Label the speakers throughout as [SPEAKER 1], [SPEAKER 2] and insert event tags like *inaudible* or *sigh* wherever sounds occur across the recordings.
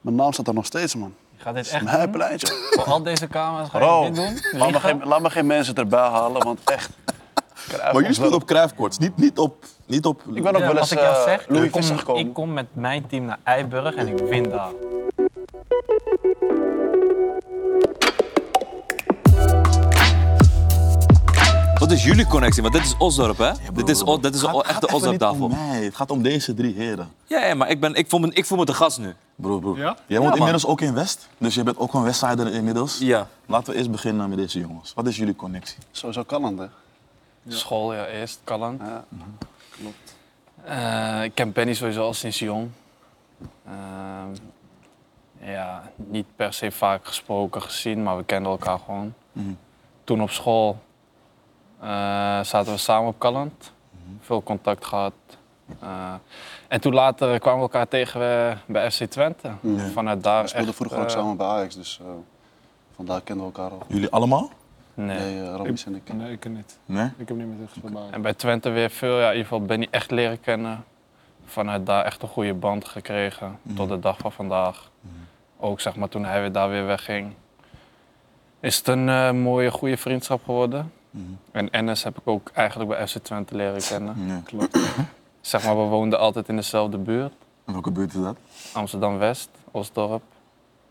[SPEAKER 1] Mijn naam staat er nog steeds, man.
[SPEAKER 2] Je gaat dit
[SPEAKER 1] Het
[SPEAKER 2] echt
[SPEAKER 1] is mijn
[SPEAKER 2] doen?
[SPEAKER 1] pleintje.
[SPEAKER 2] Voor *laughs* al deze camera's ga je
[SPEAKER 1] Bro,
[SPEAKER 2] dit doen?
[SPEAKER 1] laat me,
[SPEAKER 2] Liegen?
[SPEAKER 1] geen, laat me geen mensen erbij halen, want echt.
[SPEAKER 3] Maar jullie spelen op kruifkoorts, niet, niet op... Niet op
[SPEAKER 1] Ik ben ook
[SPEAKER 2] Ja,
[SPEAKER 1] wel eens
[SPEAKER 2] als ik jou
[SPEAKER 1] eh,
[SPEAKER 2] zeg,
[SPEAKER 1] Louis
[SPEAKER 2] ik, kom,
[SPEAKER 1] Visser gekomen.
[SPEAKER 2] ik kom met mijn team naar Eiburg en ik win daar.
[SPEAKER 4] Wat is jullie connectie? Want dit is Osdorp, hè? dit is, o- dit is
[SPEAKER 3] Het
[SPEAKER 4] o-
[SPEAKER 3] gaat-
[SPEAKER 4] echt de
[SPEAKER 3] gaat even niet
[SPEAKER 4] Osdorp-tafel.
[SPEAKER 3] om mij. Het gaat om deze drie heren.
[SPEAKER 4] Ja, ja, maar ik, ben, ik, voel me, ik voel me te gast nu.
[SPEAKER 3] Broer, broer.
[SPEAKER 5] Ja?
[SPEAKER 3] Jij woont
[SPEAKER 4] man.
[SPEAKER 3] inmiddels ook in West, dus je bent ook een Westsider inmiddels.
[SPEAKER 4] Ja.
[SPEAKER 3] Laten we eerst beginnen met deze jongens. Wat is jullie connectie?
[SPEAKER 1] Sowieso kan het, hè?
[SPEAKER 5] Oh, School, ja, eerst, Callan.
[SPEAKER 1] Ja, klopt.
[SPEAKER 5] Eh, ik ken Penny sowieso al sinds jong. Ehm, ja, niet per se vaak gesproken, gezien, maar we kenden elkaar gewoon.
[SPEAKER 3] Mhm.
[SPEAKER 5] Toen op school eh, zaten we samen op Calland.
[SPEAKER 1] Mhm.
[SPEAKER 5] Veel contact gehad. Eh, en toen later kwamen we elkaar tegen eh, bij FC Twente.
[SPEAKER 1] Ja.
[SPEAKER 5] Vanuit
[SPEAKER 1] We
[SPEAKER 5] daar
[SPEAKER 1] speelden
[SPEAKER 5] echt,
[SPEAKER 1] vroeger ook
[SPEAKER 5] eh,
[SPEAKER 1] samen bij Ajax, dus eh, vandaar kennen we elkaar al.
[SPEAKER 3] Jullie allemaal?
[SPEAKER 5] Nee.
[SPEAKER 1] Nee, eh, Ramires en ik.
[SPEAKER 6] Nee, ik niet.
[SPEAKER 3] Nee?
[SPEAKER 6] Ik heb niet met hem gespeeld. bij Ajax.
[SPEAKER 5] En bij Twente weer veel, ja, in ieder geval Benny echt leren kennen. Vanuit daar echt een goede band gekregen tot de dag van vandaag. Ook zeg maar toen hij weer daar weer wegging. Is het een eh, mooie, goede vriendschap geworden. En Ennis heb ik ook eigenlijk bij FC Twente leren kennen.
[SPEAKER 3] Nee.
[SPEAKER 5] Zeg maar, we woonden altijd in dezelfde buurt.
[SPEAKER 3] En welke buurt is dat?
[SPEAKER 5] Amsterdam-West, Osdorp.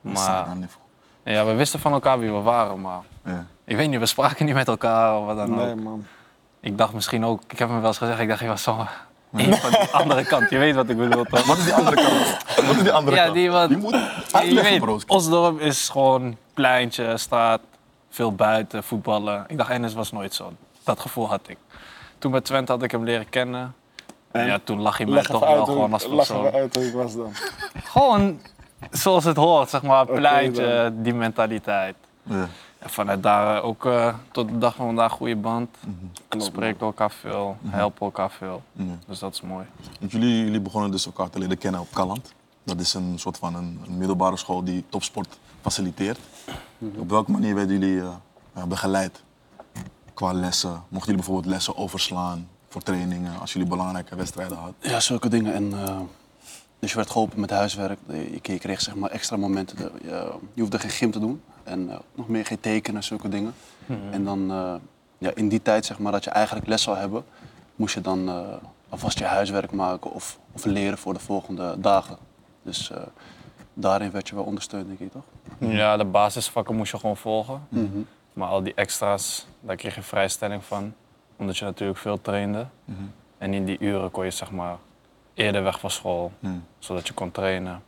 [SPEAKER 5] Maar
[SPEAKER 3] Saarland-niveau.
[SPEAKER 5] ja, we wisten van elkaar wie we waren, maar
[SPEAKER 3] Ja.
[SPEAKER 5] ik weet niet, we spraken niet met elkaar of wat dan ook.
[SPEAKER 6] Nee, man.
[SPEAKER 5] Ik dacht misschien ook, ik heb hem wel eens gezegd, ik dacht, je was zo een van die *laughs* andere kant. Je weet wat ik bedoel toch?
[SPEAKER 3] Wat is die andere kant? Wat is die andere
[SPEAKER 5] Ja,
[SPEAKER 3] kant?
[SPEAKER 5] die wat...
[SPEAKER 3] Je moet
[SPEAKER 5] Je
[SPEAKER 3] uitleggen,
[SPEAKER 5] weet,
[SPEAKER 3] bro.
[SPEAKER 5] Osdorp is gewoon pleintje, straat, veel buiten, voetballen. Ik dacht, Enes was nooit zo. Dat gevoel had ik. Toen bij Twente had ik hem leren kennen. En ja, toen lag hij mij
[SPEAKER 6] Leg
[SPEAKER 5] toch
[SPEAKER 6] even
[SPEAKER 5] wel
[SPEAKER 6] uit,
[SPEAKER 5] gewoon als
[SPEAKER 6] hoe, leg even
[SPEAKER 5] persoon.
[SPEAKER 6] uit hoe ik was dan.
[SPEAKER 5] Gewoon zoals het hoort, zeg
[SPEAKER 6] *laughs*
[SPEAKER 5] maar. Pleintje,
[SPEAKER 6] dan.
[SPEAKER 5] die mentaliteit.
[SPEAKER 3] Ja.
[SPEAKER 5] En vanuit daar eh, ook eh, tot de dag van vandaag goede band. Spreken elkaar veel, helpen elkaar veel.
[SPEAKER 3] Ja.
[SPEAKER 5] Dus dat is mooi.
[SPEAKER 3] Want jullie, jullie begonnen dus elkaar te leren kennen op Calland. Dat is een soort van een, een middelbare school die topsport faciliteert. Op welke manier werden jullie eh, eh, begeleid qua lessen? Mochten jullie bijvoorbeeld lessen overslaan voor trainingen als jullie belangrijke wedstrijden hadden?
[SPEAKER 1] Ja, zulke dingen. En, eh, dus je werd geholpen met huiswerk. Je, je kreeg zeg maar, extra momenten. De- Je, je hoefde geen gym te doen. En eh, nog meer geen tekenen, zulke dingen.
[SPEAKER 6] Mhm.
[SPEAKER 1] En dan eh, ja, in die tijd zeg maar, dat je eigenlijk les zou hebben, moest je dan eh, alvast je huiswerk maken of, of leren voor de volgende dagen. Dus eh, daarin werd je wel ondersteund, denk ik toch?
[SPEAKER 5] Ja, de basisvakken moest je gewoon volgen. Maar al die extra's, daar kreeg je vrijstelling van. Omdat je natuurlijk veel trainde. En in die uren kon je zeg maar eerder weg van school,
[SPEAKER 3] Hmm.
[SPEAKER 5] zodat je kon trainen.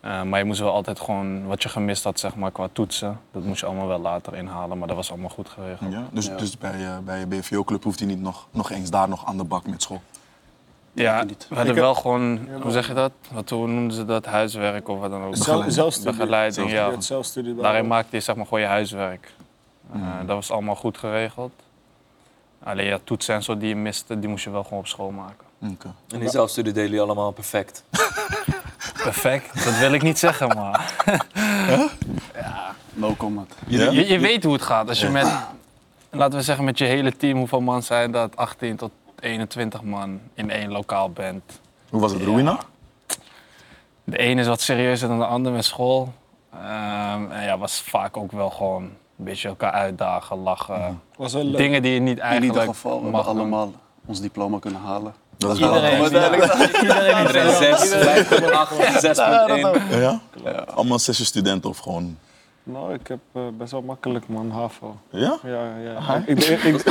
[SPEAKER 5] Eh, maar je moest wel altijd gewoon wat je gemist had zeg maar, qua toetsen. Dat moest je allemaal wel later inhalen, maar dat was allemaal goed geregeld.
[SPEAKER 3] Ja? Dus,
[SPEAKER 1] Ja.
[SPEAKER 3] dus bij, je- bij je BVO-club hoeft hij niet nog, nog eens daar nog aan de bak met school.
[SPEAKER 5] Ja,
[SPEAKER 1] niet.
[SPEAKER 5] we hadden wel gewoon, hoe zeg je dat? Wat, hoe noemden ze dat? Huiswerk of wat dan ook.
[SPEAKER 3] Zelf-
[SPEAKER 6] zelfstudie.
[SPEAKER 5] Begeleiding,
[SPEAKER 6] Je
[SPEAKER 5] ja.
[SPEAKER 6] hebt zelfstudie bij
[SPEAKER 5] Daarin
[SPEAKER 6] Ajax.
[SPEAKER 5] maakte je zeg maar gewoon je huiswerk. Eh, dat was allemaal goed geregeld. Alleen ja, toetsen en zo die je miste, die moest je wel gewoon op school maken.
[SPEAKER 3] Oké.
[SPEAKER 4] En die zelfstudie delen jullie allemaal perfect.
[SPEAKER 5] Perfect, *laughs* dat wil ik niet zeggen, maar
[SPEAKER 1] No comment.
[SPEAKER 3] Ja?
[SPEAKER 5] je, je weet hoe het gaat. Als je met, laten we zeggen, met je hele team, hoeveel man zijn dat? 18 tot 21 man in één lokaal bent.
[SPEAKER 3] Hoe was het, Ruina?
[SPEAKER 5] De ene is wat serieuzer dan de ander met school. Ehm, en ja, was vaak ook wel gewoon een beetje elkaar uitdagen, lachen.
[SPEAKER 6] Was wel leuk.
[SPEAKER 5] Dingen die je niet
[SPEAKER 1] In
[SPEAKER 5] eigenlijk
[SPEAKER 1] ieder geval hebben we
[SPEAKER 5] mag doen.
[SPEAKER 6] eh.
[SPEAKER 1] allemaal ons diploma kunnen halen.
[SPEAKER 3] Dat is
[SPEAKER 5] Iedereen.
[SPEAKER 3] wel-
[SPEAKER 4] Iedereen 6, 8, 6.1.
[SPEAKER 3] Ja? ja? Allemaal zesje studenten of gewoon...
[SPEAKER 6] Nou, ik heb eh, best wel makkelijk, man. HAVO.
[SPEAKER 3] Ja?
[SPEAKER 6] Ja, ja. Ik, ik, ik,
[SPEAKER 4] *laughs*
[SPEAKER 6] ik, ik-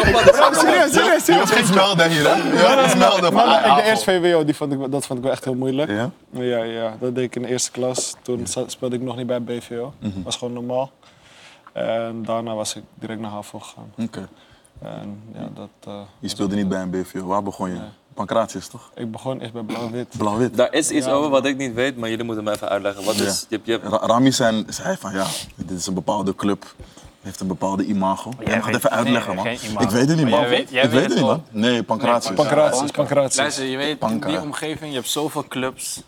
[SPEAKER 6] serieus, serieus,
[SPEAKER 3] Je
[SPEAKER 6] serieus.
[SPEAKER 3] moet iets melden hier, hè? Je moet iets melden van...
[SPEAKER 6] Maar, maar, ik-
[SPEAKER 3] ah,
[SPEAKER 6] de eerste VWO, die vond ik, wel- dat vond ik wel echt heel moeilijk.
[SPEAKER 3] Ja?
[SPEAKER 6] Ja, ja, dat deed ik in de eerste klas. Toen za- speelde ik nog niet bij BVO. was gewoon normaal. En daarna was ik direct naar HAVO gegaan.
[SPEAKER 3] Oké.
[SPEAKER 6] En ja, dat... eh,
[SPEAKER 3] Je speelde niet bij een BVO. Waar begon je? Pancratius, toch?
[SPEAKER 6] ik begon eerst bij Blauw-Wit.
[SPEAKER 3] Blauw-wit.
[SPEAKER 4] Daar is iets over wat ik niet weet, maar jullie moeten me even uitleggen. Wat is, je, hebt- je hebt-
[SPEAKER 3] Ra- Rami zijn, zei van ja, dit is een bepaalde club. Heeft een bepaalde imago. Jij mag het
[SPEAKER 5] weet-
[SPEAKER 3] even uitleggen,
[SPEAKER 5] nee,
[SPEAKER 3] man.
[SPEAKER 5] geen imago.
[SPEAKER 3] Ik weet het niet,
[SPEAKER 5] Maar jij
[SPEAKER 3] man.
[SPEAKER 5] weet- jij
[SPEAKER 3] ik
[SPEAKER 5] weet
[SPEAKER 3] weet
[SPEAKER 5] het
[SPEAKER 3] het niet,
[SPEAKER 5] wel.
[SPEAKER 3] man. Nee, Pancratius.
[SPEAKER 6] Pancratius, Pancratius.
[SPEAKER 5] Luister, je weet,
[SPEAKER 3] Panka.
[SPEAKER 5] in die omgeving, je hebt zoveel clubs.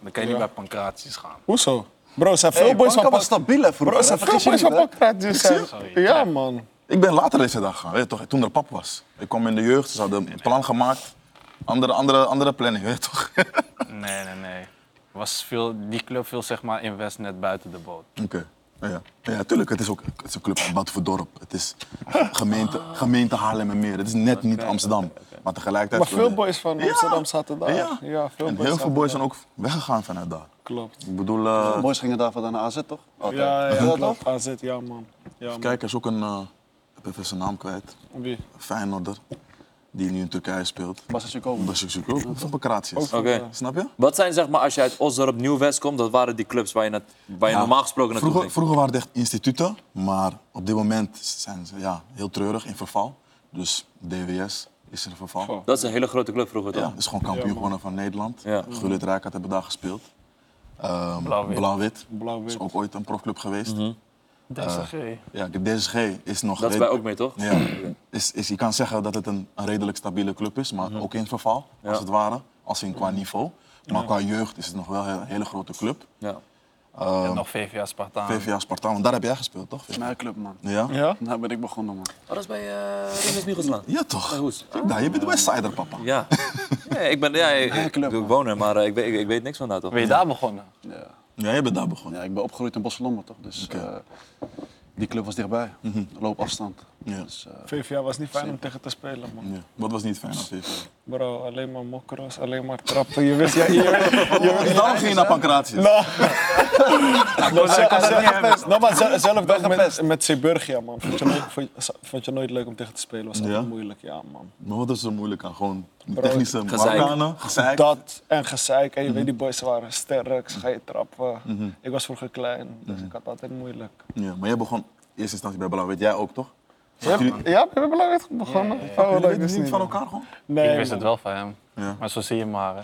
[SPEAKER 5] Dan kan je niet bij pancraties gaan.
[SPEAKER 6] Hoezo? Bro, er zijn veel boys van
[SPEAKER 1] Panka was
[SPEAKER 6] Pancratius.
[SPEAKER 1] stabiel, hè,
[SPEAKER 6] Bro,
[SPEAKER 1] vroeger.
[SPEAKER 6] er zijn
[SPEAKER 1] hè?
[SPEAKER 6] veel
[SPEAKER 1] Vergis je
[SPEAKER 6] boys
[SPEAKER 1] niet,
[SPEAKER 6] van
[SPEAKER 1] hè?
[SPEAKER 6] Pancratius. zijn- Ja, man.
[SPEAKER 3] Ik ben later deze dag gegaan, weet je toch? Toen er pap was. Ik kwam in de jeugd, ze hadden een plan gemaakt. Andere, andere, andere planning, weet je toch? *laughs*
[SPEAKER 5] Nee, nee, nee. was veel, die club viel zeg maar in West net buiten de boot.
[SPEAKER 3] Oké. Ja, ja. ja, tuurlijk. Het is ook het is een club uit Batuverdorp. Het is gemeente, gemeente Haarlem en meer. Het is net niet Amsterdam. Maar tegelijkertijd...
[SPEAKER 6] Maar veel boys van
[SPEAKER 3] Ja.
[SPEAKER 6] Amsterdam zaten daar.
[SPEAKER 3] Ja.
[SPEAKER 6] veel
[SPEAKER 3] en heel
[SPEAKER 6] boys
[SPEAKER 3] veel
[SPEAKER 6] zaten
[SPEAKER 3] boys
[SPEAKER 6] daar.
[SPEAKER 3] zijn ook weggegaan vanuit daar.
[SPEAKER 6] Klopt.
[SPEAKER 3] Ik bedoel... eh,
[SPEAKER 1] Boys gingen daarvan naar AZ, toch? Altijd.
[SPEAKER 6] Ja, ja,
[SPEAKER 1] Is dat toch?
[SPEAKER 6] klopt. AZ, ja man. Ja, man.
[SPEAKER 3] Kijk, er is ook een... eh, ik ben even zijn naam kwijt.
[SPEAKER 6] Wie?
[SPEAKER 3] Een Feyenoorder. Die nu in Turkije speelt.
[SPEAKER 1] Was het Sukobo?
[SPEAKER 3] Dat is natuurlijk ook van Pakratius.
[SPEAKER 4] Oké.
[SPEAKER 3] Snap je?
[SPEAKER 4] Wat zijn zeg maar, als je uit Osdorp Nieuw-West komt, dat waren die clubs waar je, na- waar je
[SPEAKER 3] Ja.
[SPEAKER 4] normaal gesproken naartoe
[SPEAKER 3] Vroeger,
[SPEAKER 4] ging?
[SPEAKER 3] vroeger waren het echt instituten, maar op dit moment zijn ze ja, heel treurig in verval. Dus DWS is in verval.
[SPEAKER 6] Verval.
[SPEAKER 4] Dat is een hele grote club vroeger
[SPEAKER 3] Ja,
[SPEAKER 4] toch?
[SPEAKER 3] het is gewoon kampioen
[SPEAKER 6] Ja, man.
[SPEAKER 3] gewonnen van Nederland.
[SPEAKER 4] Ja.
[SPEAKER 3] Gullit Rijkaard hebben daar gespeeld. Ehm,
[SPEAKER 5] Blauw-wit.
[SPEAKER 3] Blauw-wit.
[SPEAKER 6] Blauw-wit.
[SPEAKER 3] is ook ooit een profclub geweest.
[SPEAKER 5] DSG.
[SPEAKER 3] Ja, DSG is nog...
[SPEAKER 4] Mhm. Dat
[SPEAKER 3] red-
[SPEAKER 4] is wij ook mee toch?
[SPEAKER 3] Ja, is, is, je kan zeggen dat het een, een redelijk stabiele club is, maar ook in verval, als
[SPEAKER 4] Ja.
[SPEAKER 3] het ware. Als in qua niveau. Maar qua jeugd is het nog wel een hele- hele grote club.
[SPEAKER 4] Ja.
[SPEAKER 5] Je hebt nog VVA Spartaan.
[SPEAKER 3] VVA Spartaan, want daar heb jij gespeeld, toch?
[SPEAKER 1] Mijn club, man.
[SPEAKER 3] Ja?
[SPEAKER 6] Ja?
[SPEAKER 1] Daar ben ik begonnen, man.
[SPEAKER 4] Oh, dat is bij uh, Michelslaan.
[SPEAKER 3] Ja, toch?
[SPEAKER 4] Bij Hoes.
[SPEAKER 3] Kijk daar, je bent Westsider, papa.
[SPEAKER 4] *laughs* Ja. ja, ik ben, ja, ik, ik,
[SPEAKER 1] club,
[SPEAKER 4] ik
[SPEAKER 1] man.
[SPEAKER 4] woon er, maar eh, ik, weet, ik, ik weet niks van daar toch?
[SPEAKER 5] Ben je daar begonnen?
[SPEAKER 1] Ja.
[SPEAKER 3] Ja, jij bent daar begonnen.
[SPEAKER 1] Ja, ik ben opgegroeid in Barcelona, toch? Dus eh, die club was dichtbij. Loopafstand.
[SPEAKER 3] Ja.
[SPEAKER 1] Dus, eh,
[SPEAKER 6] VVA was niet fijn om tegen te spelen, man.
[SPEAKER 3] Ja. Wat was niet fijn aan VVA?
[SPEAKER 6] Bro, alleen maar mokkeros, alleen maar trappen. Je wist, ja, je, *laughs* je,
[SPEAKER 3] Daarom ging je naar Pancratius.
[SPEAKER 6] *laughs* Nou, ze- ze- Nou, maar ze- zelf ook met, met Seburgia, man. Vond je, nooit, vond, je- vond je nooit leuk om tegen te spelen? Was altijd
[SPEAKER 3] Ja?
[SPEAKER 6] moeilijk, ja, man.
[SPEAKER 3] Maar wat is er moeilijk aan? Gewoon technische
[SPEAKER 4] Gezeik.
[SPEAKER 3] Marokkanen, gezeik.
[SPEAKER 6] Dat en gezeik. En je
[SPEAKER 3] Mhm.
[SPEAKER 6] weet, die boys waren sterk, ze gaan je trappen. Ik was vroeger klein, dus
[SPEAKER 3] Mhm.
[SPEAKER 6] ik had altijd moeilijk.
[SPEAKER 3] Ja, maar jij begon in eerste instantie bij Blauw, weet jij ook toch?
[SPEAKER 6] Ja,
[SPEAKER 3] jullie-
[SPEAKER 6] we hebben belangrijk begonnen. Oh,
[SPEAKER 3] Jullie
[SPEAKER 6] leuk,
[SPEAKER 3] weten
[SPEAKER 6] is
[SPEAKER 3] niet
[SPEAKER 6] niet
[SPEAKER 3] van elkaar gewoon?
[SPEAKER 6] Nee,
[SPEAKER 5] Ik wist het
[SPEAKER 6] man.
[SPEAKER 5] wel van hem.
[SPEAKER 3] Ja.
[SPEAKER 5] Maar zo zie je maar. Hè.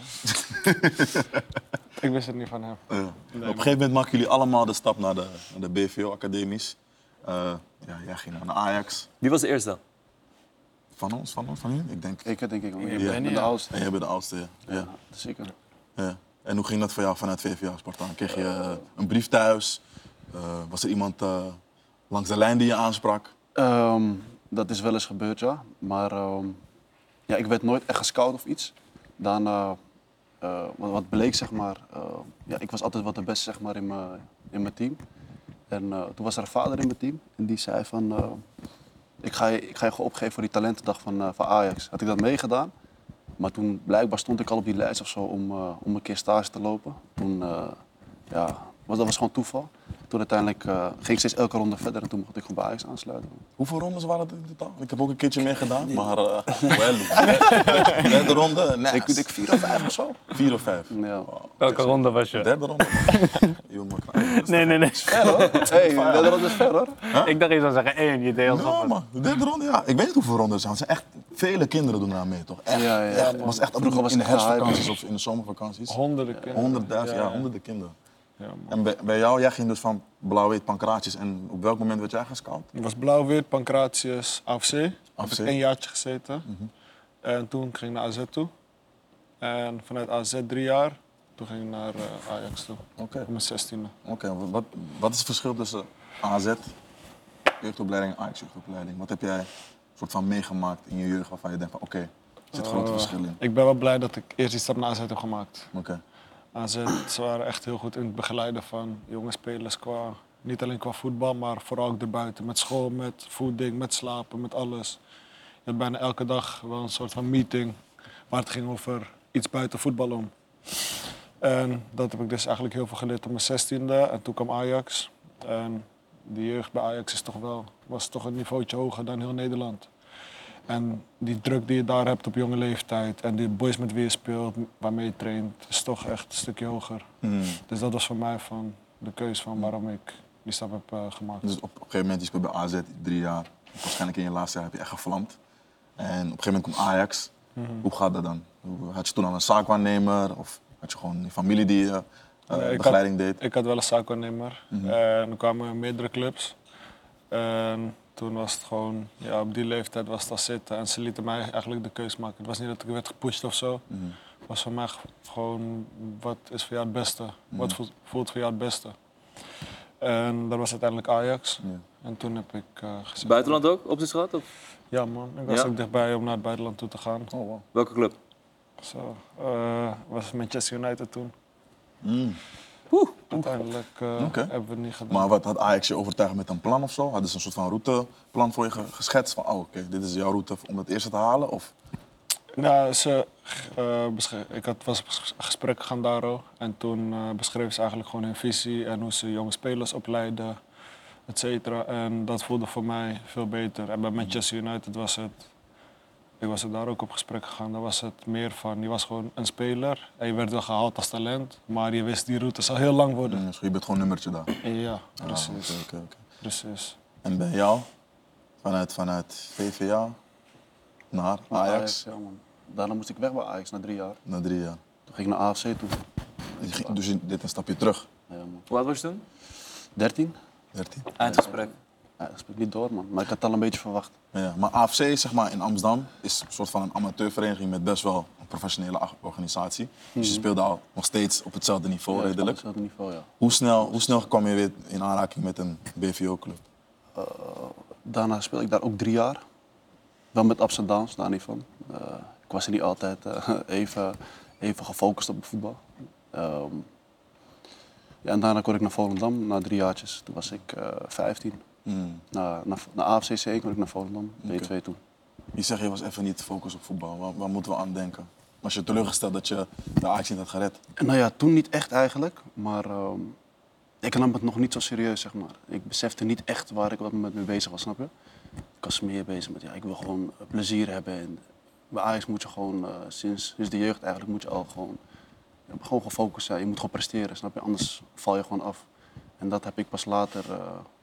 [SPEAKER 6] ik wist het niet van hem.
[SPEAKER 3] Ja. Op een gegeven moment maken jullie allemaal de stap naar de, naar de BVO-academies. Eh, ja, jij ging naar Ajax.
[SPEAKER 4] Wie was de eerste?
[SPEAKER 3] Van ons, van ons, van jullie? Ik denk.
[SPEAKER 1] ik denk ik wel. Ik
[SPEAKER 5] bent
[SPEAKER 1] ben
[SPEAKER 5] niet,
[SPEAKER 1] de
[SPEAKER 5] ja.
[SPEAKER 1] oudste.
[SPEAKER 3] En jij bent de oudste, ja. ja.
[SPEAKER 1] Ja, zeker.
[SPEAKER 3] Ja. En hoe ging dat voor jou vanuit VVA Spartaan? Kreeg je eh, een brief thuis? Eh, was er iemand eh, langs de lijn die je aansprak?
[SPEAKER 1] Ehm, dat is wel eens gebeurd, ja. Maar ehm, ja, ik werd nooit echt gescout of iets. Daarna, eh, wat, wat bleek, zeg maar, eh, ja, ik was altijd wat de beste zeg maar, in, mijn, in mijn team. En eh, toen was er een vader in mijn team en die zei van, eh, ik, ga je, ik ga je gewoon opgeven voor die talentendag van, eh, van Ajax. Had ik dat meegedaan, maar toen blijkbaar stond ik al op die lijst of zo om, eh, om een keer stage te lopen. Toen, eh, ja, was, dat was gewoon toeval. Toen uiteindelijk eh, ging ik steeds elke ronde verder en toen mocht ik gewoon bij Ajax aansluiten.
[SPEAKER 3] Hoeveel rondes waren het in totaal? Ik heb ook een keertje meegedaan, maar eh wel. Derde ronde, nice.
[SPEAKER 1] Ik denk vier of vijf of zo.
[SPEAKER 3] Vier of vijf.
[SPEAKER 1] Ja. *laughs*
[SPEAKER 5] Welke ronde was je?
[SPEAKER 3] Derde ronde. Jongen, klein.
[SPEAKER 5] Nee, nee, nee.
[SPEAKER 1] Hé, dat is ver hoor.
[SPEAKER 5] Ik dacht je zou zeggen één, je deelt
[SPEAKER 3] Ja, man. De derde ronde, ja. Ik weet niet hoeveel rondes er zijn. Er zijn echt vele kinderen doen daar mee, toch? Echt.
[SPEAKER 1] Ja, ja,
[SPEAKER 3] echt.
[SPEAKER 1] man.
[SPEAKER 3] was echt
[SPEAKER 1] Vroeger was
[SPEAKER 3] in de
[SPEAKER 1] het geheim.
[SPEAKER 3] herfstvakanties of in de zomervakanties.
[SPEAKER 6] Honderden kinderen.
[SPEAKER 3] Honderdduizend, ja,
[SPEAKER 6] Ja, ja.
[SPEAKER 3] honderden kinderen.
[SPEAKER 6] Ja, man.
[SPEAKER 3] En bij, bij jou, jij ging dus van blauw-wit pancraatjes. En op welk moment werd jij gescout?
[SPEAKER 6] Ik was blauw-wit, Pancratius, AFC. Daar Heb
[SPEAKER 3] AFC.
[SPEAKER 6] ik een jaartje gezeten. En toen ging ik naar AZ toe. En vanuit AZ drie jaar, toen ging ik naar eh, Ajax toe.
[SPEAKER 3] Oké.
[SPEAKER 6] Op mijn zestiende.
[SPEAKER 3] Oké, wa- wat, wat is het verschil tussen AZ, jeugdopleiding en Ajax jeugdopleiding? Wat heb jij soort van meegemaakt in je jeugd waarvan je denkt van oké, er zit
[SPEAKER 1] Oh.
[SPEAKER 3] grote verschil in?
[SPEAKER 6] Ik ben wel blij dat ik eerst die stap naar AZ heb gemaakt.
[SPEAKER 3] Oké,
[SPEAKER 6] AZ, ze waren echt heel goed in het begeleiden van jonge spelers qua... Niet alleen qua voetbal, maar vooral ook erbuiten. Met school, met voeding, met slapen, met alles. Je had bijna elke dag wel een soort van meeting waar het ging over iets buiten voetbal om. En dat heb ik dus eigenlijk heel veel geleerd op mijn zestiende. En toen kwam Ajax. En de jeugd bij Ajax is toch wel, was toch een niveautje hoger dan heel Nederland. En die druk die je daar hebt op jonge leeftijd en die boys met wie je speelt, waarmee je traint, is toch echt een stukje hoger.
[SPEAKER 1] Hmm.
[SPEAKER 6] Dus dat was voor mij van de keuze van waarom ik die stap heb eh, gemaakt.
[SPEAKER 3] dus op een gegeven moment, je speelt bij AZ drie jaar. Waarschijnlijk in je laatste jaar heb je echt gevlamd. En op een gegeven moment komt Ajax.
[SPEAKER 6] Mhm.
[SPEAKER 3] Hoe gaat dat dan? Hoe- Had je toen al een zaakwaarnemer? Of had je gewoon een familie die je eh,
[SPEAKER 6] Nee, ik
[SPEAKER 3] begeleiding deed?
[SPEAKER 6] Ik had wel een zaakwaarnemer. En er kwamen meerdere clubs. En toen was het gewoon, ja, op die leeftijd was het al zitten. En ze lieten mij eigenlijk de keus maken. Het was niet dat ik werd gepusht of zo.
[SPEAKER 3] Mhm,
[SPEAKER 6] Het was voor mij g- gewoon, wat is voor jou het beste? Wat voelt, voelt voor jou het beste? En dat was uiteindelijk Ajax. En toen heb ik eh gezegd...
[SPEAKER 4] Buitenland ook, op zich gehad? Of
[SPEAKER 6] Ja man, ik was
[SPEAKER 4] Ja?
[SPEAKER 6] ook dichtbij om naar het buitenland toe te gaan.
[SPEAKER 3] Oh, wow.
[SPEAKER 4] welke club?
[SPEAKER 6] Zo, eh, was Manchester United toen.
[SPEAKER 3] Mm.
[SPEAKER 6] Uiteindelijk eh,
[SPEAKER 3] Oké.
[SPEAKER 6] hebben we het niet gedaan.
[SPEAKER 3] Maar wat had Ajax je overtuigd met een plan of zo? Hadden ze een soort van routeplan voor je ge- geschetst? Van, oh, oké, dit is jouw route om het eerste te halen? Of
[SPEAKER 6] Nou, ze, eh, besch- ik had, was op ges- gesprek gaan daarover. En toen eh beschreef ze eigenlijk gewoon hun visie en hoe ze jonge spelers opleiden, et cetera. En dat voelde voor mij veel beter. En bij Manchester United was het... Ik was er daar ook op gesprek gegaan. Daar was het meer van, je was gewoon een speler. En je werd wel gehaald als talent. Maar je wist, die route zal heel lang worden.
[SPEAKER 3] Mm, zo, je bent gewoon nummertje daar?
[SPEAKER 6] Ja,
[SPEAKER 3] Ah,
[SPEAKER 6] precies.
[SPEAKER 3] oké, oké, oké.
[SPEAKER 6] precies.
[SPEAKER 3] En bij jou? Vanuit, vanuit VVA naar Ajax?
[SPEAKER 1] ja, man. Daarna moest ik weg bij Ajax na drie jaar.
[SPEAKER 3] Na drie jaar.
[SPEAKER 1] Toen ging ik naar AFC toe.
[SPEAKER 3] Je ging- Dus je deed een stapje terug.
[SPEAKER 1] Ja, man.
[SPEAKER 4] Hoe oud was je toen?
[SPEAKER 1] 13?
[SPEAKER 3] 13.
[SPEAKER 4] Eindgesprek.
[SPEAKER 1] Ja, dat speelt niet door, man. Maar ik had het al een beetje verwacht.
[SPEAKER 3] Ja, maar AFC zeg maar, in Amsterdam is een soort van een amateurvereniging met best wel een professionele ach- organisatie. Dus je speelde al nog steeds op hetzelfde niveau
[SPEAKER 1] Ja,
[SPEAKER 3] redelijk.
[SPEAKER 1] Op hetzelfde niveau, ja.
[SPEAKER 3] Hoe snel, hoe snel kwam je weer in aanraking met een BVO-club?
[SPEAKER 1] Daarna speelde ik daar ook drie jaar. Wel met ups en downs, daar niet van. Eh, ik was er niet altijd eh, *laughs* even, even gefocust op voetbal. Ehm, ja, en daarna kon ik naar Volendam na drie jaartjes. Toen was ik eh 15.
[SPEAKER 3] Mm.
[SPEAKER 1] Na, na, na AFCC kon ik naar Volendam, D2 toen.
[SPEAKER 3] Je zegt je was even niet focus op voetbal. Waar, waar moeten we aan denken? Was je teleurgesteld dat je de Ajax niet had gered?
[SPEAKER 1] En Nou ja, toen niet echt eigenlijk, maar ehm, ik nam het nog niet zo serieus, zeg maar. Ik besefte niet echt waar ik op dat moment mee bezig was, snap je? Ik was meer bezig met, ja, ik wil gewoon eh, plezier hebben. En bij Ajax moet je gewoon, eh, sinds, sinds de jeugd eigenlijk, moet je al gewoon, ja, gewoon gefocust zijn. Je moet gewoon presteren, snap je? Anders val je gewoon af. En dat heb ik pas later eh,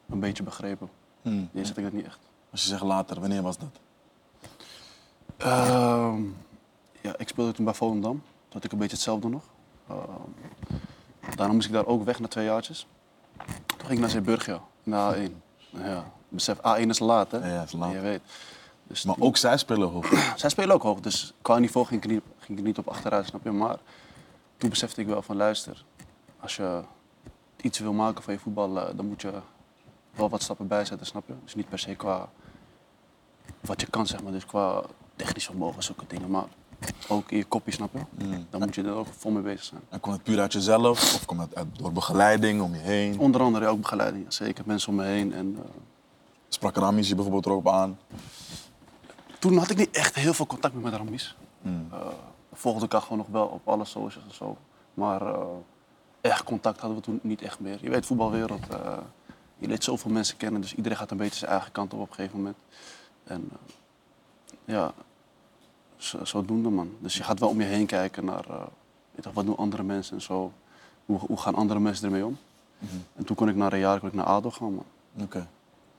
[SPEAKER 1] een beetje begrepen.
[SPEAKER 3] Mm.
[SPEAKER 1] Eerst had ik dat niet echt.
[SPEAKER 3] Als je zegt later, wanneer was dat?
[SPEAKER 1] Ehm, ja, ik speelde toen bij Volendam. Toen had ik een beetje hetzelfde nog. Ehm, daarna moest ik daar ook weg na twee jaartjes. Toen ging ik naar Zeeburgia, naar A1. Ja, besef, A1 is laat, hè?
[SPEAKER 3] Ja, ja, het is laat.
[SPEAKER 1] Je weet. Dus
[SPEAKER 3] Maar ook zij spelen hoog.
[SPEAKER 1] zij spelen ook hoog, dus qua niveau ging ik, er niet, ging ik er niet op achteruit, snap je? Maar toen besefte ik wel van, luister, als je iets wil maken van je voetbal, eh, dan moet je wel wat stappen bijzetten, snap je? Dus niet per se qua wat je kan, zeg maar, dus qua technisch vermogen, zulke dingen, maar ook in je kopje, snap je? Dan moet je er ook vol mee bezig zijn.
[SPEAKER 3] En kwam het puur uit jezelf? Of kwam het uit, door begeleiding om je heen?
[SPEAKER 1] Onder andere ook begeleiding, zeker mensen om me heen en... eh,
[SPEAKER 3] Sprak Ramis je bijvoorbeeld erop aan?
[SPEAKER 1] Toen had ik niet echt heel veel contact meer met Ramis.
[SPEAKER 3] Hmm.
[SPEAKER 1] Eh, volgde elkaar gewoon nog wel op alle socials en zo. Maar eh, echt contact hadden we toen niet echt meer. Je weet, voetbalwereld, eh, je leert zoveel mensen kennen, dus iedereen gaat een beetje zijn eigen kant op op een gegeven moment. En eh, ja, zo- zodoende man. Dus je gaat wel om je heen kijken naar eh, weet je, wat doen andere mensen en zo. Hoe, hoe gaan andere mensen ermee om?
[SPEAKER 3] Mhm.
[SPEAKER 1] En toen kon ik na een jaar kon ik naar ADO gaan man.
[SPEAKER 3] Oké.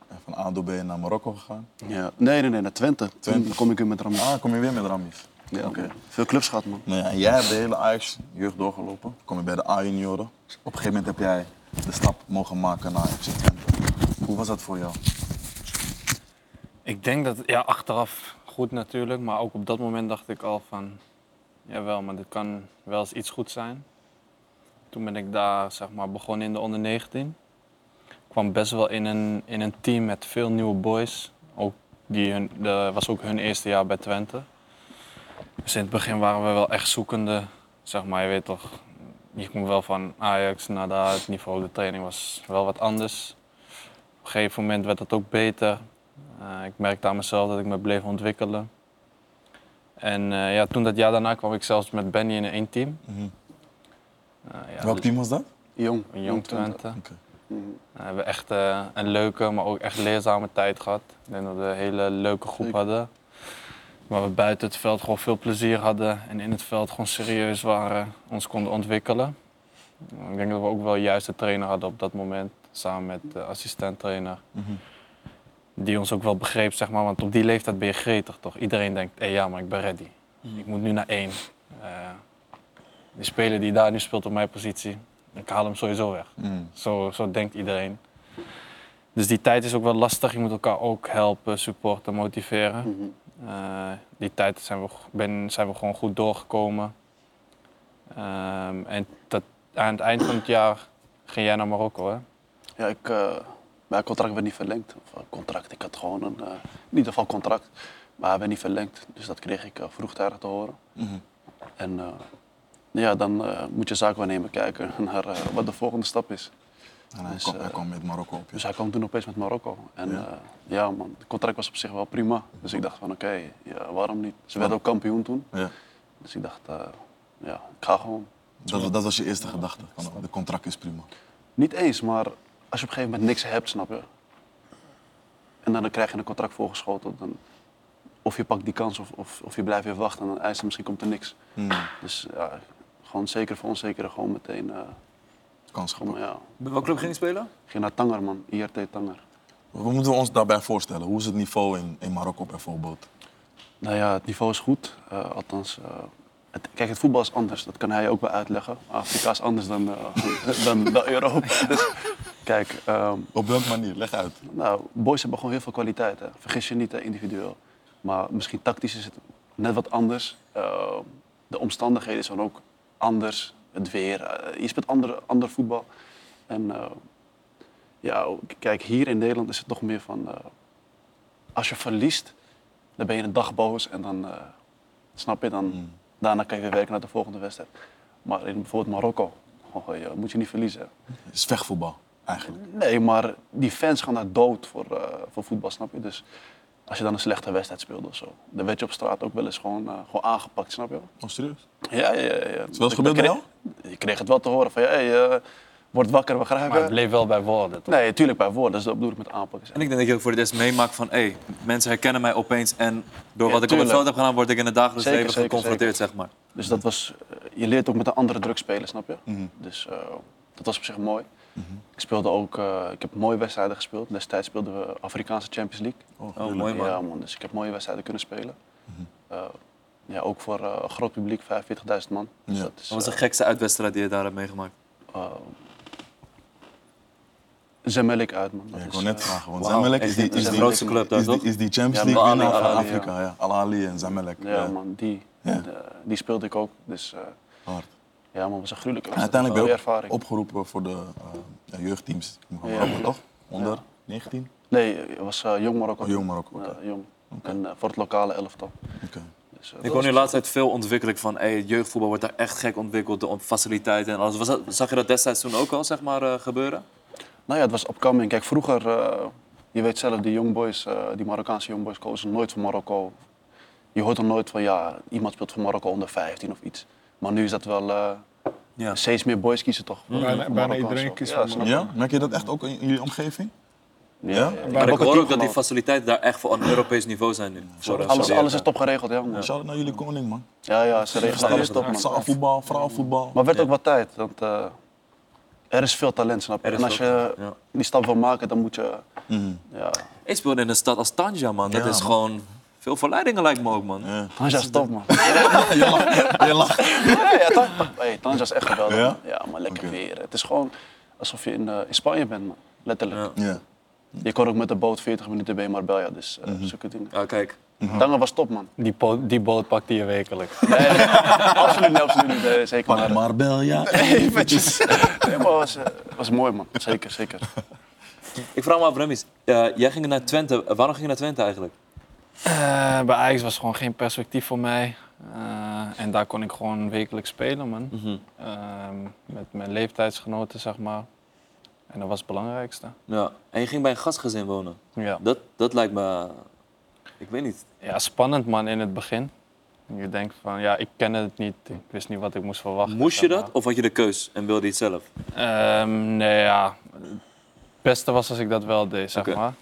[SPEAKER 3] En van ADO ben je naar Marokko gegaan?
[SPEAKER 1] Ja. Nee, nee, nee, naar Twente.
[SPEAKER 3] Twente.
[SPEAKER 1] Toen kom ik weer met Ramis.
[SPEAKER 3] Ah, kom je weer met Ramis?
[SPEAKER 1] Ja, man. Veel clubs gehad man.
[SPEAKER 3] Nou ja, en jij hebt de hele Ajax-jeugd doorgelopen. Kom je bij de A-junioren. Op een gegeven moment heb jij de stap mogen maken naar FC Twente. Hoe was dat voor jou?
[SPEAKER 5] Ik denk dat, ja, achteraf goed natuurlijk, maar ook op dat moment dacht ik al van, jawel, maar dit kan wel eens iets goed zijn. Toen ben ik daar, zeg maar, begonnen in de onder 19. Ik kwam best wel in een, in een team met veel nieuwe boys. Ook die hun, de, was ook hun eerste jaar bij Twente. Dus in het begin waren we wel echt zoekende, zeg maar, je weet toch, je komt wel van Ajax naar daar, het niveau, de training was wel wat anders. Op een gegeven moment werd het ook beter. Eh, ik merkte aan mezelf dat ik me bleef ontwikkelen. En eh, ja, toen dat jaar daarna kwam ik zelfs met Benny in één team. Eh, ja,
[SPEAKER 3] Welk
[SPEAKER 5] dus
[SPEAKER 3] team was dat?
[SPEAKER 1] Jong. Mhm.
[SPEAKER 5] een Jong Twente.
[SPEAKER 3] Oké.
[SPEAKER 5] We hebben echt eh, een leuke, maar ook echt leerzame tijd gehad. Ik denk dat we een hele leuke groep
[SPEAKER 1] Zeker.
[SPEAKER 5] hadden. Waar we buiten het veld gewoon veel plezier hadden en in het veld gewoon serieus waren, ons konden ontwikkelen. Ik denk dat we ook wel juist de trainer hadden op dat moment, samen met de assistent-trainer. Die ons ook wel begreep, zeg maar, want op die leeftijd ben je gretig toch? Iedereen denkt, hé ja, maar ik ben ready. Ik moet nu naar één. Eh, die speler die daar nu speelt op mijn positie, ik haal hem sowieso weg.
[SPEAKER 3] Mm.
[SPEAKER 5] Zo, zo denkt iedereen. Dus die tijd is ook wel lastig. Je moet elkaar ook helpen, supporten, motiveren. Eh, die tijd zijn we, go- ben, zijn we gewoon goed doorgekomen. Ehm, en dat, aan het eind van het jaar ging jij naar Marokko, hè?
[SPEAKER 1] Ja, ik, eh, mijn contract werd niet verlengd. Of eh, contract, ik had gewoon een, eh, in ieder geval contract. Maar hij werd niet verlengd, dus dat kreeg ik eh, vroegtijdig te horen. En eh, ja, dan eh, moet je zaakwaarnemer kijken *laughs* naar eh, wat de volgende stap is.
[SPEAKER 3] En hij,
[SPEAKER 1] Dus,
[SPEAKER 3] kwam, hij
[SPEAKER 1] eh,
[SPEAKER 3] kwam met Marokko op. ja.
[SPEAKER 1] Dus hij kwam toen opeens met Marokko. En
[SPEAKER 3] Ja.
[SPEAKER 1] ja, ja man, het contract was op zich wel prima. Dus ik dacht van oké, ja, waarom niet? Ze werden ook kampioen toen.
[SPEAKER 3] Ja.
[SPEAKER 1] Dus ik dacht, eh, ja, ik ga gewoon.
[SPEAKER 3] Dat, dat was je eerste gedachte. van, De contract is prima.
[SPEAKER 1] Niet eens, maar als je op een gegeven moment niks hebt, snap je? En dan krijg je een contract voorgeschoten. Dan, of je pakt die kans of, of, of je blijft even wachten en dan eist er misschien komt er niks.
[SPEAKER 3] Hmm.
[SPEAKER 1] Dus ja, gewoon zeker voor onzeker gewoon meteen. eh,
[SPEAKER 3] Kans
[SPEAKER 1] gewoon,
[SPEAKER 3] gepakt.
[SPEAKER 1] ja.
[SPEAKER 4] Bij welke club ging je spelen?
[SPEAKER 1] Ik Ging naar Tanger man, IRT Tanger.
[SPEAKER 3] Wat moeten we ons daarbij voorstellen? Hoe is het niveau in, in Marokko bijvoorbeeld?
[SPEAKER 1] Nou ja, het niveau is goed. Eh, althans, eh, het, kijk, het voetbal is anders. Dat kan hij je ook wel uitleggen. Afrika is anders dan, eh, *laughs* dan, dan Europa. Dus, kijk, ehm,
[SPEAKER 3] Op welke manier? Leg uit.
[SPEAKER 1] nou, boys hebben gewoon heel veel kwaliteit. Hè. Vergis je niet, hè, individueel. Maar misschien tactisch is het net wat anders. Eh, de omstandigheden zijn ook anders. Het weer. eh, je speelt ander, ander voetbal. En eh, ja, k- kijk, hier in Nederland is het toch meer van... eh, als je verliest, dan ben je een dag boos. En dan, eh, snap je, dan, daarna kan je weer werken naar de volgende wedstrijd. Maar in bijvoorbeeld Marokko, oh, ja, moet je niet verliezen. hè.
[SPEAKER 3] Het is vechtvoetbal eigenlijk.
[SPEAKER 1] Nee, maar die fans gaan daar dood voor, eh, voor voetbal, snap je? Dus als je dan een slechte wedstrijd speelde of zo, dan werd je op straat ook wel eens gewoon, eh, gewoon aangepakt, snap je?
[SPEAKER 3] Oh, serieus?
[SPEAKER 1] Ja, ja, ja. ja.
[SPEAKER 3] Is wel eens gebeurd bij jou?
[SPEAKER 1] Je kreeg het wel te horen van, hé, hey, eh, word wakker, we
[SPEAKER 5] Maar het
[SPEAKER 1] grijpen.
[SPEAKER 5] bleef wel bij woorden, toch?
[SPEAKER 1] Nee, tuurlijk bij woorden, dus dat bedoel ik met aanpakken.
[SPEAKER 4] En ik denk dat je ook voor het eerst meemaakt van... Hey, mensen herkennen mij opeens en
[SPEAKER 1] Ja,
[SPEAKER 4] door wat ik op het
[SPEAKER 1] tuurlijk.
[SPEAKER 4] veld heb gedaan... word ik in het dagelijks
[SPEAKER 1] Zeker,
[SPEAKER 4] leven
[SPEAKER 1] zeker,
[SPEAKER 4] geconfronteerd, zeg maar.
[SPEAKER 1] Dus dat was, eh, je leert ook met een andere druk spelen, snap je? Dus eh, dat was op zich mooi. Ik speelde ook, eh, ik heb mooie wedstrijden gespeeld. Destijds speelden we Afrikaanse Champions League.
[SPEAKER 4] Oh, mooi man. Mhm.
[SPEAKER 1] Ja, man. Dus ik heb mooie wedstrijden kunnen spelen. Eh, ja, ook voor eh, een groot publiek, 45.000 man. Dus
[SPEAKER 3] Ja.
[SPEAKER 1] dat is
[SPEAKER 4] Wat was de
[SPEAKER 1] eh,
[SPEAKER 4] gekste uitwedstrijd die je daar hebt meegemaakt?
[SPEAKER 1] eh, Zamalek uit, man. Dat
[SPEAKER 3] Ja, ik
[SPEAKER 1] is,
[SPEAKER 3] wou net
[SPEAKER 1] eh,
[SPEAKER 3] vragen, want
[SPEAKER 4] wauw,
[SPEAKER 3] Zamalek
[SPEAKER 4] echt
[SPEAKER 3] is die,
[SPEAKER 4] een-
[SPEAKER 3] is,
[SPEAKER 4] een
[SPEAKER 3] die,
[SPEAKER 4] grootste
[SPEAKER 1] is-
[SPEAKER 4] club daar,
[SPEAKER 3] is, die,
[SPEAKER 4] toch?
[SPEAKER 3] is die Champions
[SPEAKER 1] Ja,
[SPEAKER 3] League
[SPEAKER 1] Al-Ali,
[SPEAKER 3] winnaar van
[SPEAKER 1] Al-Ali, ja.
[SPEAKER 3] Afrika. Ja. Al-Ali en Zamalek.
[SPEAKER 1] ja,
[SPEAKER 3] Ja.
[SPEAKER 1] man. Die,
[SPEAKER 3] Ja.
[SPEAKER 1] eh, die speelde ik ook. Dus eh,
[SPEAKER 3] Hard.
[SPEAKER 1] ja, man, was een gruwelijke
[SPEAKER 3] En
[SPEAKER 1] wedstrijd.
[SPEAKER 3] uiteindelijk ben
[SPEAKER 1] Mooie
[SPEAKER 3] je ook
[SPEAKER 1] ervaring.
[SPEAKER 3] opgeroepen voor de eh, ja, jeugdteams van
[SPEAKER 1] Ja.
[SPEAKER 3] Marokko, toch? Onder 19?
[SPEAKER 1] Nee, het was eh, jong Marokko.
[SPEAKER 3] Oh, jong Marokko, oké.
[SPEAKER 1] Ja, jong. En eh, voor het lokale elftal.
[SPEAKER 3] Oké.
[SPEAKER 1] Dus, eh, dat
[SPEAKER 4] Ik hoor
[SPEAKER 1] was-
[SPEAKER 4] nu laatst uit veel ontwikkeling van hey, jeugdvoetbal wordt daar echt gek ontwikkeld, de on- faciliteiten en alles. Was dat, zag je dat destijds toen ook al zeg maar, eh, gebeuren?
[SPEAKER 1] Nou ja, het was upcoming. Kijk, vroeger, eh, je weet zelf, die jongboys, eh, die Marokkaanse jongboys kozen nooit voor Marokko. Je hoort er nooit van, ja, iemand speelt voor Marokko onder 15 of iets. Maar nu is dat wel, eh,
[SPEAKER 4] Ja.
[SPEAKER 1] steeds meer boys kiezen toch? voor-
[SPEAKER 6] Bijna-
[SPEAKER 1] voor
[SPEAKER 6] bijna
[SPEAKER 1] Marokko en
[SPEAKER 6] iedereen
[SPEAKER 1] zo.
[SPEAKER 6] kiest
[SPEAKER 1] Mm. Ja,
[SPEAKER 6] voor
[SPEAKER 1] snap je?
[SPEAKER 3] Ja? Merk je dat echt ook in jullie omgeving?
[SPEAKER 1] Ja,
[SPEAKER 3] Ja?
[SPEAKER 1] ja, ja. Ik
[SPEAKER 4] Maar
[SPEAKER 1] heb
[SPEAKER 4] ik
[SPEAKER 1] ook een
[SPEAKER 4] hoor ook dat die
[SPEAKER 1] teamgenoot.
[SPEAKER 4] faciliteiten daar echt voor een Europees niveau zijn nu. Voor, eh,
[SPEAKER 1] Alles,
[SPEAKER 4] Saudi-Arabië.
[SPEAKER 1] alles is top geregeld, ja. man.
[SPEAKER 3] Shout-out naar jullie koning, man.
[SPEAKER 1] Ja, ja, ze regelen alles top, man.
[SPEAKER 3] Zaalvoetbal, vrouwenvoetbal.
[SPEAKER 1] Maar het werd ook wat tijd, want eh, er is veel talent, snap je?
[SPEAKER 4] Er is
[SPEAKER 1] En als
[SPEAKER 4] veel
[SPEAKER 1] je
[SPEAKER 4] talent,
[SPEAKER 1] die stap wil maken, dan moet je, ja...
[SPEAKER 4] Ik speelde in een stad als Tanja, man. Dat
[SPEAKER 3] Ja,
[SPEAKER 4] is
[SPEAKER 3] man.
[SPEAKER 4] gewoon veel verleidingen lijkt me ook, man.
[SPEAKER 3] Ja.
[SPEAKER 1] Tanja is top, man.
[SPEAKER 3] *laughs* Je lacht. Je lacht.
[SPEAKER 1] Ja, ja, Tan- hey, Tanja is echt geweldig.
[SPEAKER 3] Ja?
[SPEAKER 1] man. Ja, maar lekker
[SPEAKER 3] Oké.
[SPEAKER 1] weer. Het is gewoon alsof je in, eh, in Spanje bent, man. Letterlijk.
[SPEAKER 4] Ja.
[SPEAKER 3] Ja.
[SPEAKER 1] Je kon ook met de boot 40 minuten bij Marbella, dus eh zulke dingen.
[SPEAKER 4] Ja, kijk.
[SPEAKER 1] Tanger was top, man.
[SPEAKER 5] Die, po- die boot pakte je wekelijks.
[SPEAKER 1] Nee, nee, absoluut niet, absoluut niet. Nee, zeker maar.
[SPEAKER 3] Pak
[SPEAKER 1] eh,
[SPEAKER 3] maar bel, ja.
[SPEAKER 1] *laughs* Eventjes. Nee, maar was, eh, was mooi, man. Zeker, zeker.
[SPEAKER 4] Ik vraag me af, Remis. eh, jij ging naar Twente. Waarom ging je naar Twente eigenlijk?
[SPEAKER 5] Eh, bij Ajax was gewoon geen perspectief voor mij. Eh, en daar kon ik gewoon wekelijks spelen, man. Ehm, met mijn leeftijdsgenoten, zeg maar. En dat was het belangrijkste.
[SPEAKER 4] Ja. En je ging bij een gastgezin wonen.
[SPEAKER 5] Ja,
[SPEAKER 4] Dat, dat lijkt me... Ik weet niet.
[SPEAKER 5] ja spannend, man, in het begin. Je denkt van, ja, ik kende het niet. Ik wist niet wat ik moest verwachten.
[SPEAKER 4] Moest je
[SPEAKER 5] zeg maar.
[SPEAKER 4] dat of had je de keus en wilde je het zelf?
[SPEAKER 5] Ehm, nee, ja. Het beste was als ik dat wel deed, zeg
[SPEAKER 4] Oké.
[SPEAKER 5] maar.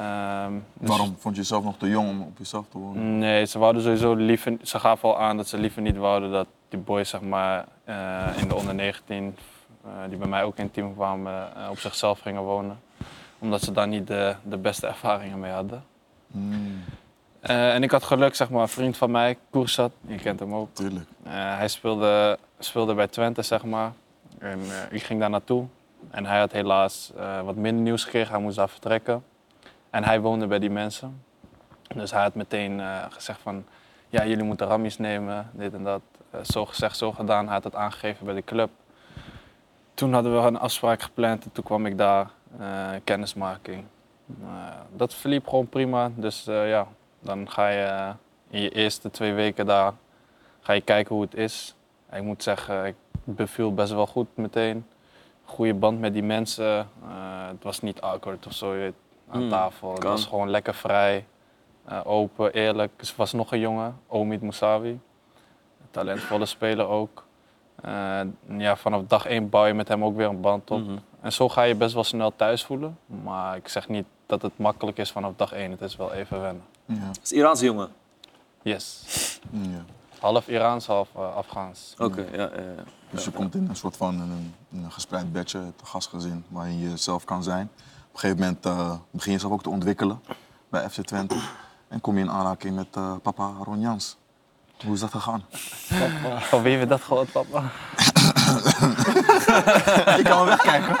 [SPEAKER 5] Ehm, dus-
[SPEAKER 3] Waarom vond je jezelf nog te jong om op jezelf te wonen?
[SPEAKER 5] Nee, ze wouden sowieso liever... Ze gaven al aan dat ze liever niet wouden dat die boys, zeg maar, eh, in de onder 19... eh, die bij mij ook in het team kwamen, eh, op zichzelf gingen wonen. Omdat ze daar niet de, de beste ervaringen mee hadden.
[SPEAKER 3] Mm,
[SPEAKER 5] Eh, en ik had geluk, zeg maar, een vriend van mij, Koersat, je kent hem ook.
[SPEAKER 3] tuurlijk.
[SPEAKER 5] Eh, hij speelde, speelde bij Twente, zeg maar. En eh, ik ging daar naartoe. En hij had helaas eh, wat minder nieuws gekregen. Hij moest daar vertrekken. En hij woonde bij die mensen. Dus hij had meteen eh, gezegd van... Ja, jullie moeten rammies nemen, dit en dat. Eh, zo gezegd, zo gedaan. Hij had het aangegeven bij de club. Toen hadden we een afspraak gepland. En toen kwam ik daar. eh, kennismaking. Eh, dat verliep gewoon prima. Dus eh, ja, dan ga je eh, in je eerste twee weken daar... Ga je kijken hoe het is. Ik moet zeggen, ik beviel best wel goed meteen. Goede band met die mensen. Eh, het was niet awkward of zo je weet, aan
[SPEAKER 4] Hmm,
[SPEAKER 5] tafel. Het
[SPEAKER 4] kan.
[SPEAKER 5] was gewoon lekker vrij, eh, open, eerlijk. Dus Er was nog een jongen, Omid Moussavi. Talentvolle speler ook. Eh, ja, vanaf dag één bouw je met hem ook weer een band op.
[SPEAKER 4] Mhm.
[SPEAKER 5] En zo ga je best wel snel thuis voelen. Maar ik zeg niet dat het makkelijk is vanaf dag één. Het is wel even wennen.
[SPEAKER 3] Ja.
[SPEAKER 4] Dat is een Iraanse jongen.
[SPEAKER 5] Yes.
[SPEAKER 3] Ja.
[SPEAKER 5] Half Iraans, half eh, Afghaans.
[SPEAKER 4] Oké, ja, ja, ja.
[SPEAKER 3] Dus je komt in een soort van een, een gespreid bedje, het gastgezin, waarin je zelf kan zijn. Op een gegeven moment eh, begin je zelf ook te ontwikkelen bij FC Twente. En kom je in aanraking met eh, papa Ron Jans. Hoe is dat gegaan?
[SPEAKER 5] *laughs* Van wie we dat gehoord, papa?
[SPEAKER 3] Ik kan wel wegkijken.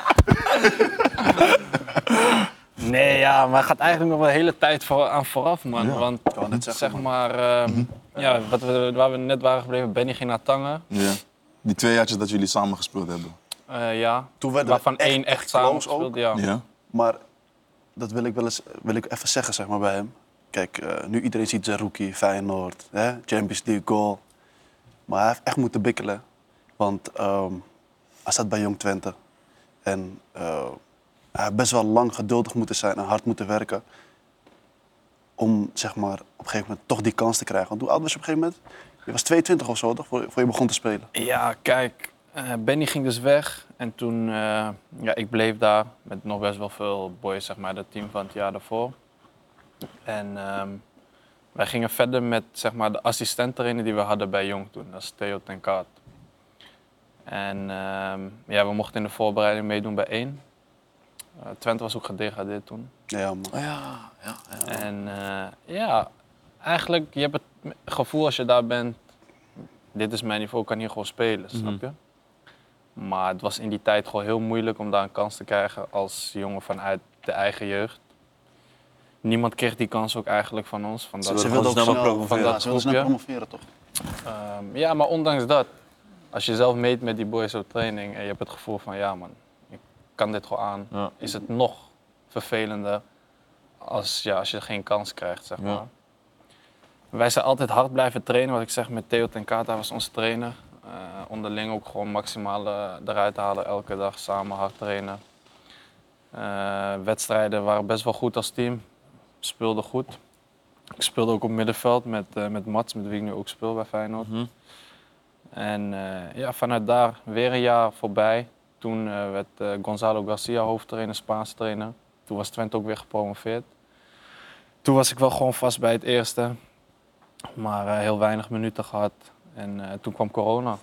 [SPEAKER 5] Nee, ja, maar het gaat eigenlijk nog wel een hele tijd voor, aan vooraf, man.
[SPEAKER 3] Ja,
[SPEAKER 5] Want zeg maar, ehm, ja, wat we, waar we net waren gebleven, Benny ging naar Tangen.
[SPEAKER 3] *laughs* Ja. Die twee jaartjes dat jullie samen gespeeld hebben.
[SPEAKER 5] Eh, ja,
[SPEAKER 1] Toen werden we
[SPEAKER 5] waarvan
[SPEAKER 1] echt,
[SPEAKER 5] één echt
[SPEAKER 1] echt
[SPEAKER 5] samen
[SPEAKER 1] close ook.
[SPEAKER 5] gespeeld, Ja.
[SPEAKER 3] Ja?
[SPEAKER 1] Maar dat wil ik wel eens wil ik even zeggen zeg maar, bij hem. Kijk, eh, nu iedereen ziet Zerouki, Feyenoord, hè? Champions League goal. Maar hij heeft echt moeten bikkelen. Want ehm, hij zat bij Jong Twente. En eh, hij heeft best wel lang geduldig moeten zijn en hard moeten werken. Om zeg maar, op een gegeven moment toch die kans te krijgen. Want hoe oud was je op een gegeven moment? Je was 22 of zo, toch? Voor, voor je begon te spelen.
[SPEAKER 5] Ja, kijk, eh, Benny ging dus weg en toen, eh, ja, ik bleef daar met nog best wel veel boys, zeg maar, dat team van het jaar daarvoor. En ehm, wij gingen verder met, zeg maar, de assistent-trainer die we hadden bij Jong toen, dat is Theo ten Kaat. En ehm, ja, we mochten in de voorbereiding meedoen bij één. Eh, Twente was ook gedegradeerd toen.
[SPEAKER 1] Ja, man.
[SPEAKER 4] Ja, ja, ja.
[SPEAKER 5] En eh, ja, eigenlijk, je hebt het gevoel als je daar bent, dit is mijn niveau, ik kan hier gewoon spelen,
[SPEAKER 4] Mhm.
[SPEAKER 5] snap je? Maar het was in die tijd gewoon heel moeilijk om daar een kans te krijgen als jongen vanuit de eigen jeugd. Niemand kreeg die kans ook eigenlijk van ons. Van dat,
[SPEAKER 4] Ze
[SPEAKER 1] Ze
[SPEAKER 4] wilden
[SPEAKER 1] wilden ook
[SPEAKER 4] snel
[SPEAKER 1] snel,
[SPEAKER 4] promoveren.
[SPEAKER 1] van dat, ze wilden snel
[SPEAKER 5] groepje.
[SPEAKER 1] promoveren, toch?
[SPEAKER 5] Ehm, ja, maar ondanks dat, als je zelf meet met die boys op training en je hebt het gevoel van ja man, ik kan dit gewoon aan,
[SPEAKER 4] Ja.
[SPEAKER 5] is het nog vervelender als, ja, als je geen kans krijgt, zeg
[SPEAKER 4] Ja.
[SPEAKER 5] maar. Wij zijn altijd hard blijven trainen, wat ik zeg met Theo ten Kaat, hij was onze trainer. Eh, onderling ook gewoon maximaal eh, eruit halen, elke dag samen hard trainen. Eh, wedstrijden waren best wel goed als team, speelden goed. Ik speelde ook op middenveld met, eh, met Mats, met wie ik nu ook speel bij Feyenoord.
[SPEAKER 4] Mhm.
[SPEAKER 5] En eh, ja, vanuit daar weer een jaar voorbij. Toen eh, werd eh, Gonzalo Garcia hoofdtrainer, Spaans trainer. Toen was Twente ook weer gepromoveerd. Toen was ik wel gewoon vast bij het eerste. Maar eh, heel weinig minuten gehad. En eh, toen kwam corona.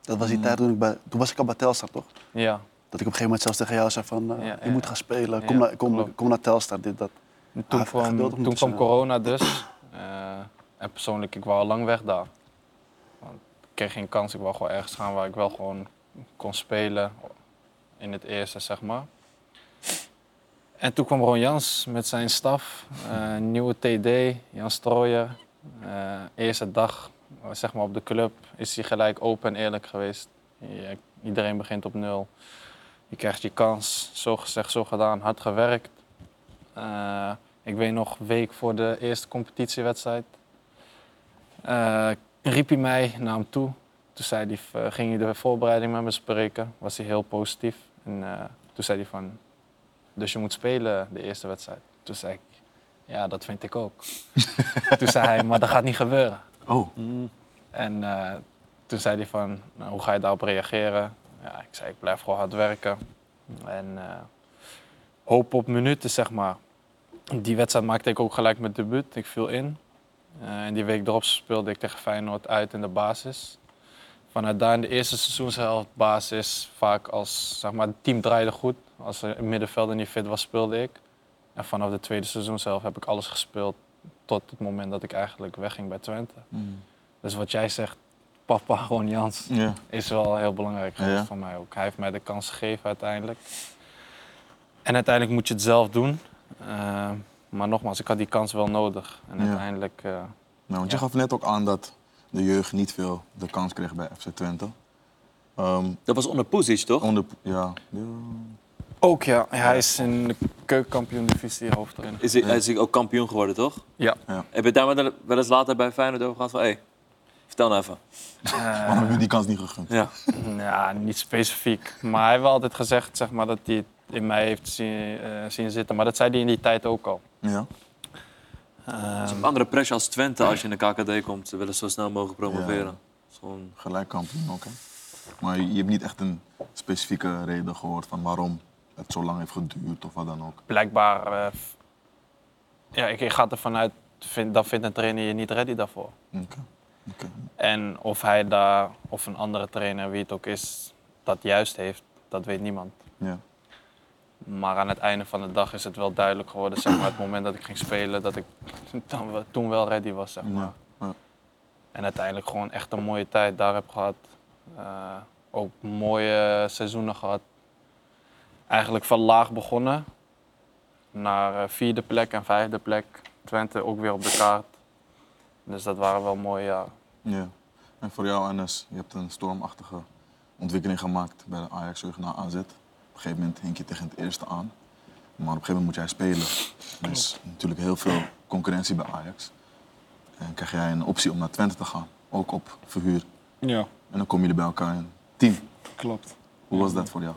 [SPEAKER 1] Dat was die tijd toen ik bij... Toen was ik al bij Telstar, toch?
[SPEAKER 5] Ja.
[SPEAKER 1] Dat ik op een gegeven moment zelfs tegen jou zei van, eh,
[SPEAKER 5] Ja,
[SPEAKER 1] je
[SPEAKER 5] ja.
[SPEAKER 1] moet gaan spelen, kom,
[SPEAKER 5] Ja,
[SPEAKER 1] naar, kom,
[SPEAKER 5] klopt.
[SPEAKER 1] kom naar Telstar, dit, dat.
[SPEAKER 5] En
[SPEAKER 1] Ah,
[SPEAKER 5] Toen
[SPEAKER 1] even
[SPEAKER 5] kwam,
[SPEAKER 1] geduldig
[SPEAKER 5] toen
[SPEAKER 1] moeten
[SPEAKER 5] kwam
[SPEAKER 1] zijn.
[SPEAKER 5] corona dus. Eh, en persoonlijk, ik wou al lang weg daar. Want ik kreeg geen kans. Ik wou gewoon ergens gaan waar ik wel gewoon kon spelen. In het eerste, zeg maar. En toen kwam Ron Jans met zijn staf. eh, nieuwe TD, Jan Strooijer. Eh, eerste dag eh, zeg maar op de club is hij gelijk open en eerlijk geweest. Je- iedereen begint op nul. Je krijgt je kans. Zo gezegd, zo gedaan. Hard gewerkt. Eh, ik weet nog, week voor de eerste competitiewedstrijd. eh, riep hij mij naar hem toe. Toen zei hij, eh, ging hij de voorbereiding met me spreken. Was hij heel positief. En eh, toen zei hij van, dus je moet spelen de eerste wedstrijd. Toen zei ik, ja, dat vind ik ook. toen zei hij, maar dat gaat niet gebeuren.
[SPEAKER 3] Oh,
[SPEAKER 6] Mm.
[SPEAKER 5] En eh, toen zei hij van, nou, hoe ga je daarop reageren? Ja, ik zei, ik blijf gewoon hard werken. En eh, hoop op minuten, zeg maar. Die wedstrijd maakte ik ook gelijk mijn debuut. Ik viel in. Eh, en die week erop speelde ik tegen Feyenoord uit in de basis. Vanuit daar in de eerste seizoenshelft basis vaak als, zeg maar, het team draaide goed. Als er in middenvelder niet fit was, speelde ik. En vanaf de tweede seizoenshelft heb ik alles gespeeld tot het moment dat ik eigenlijk wegging bij Twente. Dus wat jij zegt, papa Ron Jans,
[SPEAKER 3] Mm. ja.
[SPEAKER 5] is wel heel belangrijk
[SPEAKER 3] Ja,
[SPEAKER 5] geweest
[SPEAKER 3] ja.
[SPEAKER 5] voor mij ook. Hij heeft mij de kans gegeven uiteindelijk. En uiteindelijk moet je het zelf doen. Eh, maar nogmaals, ik had die kans wel nodig. En
[SPEAKER 3] Ja.
[SPEAKER 5] uiteindelijk, eh,
[SPEAKER 3] Nou, want
[SPEAKER 5] Ja.
[SPEAKER 3] je gaf net ook aan dat de jeugd niet veel de kans kreeg bij FC Twente. Ehm,
[SPEAKER 4] Dat was onder Pusic, toch?
[SPEAKER 3] onder, ja, ja,
[SPEAKER 5] ook ja, hij is in de keukenkampioen-divisie hoofdtrainer.
[SPEAKER 4] Is hij, hij is ook kampioen geworden, toch?
[SPEAKER 5] Ja.
[SPEAKER 3] Ja.
[SPEAKER 4] Heb je het daar wel eens later bij Feyenoord over gehad van, hé, hey, Vertel nou even.
[SPEAKER 3] *laughs* Waarom heb je die kans niet gegund?
[SPEAKER 4] Ja.
[SPEAKER 5] Eh, Ja, niet specifiek. Maar hij heeft wel altijd gezegd zeg maar, dat hij het in mij heeft zien, eh, zien zitten. Maar dat zei hij in die tijd ook al.
[SPEAKER 3] Ja.
[SPEAKER 5] Ehm,
[SPEAKER 4] Andere pressure als Twente, als je in de KKD komt, ze willen zo snel mogelijk promoveren. Dat is gewoon-
[SPEAKER 3] Gelijk kampioen ook, hè? Maar je je hebt niet echt een specifieke reden gehoord van waarom het zo lang heeft geduurd of wat dan ook.
[SPEAKER 5] blijkbaar. eh, f- ja, ik, ik ga ervan uit, vind, dan vindt een trainer je niet ready daarvoor.
[SPEAKER 3] Oké. Oké.
[SPEAKER 5] En of hij daar, of een andere trainer, wie het ook is, dat juist heeft, dat weet niemand.
[SPEAKER 3] Ja.
[SPEAKER 5] Maar aan het einde van de dag is het wel duidelijk geworden, zeg maar, het moment dat ik ging spelen, dat ik *laughs* dan, wel- toen wel ready was, zeg maar.
[SPEAKER 3] Ja. Ja.
[SPEAKER 5] En uiteindelijk gewoon echt een mooie tijd daar heb gehad. Eh, ook mooie seizoenen gehad. Eigenlijk van laag begonnen naar eh, vierde plek en vijfde plek. Twente ook weer op de kaart. Dus dat waren wel mooie jaren.
[SPEAKER 3] Ja. En voor jou, Anes, je hebt een stormachtige ontwikkeling gemaakt bij de Ajax terug naar AZ. Op een gegeven moment hink je tegen het eerste aan. Maar op een gegeven moment moet jij spelen. Er is natuurlijk heel veel concurrentie bij Ajax. En krijg jij een optie om naar Twente te gaan, ook op verhuur.
[SPEAKER 6] Ja,
[SPEAKER 3] En dan kom je er bij elkaar in. Team,
[SPEAKER 6] klopt.
[SPEAKER 3] hoe was dat voor jou?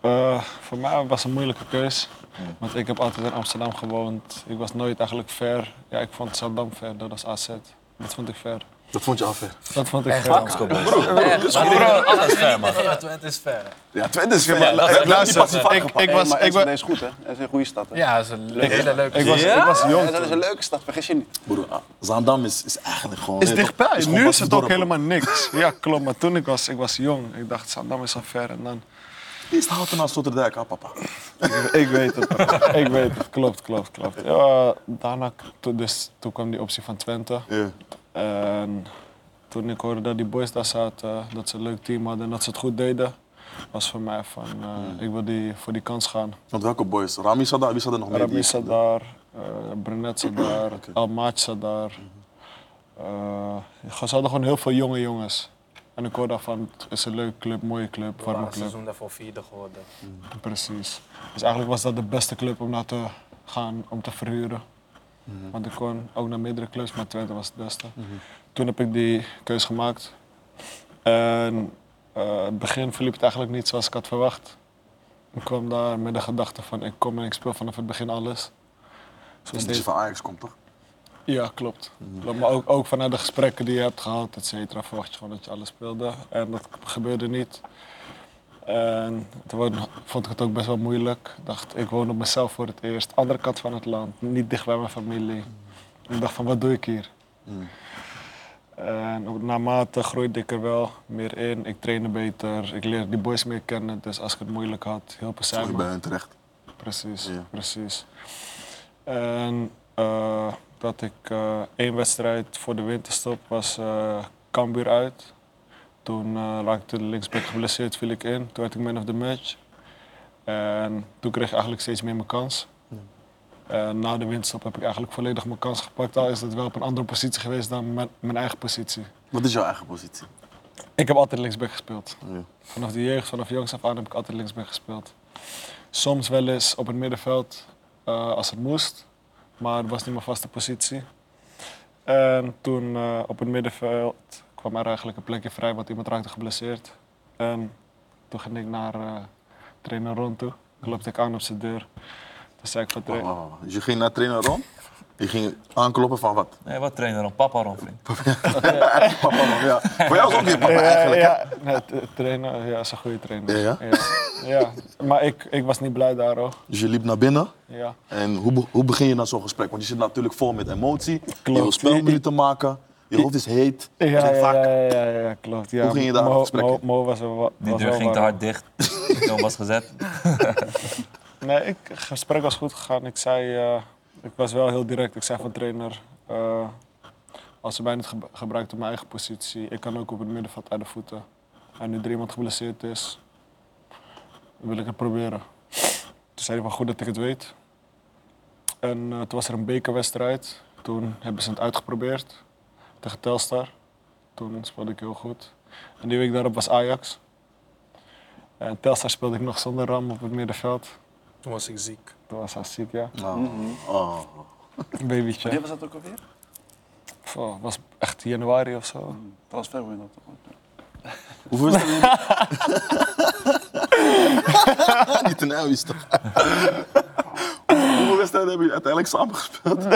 [SPEAKER 6] Eh, voor mij was het een moeilijke keus.
[SPEAKER 3] Ja.
[SPEAKER 6] Want ik heb altijd in Amsterdam gewoond. Ik was nooit eigenlijk ver. Ja, ik vond Amsterdam ver, dat was AZ. Dat vond ik ver.
[SPEAKER 1] Dat vond je af, hè?
[SPEAKER 6] Dat vond ik ver.
[SPEAKER 2] Twente is ver.
[SPEAKER 3] Ja, Twente is veel.
[SPEAKER 1] Ik, was, ik ben... is goed, hè? Dat is een goede stad, hè?
[SPEAKER 2] Ja, dat is een leuke, hele leuke
[SPEAKER 6] Ik was, ik was jong.
[SPEAKER 1] Ja, dat is een leuke stad, vergis je niet.
[SPEAKER 3] Zaandam is, is eigenlijk gewoon...
[SPEAKER 6] is dichtbij.
[SPEAKER 3] gewoon
[SPEAKER 6] nu is het ook
[SPEAKER 3] dorp.
[SPEAKER 6] helemaal niks. Ja, klopt. Maar toen ik was, ik was jong. Ik dacht, Amsterdam is al ver. En dan,
[SPEAKER 3] Eerst Houten als Sotterdijk, ah papa.
[SPEAKER 6] ik weet het. *laughs* ik weet het. Klopt, klopt, klopt. Ja, daarna, toen- dus, toen kwam die optie van Twente.
[SPEAKER 3] Ja.
[SPEAKER 6] En toen ik hoorde dat die boys daar zaten, dat ze een leuk team hadden en dat ze het goed deden, was voor mij van, eh, ik wil die, voor die kans gaan.
[SPEAKER 3] Want welke boys? Rami zat daar, wie zat er nog meer?
[SPEAKER 6] Arabi zat daar, eh Brunet zat daar, El Maat zat daar. Eh, ze hadden gewoon heel veel jonge jongens. En ik hoorde daarvan, het is een leuke club, mooie club, warme
[SPEAKER 5] Ah,
[SPEAKER 2] Het
[SPEAKER 6] club.
[SPEAKER 2] seizoen daarvoor vierde geworden.
[SPEAKER 6] Precies. Dus eigenlijk was dat de beste club om naar te gaan, om te verhuren. Want ik kon ook naar meerdere clubs, maar Twente was het beste. Toen heb ik die keus gemaakt. En eh, het begin verliep het eigenlijk niet zoals ik had verwacht. Ik kwam daar met de gedachte van ik kom en ik speel vanaf het begin alles. Zo
[SPEAKER 3] Dat
[SPEAKER 6] steeds-
[SPEAKER 3] je van Ajax komt, toch?
[SPEAKER 6] ja, klopt. klopt. Maar ook, ook vanuit de gesprekken die je hebt gehad, et cetera, verwacht je gewoon dat je alles speelde. En dat gebeurde niet. En toen wo- vond ik het ook best wel moeilijk. Ik dacht, ik woon op mezelf voor het eerst. Andere kant van het land, niet dicht bij mijn familie. Ik dacht van, wat doe ik hier? En op- naarmate groeide ik er wel meer in. Ik trainde beter, ik leerde die boys meer kennen. Dus als ik het moeilijk had, hielpen zij
[SPEAKER 3] Sorry,
[SPEAKER 6] me.
[SPEAKER 3] bij hen terecht.
[SPEAKER 6] Precies,
[SPEAKER 3] Ja.
[SPEAKER 6] precies. En eh, dat ik eh, één wedstrijd voor de winterstop was eh Cambuur uit. Toen eh, raakte de linksback geblesseerd, viel ik in. Toen werd ik man of the match. En toen kreeg ik eigenlijk steeds meer mijn kans. En na de winterstop heb ik eigenlijk volledig mijn kans gepakt. Al is dat wel op een andere positie geweest dan mijn, mijn eigen positie.
[SPEAKER 3] Wat is jouw eigen positie?
[SPEAKER 6] Ik heb altijd linksback gespeeld.
[SPEAKER 3] Ja.
[SPEAKER 6] Vanaf de jeugd, vanaf jongs af aan heb ik altijd linksback gespeeld. Soms wel eens op het middenveld eh, als het moest, maar het was niet mijn vaste positie. En toen eh, op het middenveld kwam er eigenlijk een plekje vrij, want iemand raakte geblesseerd. En toen ging ik naar eh, trainer Ron toe. Klopte ik aan op zijn deur. Toen zei ik van
[SPEAKER 3] Wacht,
[SPEAKER 6] trainer,
[SPEAKER 3] wacht, wacht. Dus je ging naar trainer Ron? Je ging aankloppen van wat?
[SPEAKER 4] Nee, wat trainer dan? Papa Ron, vriend.
[SPEAKER 3] Papa, Ron, ja. Voor jou is ook weer papa eigenlijk. hè?
[SPEAKER 6] Eh, ja, nee, t- trainer, ja, is een goede trainer.
[SPEAKER 3] Ja,
[SPEAKER 6] Ja. Maar ik, ik was niet blij daar hoor.
[SPEAKER 3] Dus je liep naar binnen.
[SPEAKER 6] Ja.
[SPEAKER 3] En hoe, be- hoe begin je dan zo'n gesprek? Want je zit natuurlijk vol met emotie. Je wil
[SPEAKER 6] Klopt.
[SPEAKER 3] spelminuten maken. Je hoofd is heet.
[SPEAKER 6] Ja,
[SPEAKER 3] Je
[SPEAKER 6] ja,
[SPEAKER 3] zit vaak-
[SPEAKER 6] ja, ja, ja, ja, klopt. Ja,
[SPEAKER 3] Hoe ging je daar
[SPEAKER 6] Mo-
[SPEAKER 3] het gesprek
[SPEAKER 6] Mo,
[SPEAKER 3] in?
[SPEAKER 6] Mo was wel wa-
[SPEAKER 4] Die
[SPEAKER 6] was
[SPEAKER 4] deur
[SPEAKER 6] wel
[SPEAKER 4] ging te
[SPEAKER 6] warm.
[SPEAKER 4] hard
[SPEAKER 7] *laughs*
[SPEAKER 4] dicht. Dan was gezet.
[SPEAKER 6] Nee, ik, het gesprek was goed gegaan. Ik zei, eh, ik was wel heel direct. Ik zei van trainer, eh, als ze mij niet ge- gebruikt op mijn eigen positie, ik kan ook op het middenveld uit de voeten. En nu er iemand geblesseerd is, wil ik het proberen. Toen zei hij van goed dat ik het weet. En eh, toen was er een bekerwedstrijd. Toen hebben ze het uitgeprobeerd tegen Telstar. Toen speelde ik heel goed. En die week daarop was Ajax. En Telstar speelde ik nog zonder ram op het middenveld.
[SPEAKER 2] Toen was ik ziek. Mhm.
[SPEAKER 6] Toen was hij ziek, ja.
[SPEAKER 3] Oh, oh.
[SPEAKER 6] Babytje.
[SPEAKER 1] Wanneer was dat ook alweer?
[SPEAKER 6] Pff, was echt januari of zo.
[SPEAKER 1] Transferwindow toch?
[SPEAKER 3] Hoeveel is het? *laughs* Niet een uil is toch? Hoeveel wedstrijden hebben jullie uiteindelijk samengespeeld?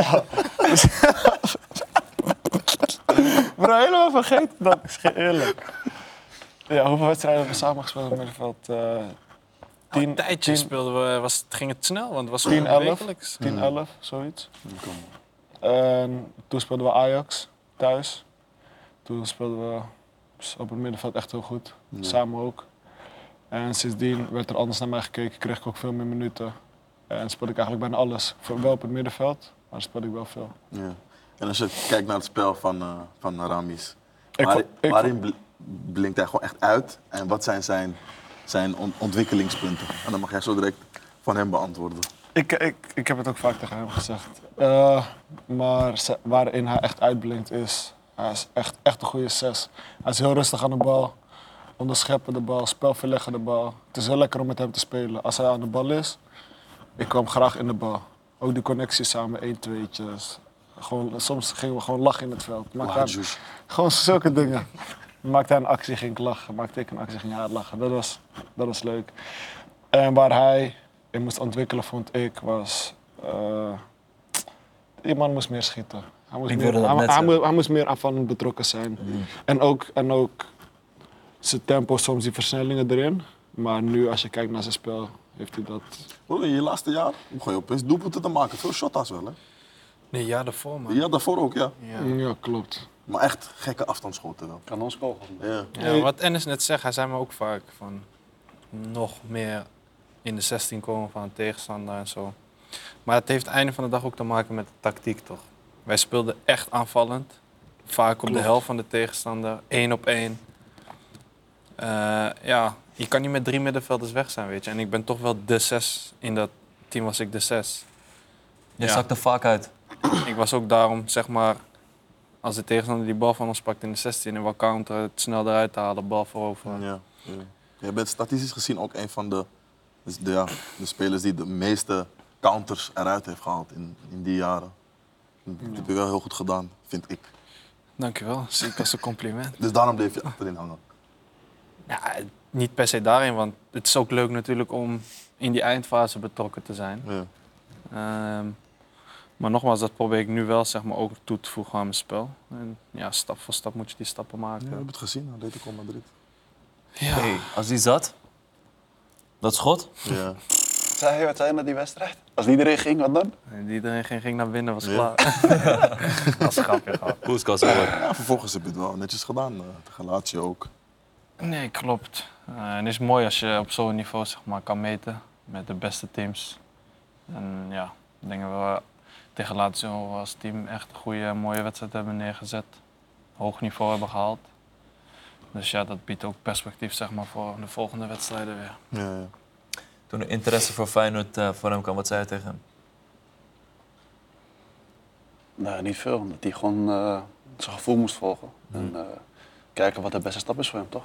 [SPEAKER 6] Bro, helemaal vergeten dat. Is geen eerlijk. Ja, hoeveel wedstrijden hebben we samen gespeeld op middenveld? Eh 10,
[SPEAKER 2] Een tijdje speelden we, was, het- ging het snel, want het was
[SPEAKER 6] 10,
[SPEAKER 2] gewoon
[SPEAKER 6] 11.
[SPEAKER 2] wekelijks.
[SPEAKER 6] 10, 11, zoiets. En toen speelden we Ajax thuis. Toen speelden we op het middenveld echt heel goed. Samen ook. En sindsdien werd er anders naar mij gekeken, kreeg ik ook veel meer minuten. En speelde ik eigenlijk bijna alles. Voor- Wel op het middenveld, maar speelde ik wel veel.
[SPEAKER 3] Ja. En als je kijkt naar het spel van, eh, van Ramis,
[SPEAKER 6] Ik
[SPEAKER 3] waar-
[SPEAKER 6] vo- ik
[SPEAKER 3] waarin bl- blinkt hij gewoon echt uit en wat zijn zijn, zijn on- ontwikkelingspunten? En dan mag jij zo direct van hem beantwoorden.
[SPEAKER 6] Ik, ik, ik heb het ook vaak tegen hem gezegd. Eh, maar ze- waarin hij echt uitblinkt is, hij is echt, echt een goede zes. Hij is heel rustig aan de bal, onderscheppen de bal, spel verleggen de bal. Het is heel lekker om met hem te spelen. Als hij aan de bal is, ik kwam graag in de bal. Ook die connecties samen, 1-2'tjes. Gewoon, soms gingen we gewoon lachen in het veld. Maakte hij-
[SPEAKER 3] Jules.
[SPEAKER 6] gewoon zulke dingen. Maakte hij een actie, ging ik lachen. Maakte ik een actie, ging hij hard lachen. Dat was, dat was leuk. En waar hij in moest ontwikkelen, vond ik, was... eh die man moest meer schieten. Hij moest,
[SPEAKER 7] Ik
[SPEAKER 6] meer,
[SPEAKER 7] wilde dat
[SPEAKER 6] hij,
[SPEAKER 7] net
[SPEAKER 6] hij
[SPEAKER 7] zeggen. Mm.
[SPEAKER 6] moe- hij moest meer aanvallend betrokken zijn. En, ook, en ook zijn tempo, soms die versnellingen erin. Maar nu, als je kijkt naar zijn spel, heeft hij dat...
[SPEAKER 3] Hoor, in je laatste jaar begon je opeens doelpunten te maken. Veel shotta's wel, hè?
[SPEAKER 2] Nee, ja, daarvoor man.
[SPEAKER 3] Ja, daarvoor ook, ja.
[SPEAKER 6] Ja, klopt.
[SPEAKER 3] Maar echt gekke afstandsschoten wel.
[SPEAKER 1] Kan ons kogel.
[SPEAKER 3] Ja.
[SPEAKER 2] Ja, wat Ennis net zegt, hij zei me ook vaak van nog meer in de 16 komen van een tegenstander en zo. Maar het heeft einde van de dag ook te maken met de tactiek, toch? Wij speelden echt aanvallend. Vaak op de helft van de tegenstander, één op één. Eh, ja, je kan niet met drie middenvelders weg zijn, weet je. En ik ben toch wel de zes. In dat team was ik de zes.
[SPEAKER 7] Je
[SPEAKER 2] Ja.
[SPEAKER 7] zakt er vaak uit.
[SPEAKER 2] Ik was ook daarom, zeg maar, als de tegenstander die bal van ons pakt in de 16 en we counteren, het snel eruit te halen, bal voorover.
[SPEAKER 3] Ja. ja. Jij bent statistisch gezien ook een van de, dus de, ja, de spelers die de meeste counters eruit heeft gehaald in, in die jaren. Dat heb je wel heel goed gedaan, vind ik.
[SPEAKER 2] Dankjewel, zie ik als een compliment.
[SPEAKER 3] Dus daarom bleef je achterin hangen.
[SPEAKER 2] Ja, niet per se daarin, want het is ook leuk natuurlijk om in die eindfase betrokken te zijn.
[SPEAKER 3] Ja.
[SPEAKER 2] Ehm, maar nogmaals, dat probeer ik nu wel zeg maar, ook toe te voegen aan mijn spel. En ja, stap voor stap moet je die stappen
[SPEAKER 3] Ja, we
[SPEAKER 2] maken.
[SPEAKER 3] hebben het gezien aan Atletico Madrid.
[SPEAKER 2] Ja.
[SPEAKER 7] Hey, als die zat, dat schot,
[SPEAKER 3] Ja.
[SPEAKER 1] Zei je wat zei je na die wedstrijd? Als iedereen ging, wat dan?
[SPEAKER 2] En Iedereen ging, ging naar binnen, was
[SPEAKER 3] *laughs* Ja.
[SPEAKER 2] klaar. *laughs* dat is grappig. hoor.
[SPEAKER 4] Poeskas hoor.
[SPEAKER 3] *laughs* ja, vervolgens heb je het wel netjes gedaan. eh, tegen Lazio ook.
[SPEAKER 5] Nee, klopt. Eh, en het is mooi als je op zo'n niveau zeg maar, kan meten met de beste teams. En ja, ik denk dat we tegen Lazio als team echt een goede en mooie wedstrijd hebben neergezet. Hoog niveau hebben gehaald. Dus ja, dat biedt ook perspectief zeg maar, voor de volgende wedstrijden weer.
[SPEAKER 3] Ja, ja.
[SPEAKER 7] toen de interesse voor Feyenoord eh, voor hem kwam, wat zei je tegen hem?
[SPEAKER 1] Nou, niet veel. Omdat hij gewoon eh, zijn gevoel moest volgen.
[SPEAKER 5] Hmm.
[SPEAKER 1] En eh, kijken wat de beste stap is voor hem, toch?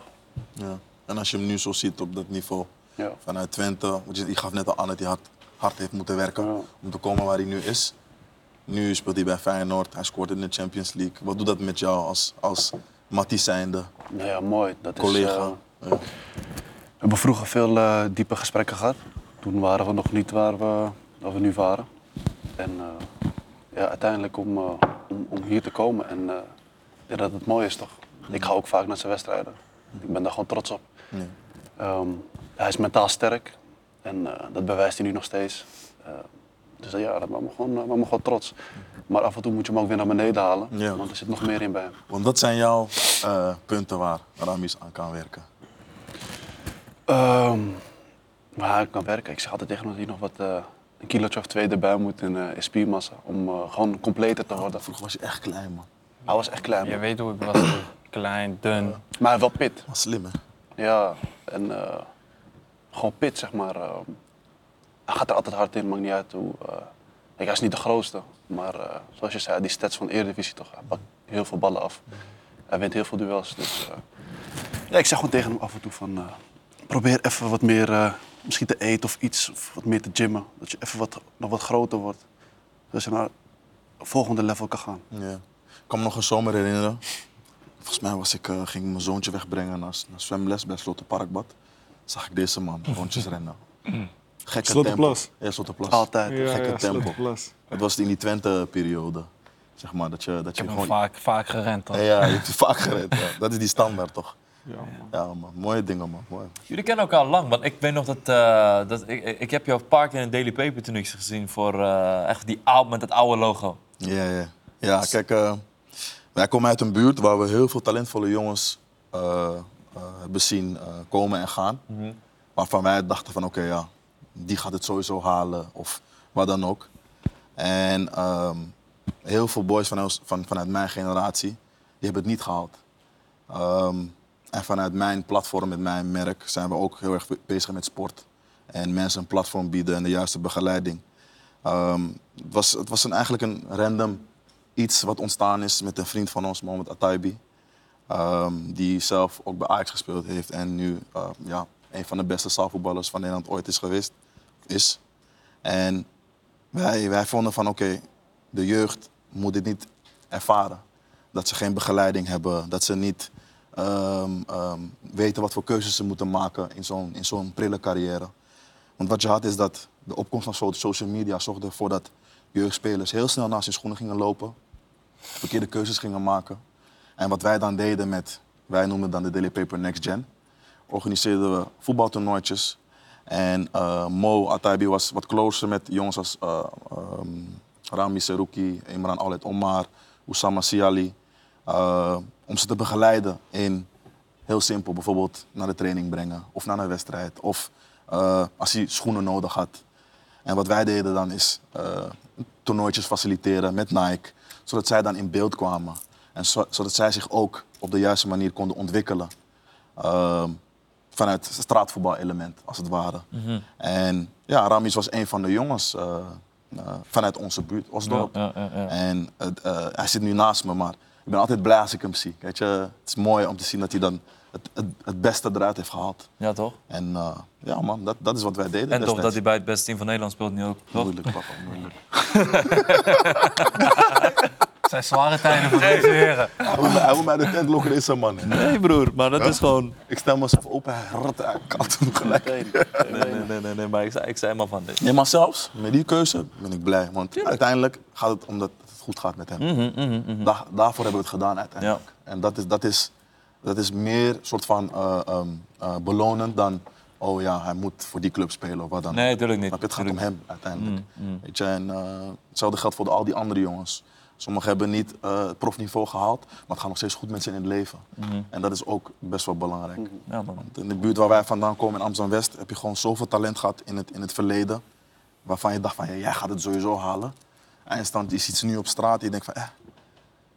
[SPEAKER 3] Ja. En als je hem nu zo ziet op dat niveau
[SPEAKER 1] Ja.
[SPEAKER 3] vanuit Twente, want je, je gaf net al aan dat hij hard, hard heeft moeten werken
[SPEAKER 1] Ja.
[SPEAKER 3] om te komen waar hij nu is. Nu speelt hij bij Feyenoord, hij scoort in de Champions League. Wat doet dat met jou als, als Mattie zijnde
[SPEAKER 1] Nou ja, mooi. Dat is,
[SPEAKER 3] collega?
[SPEAKER 1] eh, We hebben vroeger veel eh, diepe gesprekken gehad. Toen waren we nog niet waar we, waar we nu waren. En eh, ja, uiteindelijk om, eh, om, om hier te komen. En eh, ik denk dat het mooi is toch? Ik ga ook vaak naar zijn wedstrijden. Ik ben daar gewoon trots op.
[SPEAKER 3] Ja.
[SPEAKER 1] Ehm, hij is mentaal sterk. En eh, dat bewijst hij nu nog steeds. Eh, dus eh, ja, dat maakt me, gewoon, eh, maakt me gewoon trots. Maar af en toe moet je hem ook weer naar beneden halen.
[SPEAKER 3] Ja.
[SPEAKER 1] Want er zit nog meer in bij hem.
[SPEAKER 3] Want dat zijn jouw eh, punten waar Ramis aan kan werken.
[SPEAKER 1] Ehm, waar ik kan werken. Ik zeg altijd tegen hem dat hij nog wat eh, een kilootje of twee erbij moet in, eh, in spiermassa. Om eh, gewoon completer te worden.
[SPEAKER 3] Vroeger was je echt klein, man.
[SPEAKER 1] Hij was echt klein.
[SPEAKER 5] Je weet hoe ik was. toen. Klein, dun.
[SPEAKER 1] Maar hij had wel pit.
[SPEAKER 3] Maar slim, hè?
[SPEAKER 1] Ja. En eh, gewoon pit, zeg maar. Ehm, hij gaat er altijd hard in, maakt niet uit hoe. eh, kijk, hij is niet de grootste. Maar eh, zoals je zei, die stats van de Eredivisie toch. Hij pakt heel veel ballen af. Hij wint heel veel duels. Dus, eh, ja, ik zeg gewoon tegen hem af en toe van... eh, probeer even wat meer eh, misschien te eten of iets. Of wat meer te gymmen. Dat je even wat, nog wat groter wordt. Zodat je naar het volgende level kan gaan.
[SPEAKER 3] Ja. Ik kan me nog een zomer herinneren. Volgens mij was ik, eh, ging ik mijn zoontje wegbrengen naar, naar zwemles bij Slotenparkbad. Zag ik deze man rondjes rennen. Gekke
[SPEAKER 6] Slotenplas.
[SPEAKER 3] tempo. Ja, Slotenplas.
[SPEAKER 1] Altijd.
[SPEAKER 6] Mm. Ja,
[SPEAKER 3] gekke
[SPEAKER 6] ja,
[SPEAKER 3] tempo.
[SPEAKER 6] Slotenplas.
[SPEAKER 3] Het was in die Twente-periode. Zeg maar, dat je, dat je
[SPEAKER 5] Ik heb hem
[SPEAKER 3] gewoon...
[SPEAKER 5] vaak, vaak gerend.
[SPEAKER 3] Ja,
[SPEAKER 5] toch?
[SPEAKER 3] ja, je hebt het vaak gered. ja. Dat is die standaard toch?
[SPEAKER 6] Ja, man.
[SPEAKER 3] Ja, man. Mooie dingen, man. Mooi.
[SPEAKER 7] Jullie kennen elkaar lang, want ik weet nog dat, eh, dat ik, ik heb jou een paar keer in Daily Paper toen ik ze gezien voor eh, echt die oude, met dat oude logo.
[SPEAKER 3] Ja, ja. ja kijk, eh, wij komen uit een buurt waar we heel veel talentvolle jongens eh eh, hebben zien eh, komen en gaan. Waarvan wij dachten van oké, ja, die gaat het sowieso halen of wat dan ook. En ehm, heel veel boys van ons, van, vanuit mijn generatie, die hebben het niet gehaald. Ehm, en vanuit mijn platform, met mijn merk, zijn we ook heel erg bezig met sport. En mensen een platform bieden en de juiste begeleiding. Ehm, het was, het was een, eigenlijk een random iets wat ontstaan is met een vriend van ons, Mohamed Ataibi. Ehm, die zelf ook bij Ajax gespeeld heeft en nu eh, ja, een van de beste zaalvoetballers van Nederland ooit is geweest. Is. En wij, wij vonden van oké, de jeugd moet dit niet ervaren. Dat ze geen begeleiding hebben, dat ze niet ehm, ehm, weten wat voor keuzes ze moeten maken in zo'n, in zo'n prille carrière. Want wat je had is dat de opkomst van so- social media zorgde ervoor dat jeugdspelers heel snel naast hun schoenen gingen lopen, verkeerde keuzes gingen maken. En wat wij dan deden met, wij noemden dan de Daily Paper Next Gen, organiseerden we voetbaltoernooitjes. En eh, Mo Ataibi was wat closer met jongens als eh, ehm, Rami Seruki, Imran Alet Omar, Oussama Siali. eh, om ze te begeleiden in heel simpel, bijvoorbeeld naar de training brengen of naar een wedstrijd. Of eh, als hij schoenen nodig had. En wat wij deden dan is eh, toernooitjes faciliteren met Nike, zodat zij dan in beeld kwamen. En zo- zodat zij zich ook op de juiste manier konden ontwikkelen. Ehm, vanuit het straatvoetbalelement, als het ware. En ja, Ramis was een van de jongens eh, eh, vanuit onze buurt, Osdorp.
[SPEAKER 7] Ja, ja, ja.
[SPEAKER 3] En het, eh, hij zit nu naast me, maar ik ben altijd blij als ik hem zie. Weet je? Het is mooi om te zien dat hij dan het, het, het beste eruit heeft gehaald.
[SPEAKER 7] Ja, toch?
[SPEAKER 3] En eh, ja, man, dat, dat is wat wij deden.
[SPEAKER 7] En toch dat
[SPEAKER 3] destijds.
[SPEAKER 7] hij bij het beste team van Nederland speelt nu ook. Toch?
[SPEAKER 3] Moeilijk, papa, moeilijk.
[SPEAKER 5] Het zijn zware tijden voor deze heren.
[SPEAKER 3] Hij wil mij- Hij wil mij de tent lokken in zijn man.
[SPEAKER 7] Nee, broer, maar dat is gewoon.
[SPEAKER 3] Ik stel mezelf open, hij rat, hij kalt hem gelijk.
[SPEAKER 7] Nee, nee, nee, nee, nee, maar ik zei, ik zei maar van dit.
[SPEAKER 3] Nee, maar zelfs met die keuze ben ik blij. Want uiteindelijk gaat het om dat het goed gaat met hem. Da- daarvoor hebben we het gedaan uiteindelijk. En dat is, dat, is, dat is meer soort van eh, ehm, eh, belonend dan... oh ja, hij moet voor die club spelen of wat dan.
[SPEAKER 7] Nee, tuurlijk niet.
[SPEAKER 3] Snap je? Het gaat om
[SPEAKER 7] Tuurlijk.
[SPEAKER 3] hem uiteindelijk. Weet je, en eh, hetzelfde geldt voor de- al die andere jongens. Sommigen hebben niet eh, het profniveau gehaald, maar het gaat nog steeds goed met ze in het leven. En dat is ook best wel belangrijk.
[SPEAKER 7] Ja, man.
[SPEAKER 3] In de buurt waar wij vandaan komen, in Amsterdam-West, heb je gewoon zoveel talent gehad in het, in het verleden. Waarvan je dacht van, ja, jij gaat het sowieso halen. Eindstand is iets nu op straat en je denkt van, eh,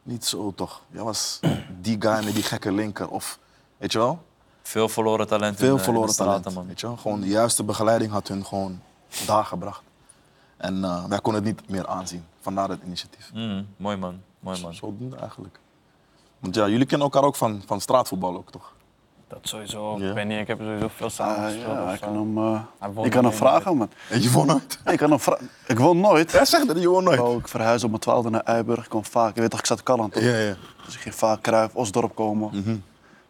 [SPEAKER 3] niet zo toch. Jij was *clears throat* die guy met die gekke linker. Of, weet je wel,
[SPEAKER 7] Veel verloren talent. in,
[SPEAKER 3] veel
[SPEAKER 7] eh, in de
[SPEAKER 3] verloren
[SPEAKER 7] straten,
[SPEAKER 3] talent.
[SPEAKER 7] man.
[SPEAKER 3] Weet je wel? Gewoon de juiste begeleiding had hun gewoon daar gebracht. En eh, wij konden het niet meer aanzien. Vandaar het initiatief.
[SPEAKER 7] Mm, mooi man, mooi man.
[SPEAKER 3] Zodoende eigenlijk. Want ja, jullie kennen elkaar ook van, van straatvoetbal ook, toch?
[SPEAKER 5] Dat sowieso.
[SPEAKER 3] Ja.
[SPEAKER 5] Ik weet niet, ik heb sowieso veel samen
[SPEAKER 1] Ah,
[SPEAKER 5] gespeeld.
[SPEAKER 1] ja,
[SPEAKER 5] of
[SPEAKER 1] ik
[SPEAKER 5] zo.
[SPEAKER 1] kan hem, eh,
[SPEAKER 5] Hij won
[SPEAKER 1] ik kan hem
[SPEAKER 5] niet.
[SPEAKER 1] vragen,
[SPEAKER 5] *laughs*
[SPEAKER 1] man.
[SPEAKER 3] En je won nooit. *laughs*
[SPEAKER 1] Ik kan hem vragen. Ik wil nooit.
[SPEAKER 3] Hij zegt dat je won nooit.
[SPEAKER 1] Oh, ik verhuisde op mijn twaalfde naar Eiburg. Ik kwam vaak. Je weet toch, ik zat Kalland.
[SPEAKER 3] Ja, Mhm. ja.
[SPEAKER 1] Dus ik ging vaak Kruif, Osdorp komen.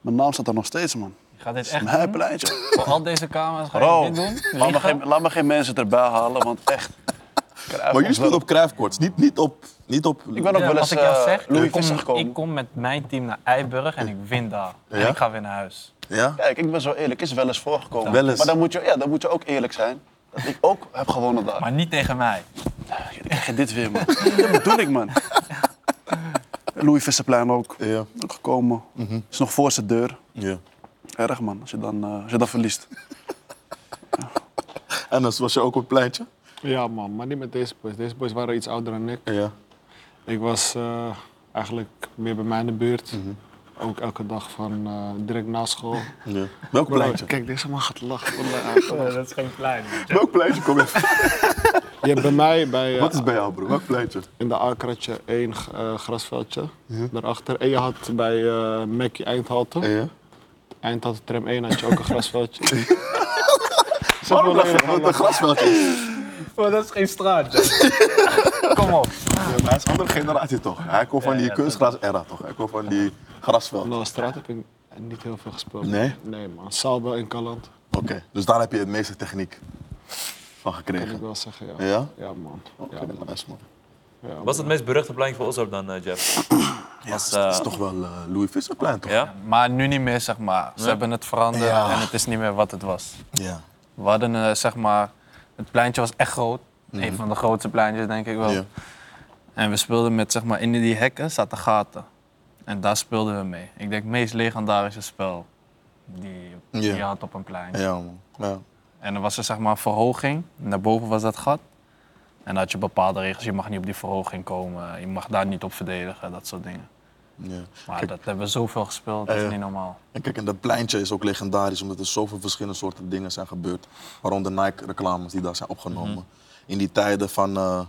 [SPEAKER 1] Mijn naam staat er nog steeds, man.
[SPEAKER 5] Je gaat dit echt
[SPEAKER 1] Mijn
[SPEAKER 5] doen?
[SPEAKER 1] pleintje.
[SPEAKER 5] Voor al deze camera's ga je
[SPEAKER 3] Oh.
[SPEAKER 1] Bro,
[SPEAKER 5] dit doen?
[SPEAKER 1] Laat me,
[SPEAKER 5] Liegen?
[SPEAKER 1] geen, laat me geen mensen erbij halen, want echt. Cruijff,
[SPEAKER 3] Maar jullie
[SPEAKER 1] Osdorp.
[SPEAKER 3] speelden op kruifkoorts, niet, niet op... Niet op
[SPEAKER 1] Ik ben ook
[SPEAKER 5] Ja,
[SPEAKER 1] wel eens
[SPEAKER 5] als ik jou
[SPEAKER 1] eh,
[SPEAKER 5] zeg,
[SPEAKER 1] Louis
[SPEAKER 5] ik, kom,
[SPEAKER 1] Visser gekomen.
[SPEAKER 5] ik kom met mijn team naar Eiburg en ik win daar.
[SPEAKER 3] Ja?
[SPEAKER 5] En ik ga weer naar huis.
[SPEAKER 3] Ja?
[SPEAKER 1] Kijk, ik ben zo eerlijk. Is wel eens voorgekomen.
[SPEAKER 3] Wel eens.
[SPEAKER 1] Maar dan moet, je, ja, dan moet je ook eerlijk zijn. Dat ik ook heb gewonnen daar.
[SPEAKER 5] Maar niet tegen mij.
[SPEAKER 1] Ik krijg je dit weer, man. Dat bedoel ik, man. Louis Visserplein ook.
[SPEAKER 3] Ja. Mhm.
[SPEAKER 1] Ook gekomen. Is nog voor zijn deur.
[SPEAKER 3] ja.
[SPEAKER 1] Erg, man. Als je dan, eh, als je dan verliest.
[SPEAKER 3] En dan was je ook op het pleintje?
[SPEAKER 6] Ja, man, maar niet met deze boys. Deze boys waren iets ouder dan ik.
[SPEAKER 3] Ja.
[SPEAKER 6] Ik was eh, eigenlijk meer bij mij in de buurt.
[SPEAKER 3] Mhm.
[SPEAKER 6] Ook elke dag van eh, direct na
[SPEAKER 3] *laughs*
[SPEAKER 6] school.
[SPEAKER 3] ja. Welk
[SPEAKER 6] Bro,
[SPEAKER 3] pleintje?
[SPEAKER 6] Kijk, deze man gaat lachen. Wallah, hij gaat lachen.
[SPEAKER 5] Dat is geen plein.
[SPEAKER 3] Welk pleintje kom je?
[SPEAKER 6] *laughs* Je hebt bij mij bij, eh,
[SPEAKER 3] Wat is bij jou, bro? Welk pleintje?
[SPEAKER 6] in de Akratje één eh, grasveldje. Daarachter. En je had bij eh Mackie Eindhoven.
[SPEAKER 3] Ja.
[SPEAKER 6] Eindhoven tram 1 had je
[SPEAKER 3] *laughs*
[SPEAKER 6] ook een *laughs* grasveldje. Zeg maar
[SPEAKER 3] Waarom
[SPEAKER 6] wanneer
[SPEAKER 3] lag
[SPEAKER 6] je
[SPEAKER 3] je op
[SPEAKER 6] gaat
[SPEAKER 3] eh, een
[SPEAKER 6] lachen.
[SPEAKER 3] grasveldje?
[SPEAKER 5] dat is geen straat. *laughs*
[SPEAKER 7] Kom op.
[SPEAKER 3] maar hij is een andere generatie toch? Hij komt van die kunstgras-era toch? Hij komt van die grasveld.
[SPEAKER 6] Nou, straat heb ik niet heel veel gespeeld.
[SPEAKER 3] Nee?
[SPEAKER 6] Nee, man. Salbel in Kaland,
[SPEAKER 3] Oké, dus daar heb je het meeste techniek van
[SPEAKER 6] kan ik
[SPEAKER 3] gekregen.
[SPEAKER 6] wel zeggen, ja.
[SPEAKER 3] Ja?
[SPEAKER 6] Ja, man.
[SPEAKER 3] Oké,
[SPEAKER 6] Ja, man.
[SPEAKER 3] nice man.
[SPEAKER 6] Ja, man.
[SPEAKER 7] Was het meest beruchte plein voor Oslo dan, eh, Jeff?
[SPEAKER 3] Ja,
[SPEAKER 7] Was,
[SPEAKER 3] dat is
[SPEAKER 7] eh,
[SPEAKER 3] toch wel eh, Louis Visserplein toch?
[SPEAKER 7] Ja?
[SPEAKER 5] Maar nu niet meer, zeg maar. Ze hebben het veranderd
[SPEAKER 3] Ja.
[SPEAKER 5] en het is niet meer wat het was.
[SPEAKER 3] Ja.
[SPEAKER 5] We hadden, eh, zeg maar, het pleintje was echt groot.
[SPEAKER 1] Mhm.
[SPEAKER 5] Een van de grootste pleintjes, denk ik wel.
[SPEAKER 3] Ja.
[SPEAKER 5] En we speelden met, zeg maar, in die hekken zaten gaten. En daar speelden we mee. Ik denk het meest legendarische spel die, die
[SPEAKER 3] Ja.
[SPEAKER 5] je had op een pleintje.
[SPEAKER 3] Ja, man. Ja.
[SPEAKER 5] En dan was er zeg maar een verhoging. Naar boven was dat gat. En dan had je bepaalde regels. Je mag niet op die verhoging komen. Je mag daar niet op verdedigen. Dat soort dingen.
[SPEAKER 3] Ja.
[SPEAKER 5] Maar
[SPEAKER 3] Kijk. Eh,
[SPEAKER 5] dat hebben we zoveel gespeeld. Dat
[SPEAKER 3] Ja,
[SPEAKER 5] is
[SPEAKER 3] ja.
[SPEAKER 5] niet normaal.
[SPEAKER 3] En kijk, en dat pleintje is ook legendarisch, omdat er zoveel verschillende soorten dingen zijn gebeurd. Waaronder Nike-reclames die daar zijn opgenomen. In die tijden van eh,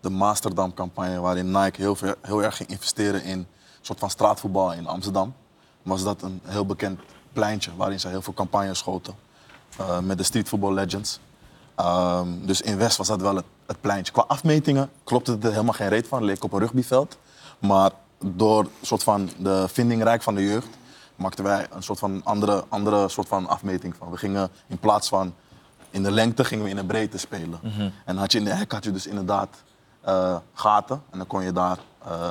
[SPEAKER 3] de Masterdam-campagne, waarin Nike heel, ver- heel erg ging investeren in een soort van straatvoetbal in Amsterdam, was dat een heel bekend pleintje waarin zij heel veel campagnes schoten eh, met de streetvoetbal legends. Ehm, dus in West was dat wel het, het pleintje. Qua afmetingen klopte het er helemaal geen reet van, leek op een rugbyveld. Maar door een soort van de vindingrijk van de jeugd maakten wij een soort van andere, andere soort van afmeting van. We gingen in plaats van in de lengte gingen we in de breedte spelen. En had je in de hek had je dus inderdaad eh, gaten en dan kon je daar eh,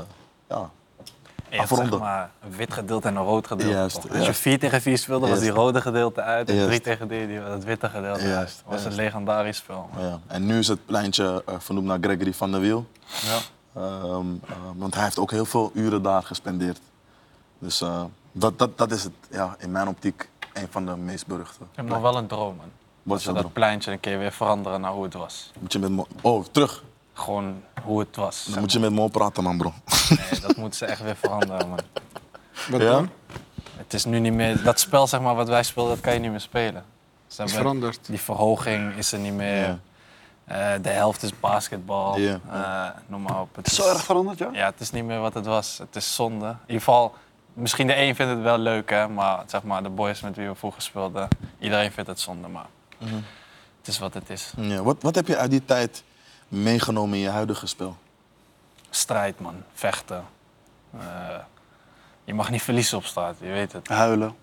[SPEAKER 3] ja,
[SPEAKER 5] En je had, zeg
[SPEAKER 3] Afronden.
[SPEAKER 5] maar, een wit gedeelte en een rood gedeelte.
[SPEAKER 3] Juist,
[SPEAKER 5] toch?
[SPEAKER 3] ja.
[SPEAKER 5] Als je 4 tegen 4 speelde, was die
[SPEAKER 3] Juist.
[SPEAKER 5] rode gedeelte uit. En
[SPEAKER 3] Juist.
[SPEAKER 5] 3 tegen 3, die, dat witte gedeelte
[SPEAKER 3] Juist,
[SPEAKER 5] uit. Dat was een legendarisch spel.
[SPEAKER 3] nou Ja, en nu is het pleintje eh, vernoemd naar Gregory van der Wiel. Ehm, eh, want hij heeft ook heel veel uren daar gespendeerd. Dus eh, dat, dat, dat is het, ja, in mijn optiek een van de meest beruchte.
[SPEAKER 5] Ik heb nog wel een droom, man.
[SPEAKER 3] Wat
[SPEAKER 5] Als
[SPEAKER 3] is
[SPEAKER 5] we
[SPEAKER 3] dat
[SPEAKER 5] dat
[SPEAKER 3] erop?
[SPEAKER 5] pleintje een keer weer veranderen naar hoe het was.
[SPEAKER 3] Moet je met me- oh, terug.
[SPEAKER 5] Gewoon hoe het was.
[SPEAKER 3] Dan
[SPEAKER 5] zeg
[SPEAKER 3] moet je met me praten, man, bro.
[SPEAKER 5] maar. Nee, dat moeten ze echt weer veranderen, man.
[SPEAKER 6] Wat
[SPEAKER 3] Ja?
[SPEAKER 6] dan?
[SPEAKER 5] Het is nu niet meer... Dat spel, zeg maar, wat wij speelden, dat kan je niet meer spelen. Ze
[SPEAKER 6] is
[SPEAKER 5] hebben-
[SPEAKER 6] veranderd.
[SPEAKER 5] Die verhoging is er niet meer.
[SPEAKER 3] Ja.
[SPEAKER 5] Eh, de helft is basketbal.
[SPEAKER 3] Ja.
[SPEAKER 5] Eh, noem maar op. Het
[SPEAKER 1] Zo erg veranderd, ja?
[SPEAKER 5] Ja, het is niet meer wat het was. Het is zonde. In ieder geval, misschien de een vindt het wel leuk, hè. Maar zeg maar, de boys met wie we vroeger speelden, iedereen vindt het zonde. Maar het is wat het is.
[SPEAKER 3] Mhm. Ja, wat, wat heb je uit die tijd meegenomen in je huidige spel?
[SPEAKER 5] Strijd, man. Vechten. Eh, je mag niet verliezen op straat, je weet het.
[SPEAKER 1] Huilen.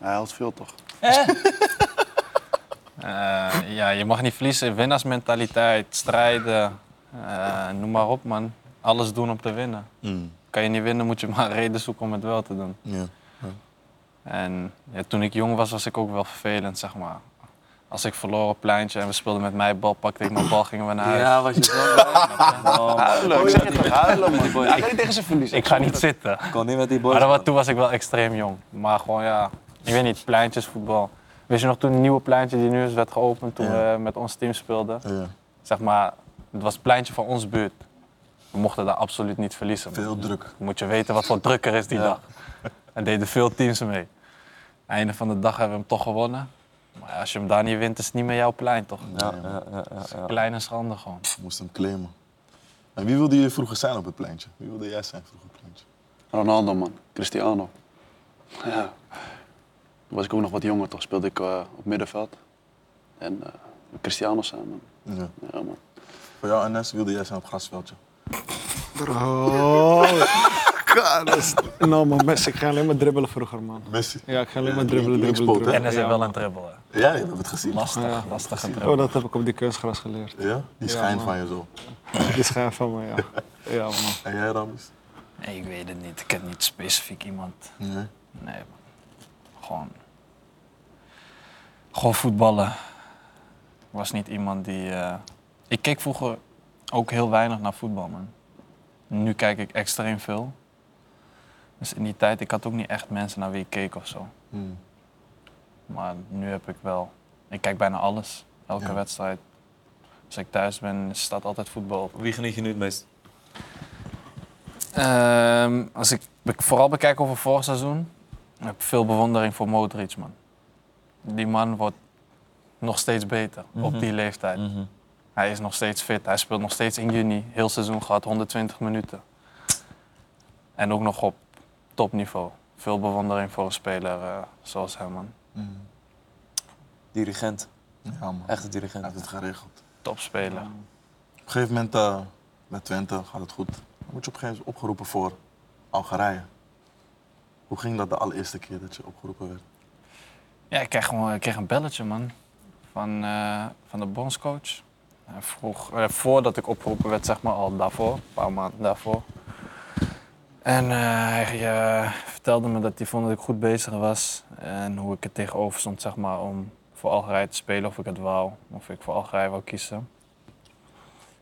[SPEAKER 1] Hij huilt veel, toch?
[SPEAKER 5] *laughs* Eh, ja, je mag niet verliezen. Winnaarsmentaliteit, strijden. eh, noem maar op, man. Alles doen om te winnen.
[SPEAKER 3] Mm,
[SPEAKER 5] Kan je niet winnen, moet je maar een reden zoeken om het wel te doen.
[SPEAKER 3] ja.
[SPEAKER 5] En ja, toen ik jong was, was ik ook wel vervelend, zeg maar. Als ik verloor op pleintje en we speelden met mij bal, pakte ik mijn bal, gingen we naar huis.
[SPEAKER 4] Ja, was je zo blij? Oh, man.
[SPEAKER 1] Huilen, ik zeg het toch, huilen,
[SPEAKER 4] Met die
[SPEAKER 1] man.
[SPEAKER 4] boys.
[SPEAKER 1] Hij kan niet tegen zijn verliezen.
[SPEAKER 5] ik ga niet zitten.
[SPEAKER 4] Ik kon niet met die boys.
[SPEAKER 5] Maar dat was- toen was ik wel extreem jong. Maar gewoon ja, ik weet niet, pleintjesvoetbal. Weet je nog toen een nieuwe pleintje die nu is werd geopend toen
[SPEAKER 3] Ja.
[SPEAKER 5] we met ons team speelden?
[SPEAKER 3] ja.
[SPEAKER 5] Zeg maar, het was het pleintje van ons buurt. We mochten daar absoluut niet verliezen.
[SPEAKER 3] Veel druk.
[SPEAKER 5] Moet je weten wat voor druk er is die dag. En deden veel teams mee. Einde van de dag hebben we hem toch gewonnen. Maar ja, als je hem daar niet wint, is het niet meer jouw plein, toch?
[SPEAKER 4] Ja, ja, ja, ja, ja.
[SPEAKER 5] Kleine schande gewoon.
[SPEAKER 3] Ik moest hem claimen. En wie wilde je vroeger zijn op het pleintje? Wie wilde jij zijn vroeger op het pleintje?
[SPEAKER 1] Ronaldo, man. Cristiano. Ja. Toen was ik ook nog wat jonger, toch? Speelde ik eh, op middenveld. En eh, Cristiano samen.
[SPEAKER 3] Ja.
[SPEAKER 1] Ja,
[SPEAKER 5] Mm.
[SPEAKER 1] man.
[SPEAKER 3] Voor jou, NS, wilde jij zijn op grasveldje?
[SPEAKER 6] Bro. *laughs* nou, man, mensen, ik ga alleen maar dribbelen vroeger, man.
[SPEAKER 3] Messi.
[SPEAKER 6] Ja, ik ga alleen
[SPEAKER 3] Ja,
[SPEAKER 6] maar
[SPEAKER 3] die-
[SPEAKER 6] dribbelen,
[SPEAKER 3] die
[SPEAKER 6] dribbelen,
[SPEAKER 3] linkspoot, hè?
[SPEAKER 5] En er
[SPEAKER 6] dribbelen. Ja,
[SPEAKER 5] zijn wel
[SPEAKER 6] man.
[SPEAKER 5] een dribbelen.
[SPEAKER 3] Ja, je hebt het gezien.
[SPEAKER 5] Lastig, lastige dribbel.
[SPEAKER 6] Oh, dat heb ik op die kunstgras geleerd.
[SPEAKER 3] Ja? Die
[SPEAKER 6] Ja,
[SPEAKER 3] schijn
[SPEAKER 6] man.
[SPEAKER 3] van je zo.
[SPEAKER 6] Die schijn van me, ja. Ja, man.
[SPEAKER 3] En jij, Ramis?
[SPEAKER 5] Nee, ik weet het niet. Ik heb niet specifiek iemand.
[SPEAKER 3] Nee.
[SPEAKER 5] Nee, man. Gewoon... Gewoon voetballen. Ik was niet iemand die... eh, Ik keek vroeger ook heel weinig naar voetbal, man. Nu kijk ik extreem veel. Dus in die tijd, ik had ook niet echt mensen naar wie ik keek of zo.
[SPEAKER 3] Hmm.
[SPEAKER 5] Maar nu heb ik wel... Ik kijk bijna alles. Elke
[SPEAKER 3] Ja.
[SPEAKER 5] wedstrijd. Als ik thuis ben, staat altijd voetbal op.
[SPEAKER 7] Wie geniet je nu het meest?
[SPEAKER 5] Ehm, als ik be- vooral bekijk over vorig seizoen, heb ik veel bewondering voor Modric, man. Die man wordt nog steeds beter op die leeftijd.
[SPEAKER 4] Mhm.
[SPEAKER 7] Mhm.
[SPEAKER 5] Hij is nog steeds fit. Hij speelt nog steeds in juni. Heel seizoen gehad, 120 minuten. En ook nog op topniveau. Veel bewondering voor een speler eh, zoals hem, man.
[SPEAKER 3] Hmm.
[SPEAKER 4] Dirigent.
[SPEAKER 3] Ja, man.
[SPEAKER 4] Echte
[SPEAKER 3] Hij heeft
[SPEAKER 4] dirigent.
[SPEAKER 3] het geregeld.
[SPEAKER 5] Topspeler.
[SPEAKER 3] Op een gegeven moment eh, Met Twente gaat het goed. Dan word je op een gegeven moment opgeroepen voor Algerije. Hoe ging dat de allereerste keer dat je opgeroepen werd?
[SPEAKER 5] Ja, ik kreeg, gewoon, ik kreeg een belletje, man. Van, eh, van de bondscoach. Hij vroeg, eh, voordat ik opgeroepen werd, zeg maar al daarvoor, een paar maanden daarvoor. En eh, hij eh, vertelde me dat hij vond dat ik goed bezig was. En hoe ik er tegenover stond, zeg maar, om voor Algerije te spelen. Of ik het wou, of ik voor Algerije wou kiezen.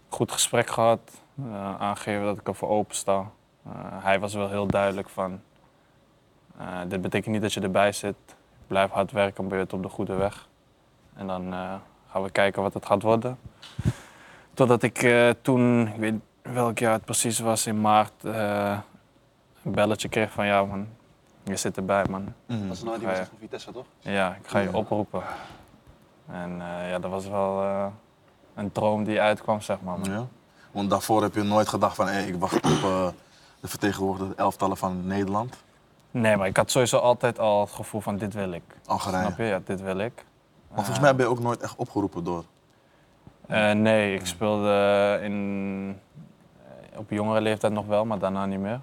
[SPEAKER 5] Goed gesprek gehad. eh, aangegeven dat ik er voor open sta. Eh, hij was wel heel duidelijk van... eh, dit betekent niet dat je erbij zit blijf hard werken, ben je het op de goede weg. En dan eh, gaan we kijken wat het gaat worden. Totdat ik eh, toen, ik weet niet welk jaar het precies was, in maart eh, een belletje kreeg van ja man, je zit erbij man.
[SPEAKER 1] Dat is nou die
[SPEAKER 5] Ga je.
[SPEAKER 1] wedstrijd van Vitesse, toch?
[SPEAKER 5] Ja, ik ga je oproepen. En eh, ja, dat was wel eh, een droom die uitkwam zeg maar. man.
[SPEAKER 3] Ja. Want daarvoor heb je nooit gedacht van, hey, ik wacht op eh, de vertegenwoordigde elftallen van Nederland,
[SPEAKER 5] Nee, maar ik had sowieso altijd al het gevoel van dit wil ik.
[SPEAKER 3] Algerije.
[SPEAKER 5] Snap je? Ja, dit wil ik.
[SPEAKER 3] Maar volgens mij ben je ook nooit echt opgeroepen door.
[SPEAKER 5] Eh, nee, ik speelde in, eh, op jongere leeftijd nog wel, maar daarna niet meer.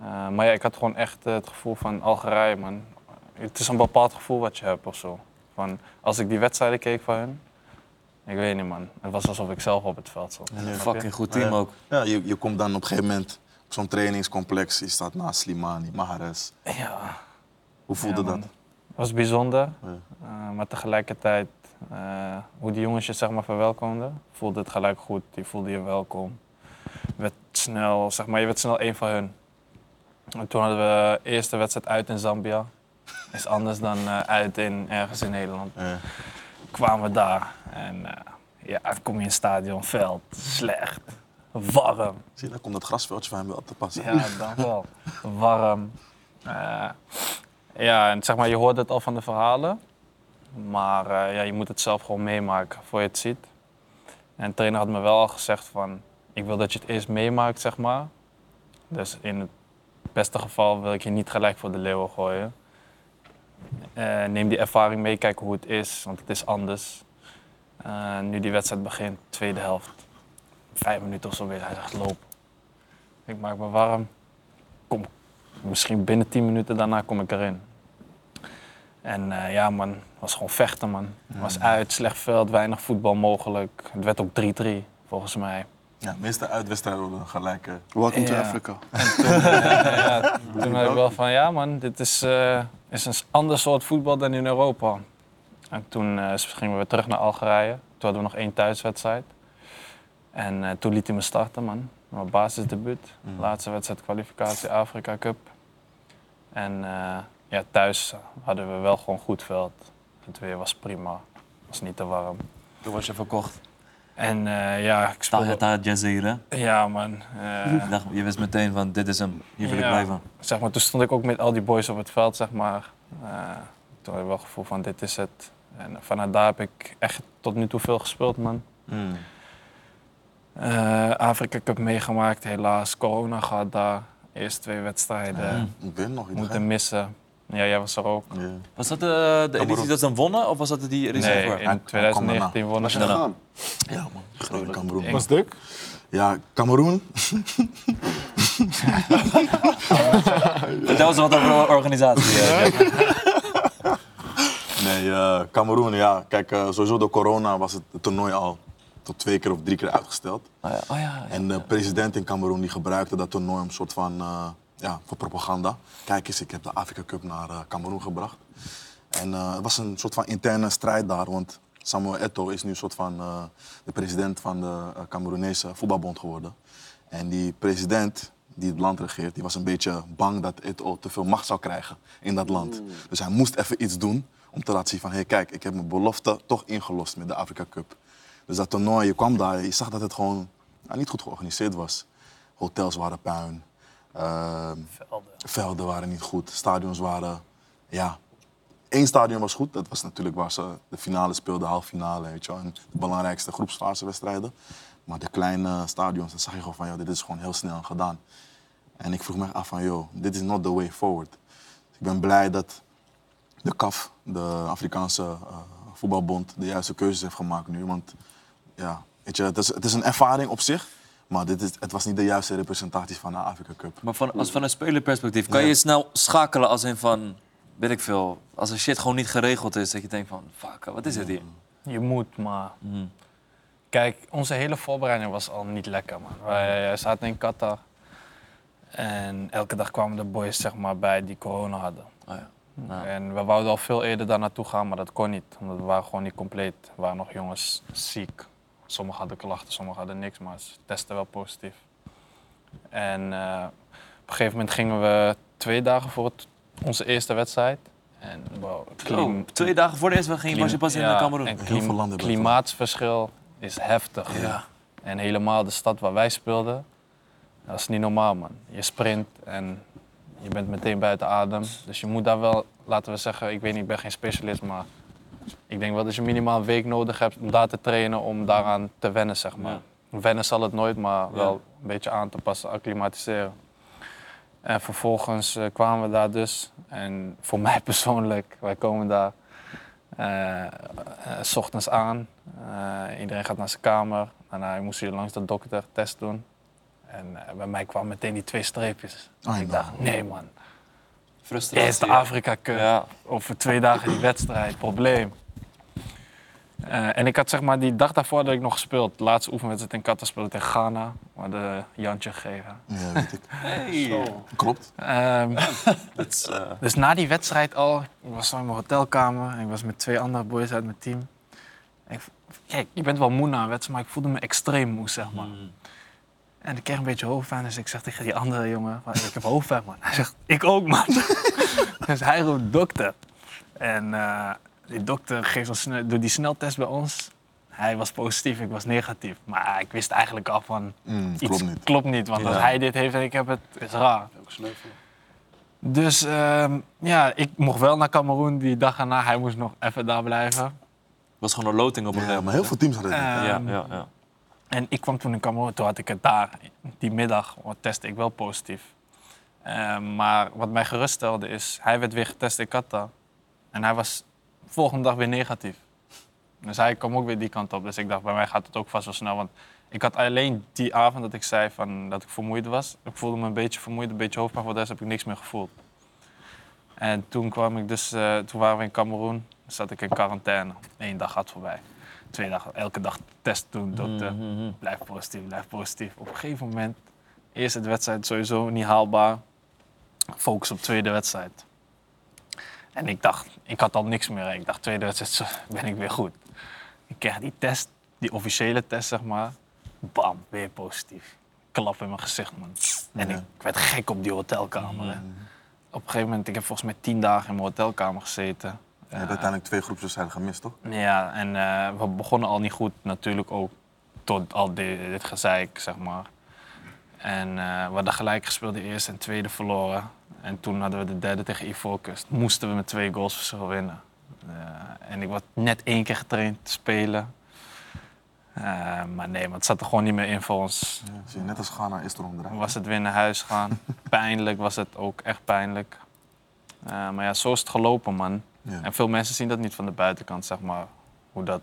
[SPEAKER 5] Eh, maar ja, ik had gewoon echt eh, het gevoel van Algerije, man. Het is een bepaald gevoel wat je hebt of zo. Van, als ik die wedstrijden keek van hun, ik weet niet, man. Het was alsof ik zelf op het veld zat.
[SPEAKER 3] Ja.
[SPEAKER 4] Fucking goed team
[SPEAKER 3] Ja.
[SPEAKER 4] ook.
[SPEAKER 3] Ja, je, je komt dan op een gegeven moment op zo'n trainingscomplex, je staat naast Slimani, Mahrez.
[SPEAKER 5] Ja,
[SPEAKER 3] Hoe voelde
[SPEAKER 5] Ja, man.
[SPEAKER 3] dat?
[SPEAKER 5] het was bijzonder.
[SPEAKER 3] Ja.
[SPEAKER 5] eh, maar tegelijkertijd, eh, hoe die jongens je zeg maar, verwelkomden, voelde het gelijk goed. Die voelde je welkom. Je werd snel, zeg maar, je werd snel één van hun. En toen hadden we eerste wedstrijd uit in Zambia. Is anders dan eh, uit in, ergens in Nederland.
[SPEAKER 3] Ja.
[SPEAKER 5] Kwamen we daar en eh, ja, dan kom je in het stadion, veld, slecht, warm.
[SPEAKER 3] Zie je, dan komt dat grasveldje van hem wel te passen.
[SPEAKER 5] Ja, dan wel. Warm. Eh, ja, en zeg maar, je hoort het al van de verhalen. Maar eh, ja, je moet het zelf gewoon meemaken voor je het ziet. En de trainer had me wel al gezegd van... Ik wil dat je het eerst meemaakt, zeg maar. Dus in het beste geval wil ik je niet gelijk voor de leeuwen gooien. Eh, neem die ervaring mee, kijk hoe het is, want het is anders. Eh, nu die wedstrijd begint, tweede helft. Vijf minuten of zo weer, hij zegt loop. Ik maak me warm. Kom, misschien binnen 10 minuten daarna kom ik erin. En eh, ja, man, het was gewoon vechten, man. Het was uit, slecht veld, weinig voetbal mogelijk. Het werd ook 3-3, volgens mij.
[SPEAKER 3] Ja, meeste uitwedstrijden worden gelijk. eh,
[SPEAKER 1] Welcome to
[SPEAKER 5] Ja.
[SPEAKER 1] Africa.
[SPEAKER 5] ja, toen had ik wel van, ja man, dit is, eh, is een ander soort voetbal dan in Europa. En toen eh, gingen we weer terug naar Algerije. Toen hadden we nog één thuiswedstrijd. En eh, toen liet hij me starten, man. Mijn basisdebuut. Laatste wedstrijd kwalificatie Afrika Cup. En eh, ja, thuis hadden we wel gewoon goed veld. Het weer was prima. was niet te warm.
[SPEAKER 4] Toen was je verkocht.
[SPEAKER 5] En eh, ja, ik speelde...
[SPEAKER 4] Tahta Jazeera.
[SPEAKER 5] Ja, man. eh,
[SPEAKER 4] Dacht- Je wist meteen van, dit is hem. Hier wil ik
[SPEAKER 5] Ja.
[SPEAKER 4] blijven.
[SPEAKER 5] zeg maar, toen stond ik ook met al die boys op het veld, zeg maar. Eh, toen had ik wel het gevoel van, dit is het. En vanuit daar heb ik echt tot nu toe veel gespeeld, man.
[SPEAKER 3] mm.
[SPEAKER 5] Eh, Afrika Cup meegemaakt, helaas. Corona gehad daar. Eerst twee wedstrijden.
[SPEAKER 3] Ik ben
[SPEAKER 1] Ah.
[SPEAKER 3] nog niet. hè?
[SPEAKER 5] Moeten missen. Ja, jij was er ook.
[SPEAKER 3] Ja.
[SPEAKER 4] Was
[SPEAKER 7] eh,
[SPEAKER 4] dat de, de editie
[SPEAKER 3] bedoel-
[SPEAKER 4] dat ze hem wonnen? Of was dat die editie
[SPEAKER 5] Nee,
[SPEAKER 1] Ah,
[SPEAKER 4] daarvoor?
[SPEAKER 3] Hij-
[SPEAKER 5] in 2019 wonnen
[SPEAKER 1] Was je
[SPEAKER 5] ze.
[SPEAKER 4] daarna.
[SPEAKER 1] gegaan?
[SPEAKER 3] ja, man. Grote Cameroen.
[SPEAKER 6] Was dik?
[SPEAKER 3] Ja, Cameroen.
[SPEAKER 7] Ah,
[SPEAKER 4] Vertel eens wat over de organisatie. eh, Jack.
[SPEAKER 3] Nee, eh, Cameroen, ja. Kijk, eh, sowieso door corona was het toernooi al tot twee keer of drie keer uitgesteld.
[SPEAKER 7] Ah,
[SPEAKER 4] Oh ja, oh ja.
[SPEAKER 3] En de president in Cameroen die gebruikte dat toernooi om een soort van, eh, ja, voor propaganda. Kijk eens, ik heb de Afrika Cup naar eh, Cameroen gebracht. En eh, het was een soort van interne strijd daar, want Samuel Eto'o is nu een soort van eh, de president van de eh, Cameroenese voetbalbond geworden. En die president die het land regeert, die was een beetje bang dat Eto'o te veel macht zou krijgen in dat land.
[SPEAKER 4] Mm.
[SPEAKER 3] Dus hij moest even iets doen om te laten zien van, hé hey, kijk, ik heb mijn belofte toch ingelost met de Afrika Cup. Dus dat toernooi, je kwam daar, je zag dat het gewoon nou, niet goed georganiseerd was. Hotels waren puin. ehm, velden waren niet goed. Stadions waren. Ja. Eén stadion was goed. Dat was natuurlijk waar ze de finale speelden, halve finale. Weet je wel, en de belangrijkste groepsfasewedstrijden. Maar de kleine stadions, dan zag je gewoon van, joh, dit is gewoon heel snel gedaan. En ik vroeg me af van, joh, dit is not the way forward. Dus ik ben blij dat de CAF, de Afrikaanse eh, voetbalbond, de juiste keuzes heeft gemaakt nu. Want ja, weet je, het, is, het is een ervaring op zich. Maar dit is, het was niet de juiste representatie van de Afrika Cup.
[SPEAKER 7] Maar van, als van een spelerperspectief, kan je snel schakelen als een van, weet ik veel, als een shit gewoon niet geregeld is, dat je denkt van, fuck, eh, wat is het hier? Mm.
[SPEAKER 5] Je moet, maar... Kijk, onze hele voorbereiding was al niet lekker, man.
[SPEAKER 7] Mhm.
[SPEAKER 5] Wij eh, zaten in Qatar. En elke dag kwamen de boys zeg maar, bij die corona hadden.
[SPEAKER 7] Oh ja. Ja.
[SPEAKER 5] En we wouden al veel eerder daar naartoe gaan, maar dat kon niet. Omdat we waren gewoon niet compleet. Er waren nog jongens ziek. Sommigen hadden klachten, sommigen hadden niks, maar ze testen wel positief. En eh, op een gegeven moment gingen we twee dagen voor het- onze eerste wedstrijd. En wow, clean-
[SPEAKER 7] Oh, twee dagen voor de eerste ging je, was je pas in
[SPEAKER 5] ja,
[SPEAKER 7] eh, Cameroen.
[SPEAKER 5] En
[SPEAKER 3] Heel
[SPEAKER 5] klim-
[SPEAKER 3] veel landen hebben dat.
[SPEAKER 5] klimaatsverschil is heftig.
[SPEAKER 7] Ja.
[SPEAKER 5] En helemaal de stad waar wij speelden, dat is niet normaal, man. Je sprint en je bent meteen buiten adem. Dus je moet daar wel, laten we zeggen, ik weet niet, ik ben geen specialist, maar ik denk wel dat je minimaal een week nodig hebt om daar te trainen, om daaraan te wennen, zeg maar. Wennen zal het nooit, maar wel een beetje aan te passen, acclimatiseren. En vervolgens eh, kwamen we daar dus. En voor *laughs* mij persoonlijk, wij komen daar eh, eh, s ochtends aan. Eh, iedereen gaat naar zijn kamer. Daarna moest je langs de dokter test doen. En eh, bij mij kwamen meteen die twee streepjes.
[SPEAKER 3] Ah,
[SPEAKER 5] ik
[SPEAKER 3] nou.
[SPEAKER 5] dacht, nee man,
[SPEAKER 7] Frustratie.
[SPEAKER 5] eerst de
[SPEAKER 7] ja.
[SPEAKER 5] Afrika Cup
[SPEAKER 7] Ja.
[SPEAKER 5] over twee dagen die wedstrijd, probleem. Eh, en ik had zeg maar die dag daarvoor had ik nog gespeeld. De laatste oefenwedstrijd in Qatar speelde tegen Ghana. We hadden Jantje gegeven.
[SPEAKER 3] Ja, weet ik.
[SPEAKER 7] Hey.
[SPEAKER 3] Klopt.
[SPEAKER 5] Ehm, *laughs*
[SPEAKER 7] Dat is, eh,
[SPEAKER 5] Dus na die wedstrijd al, ik was zo in mijn hotelkamer en ik was met twee andere boys uit mijn team. En ik, kijk, je bent wel moe na een wedstrijd, maar ik voelde me extreem moe, zeg maar. En ik kreeg een beetje hoofdpijn, dus ik zeg tegen die andere jongen, van, ik heb hoofdpijn, man. Hij zegt, ik ook, man. *laughs* dus hij roept dokter. En eh, die dokter geeft ons, snel- doet die sneltest bij ons. Hij was positief, ik was negatief. Maar ik wist eigenlijk al van,
[SPEAKER 3] Mm,
[SPEAKER 5] iets
[SPEAKER 3] klopt niet.
[SPEAKER 5] klopt niet. Want als
[SPEAKER 3] Ja.
[SPEAKER 5] hij dit heeft en ik heb het, is raar.
[SPEAKER 1] Ook sneuvelen.
[SPEAKER 5] Dus ehm, ja, ik mocht wel naar Cameroen die dag erna. Hij moest nog even daar blijven.
[SPEAKER 7] was gewoon een loting op een
[SPEAKER 3] Ja,
[SPEAKER 7] gegeven
[SPEAKER 3] maar heel veel teams hadden dit.
[SPEAKER 5] Ehm,
[SPEAKER 7] moment. Ja, ja, ja.
[SPEAKER 5] En ik kwam toen in Cameroen, toen had ik het daar. Die middag testte ik wel positief. Ehm, maar wat mij geruststelde is, hij werd weer getest in Qatar. En hij was de volgende dag weer negatief. Dus hij kwam ook weer die kant op. Dus ik dacht, bij mij gaat het ook vast wel snel. Want ik had alleen die avond dat ik zei van, dat ik vermoeid was. Ik voelde me een beetje vermoeid, een beetje hoofdpijn. Voor de rest heb ik niks meer gevoeld. En toen kwam ik dus, eh, toen waren we in Cameroen. Zat ik in quarantaine. Eén dag gaat voorbij. Twee dagen, elke dag test doen,
[SPEAKER 4] Hmm.
[SPEAKER 7] Mm-hmm.
[SPEAKER 5] eh, dokter. Blijf positief, blijf positief. Op een gegeven moment, eerste wedstrijd sowieso niet haalbaar. Focus op tweede wedstrijd. En ik dacht, ik had al niks meer. Ik dacht, tweede wedstrijd zo, ben ik weer goed. Ik kreeg die test, die officiële test zeg maar. Bam, weer positief. Klap in mijn gezicht, man. En ik, ik werd gek op die hotelkamer. hè. Op een gegeven moment, ik heb volgens mij tien dagen in mijn hotelkamer gezeten.
[SPEAKER 3] Je hebt uiteindelijk twee groepswedstrijden gemist, toch?
[SPEAKER 5] Ja, en eh, we begonnen al niet goed natuurlijk ook tot al dit, dit gezeik, zeg maar. En eh, we hadden gelijk gespeeld de eerste en tweede verloren. En toen hadden we de derde tegen Ivoorkust. Moesten we met twee goals verschil winnen. Eh, en ik was net één keer getraind te spelen. Eh, maar nee, maar het zat er gewoon niet meer in voor ons.
[SPEAKER 3] Ja, zie je, net als Ghana is er onderuit.
[SPEAKER 5] Was het weer naar huis gaan. pijnlijk was het ook, echt pijnlijk. Eh, maar ja, zo is het gelopen, man.
[SPEAKER 3] Ja.
[SPEAKER 5] En veel mensen zien dat niet van de buitenkant, zeg maar, hoe dat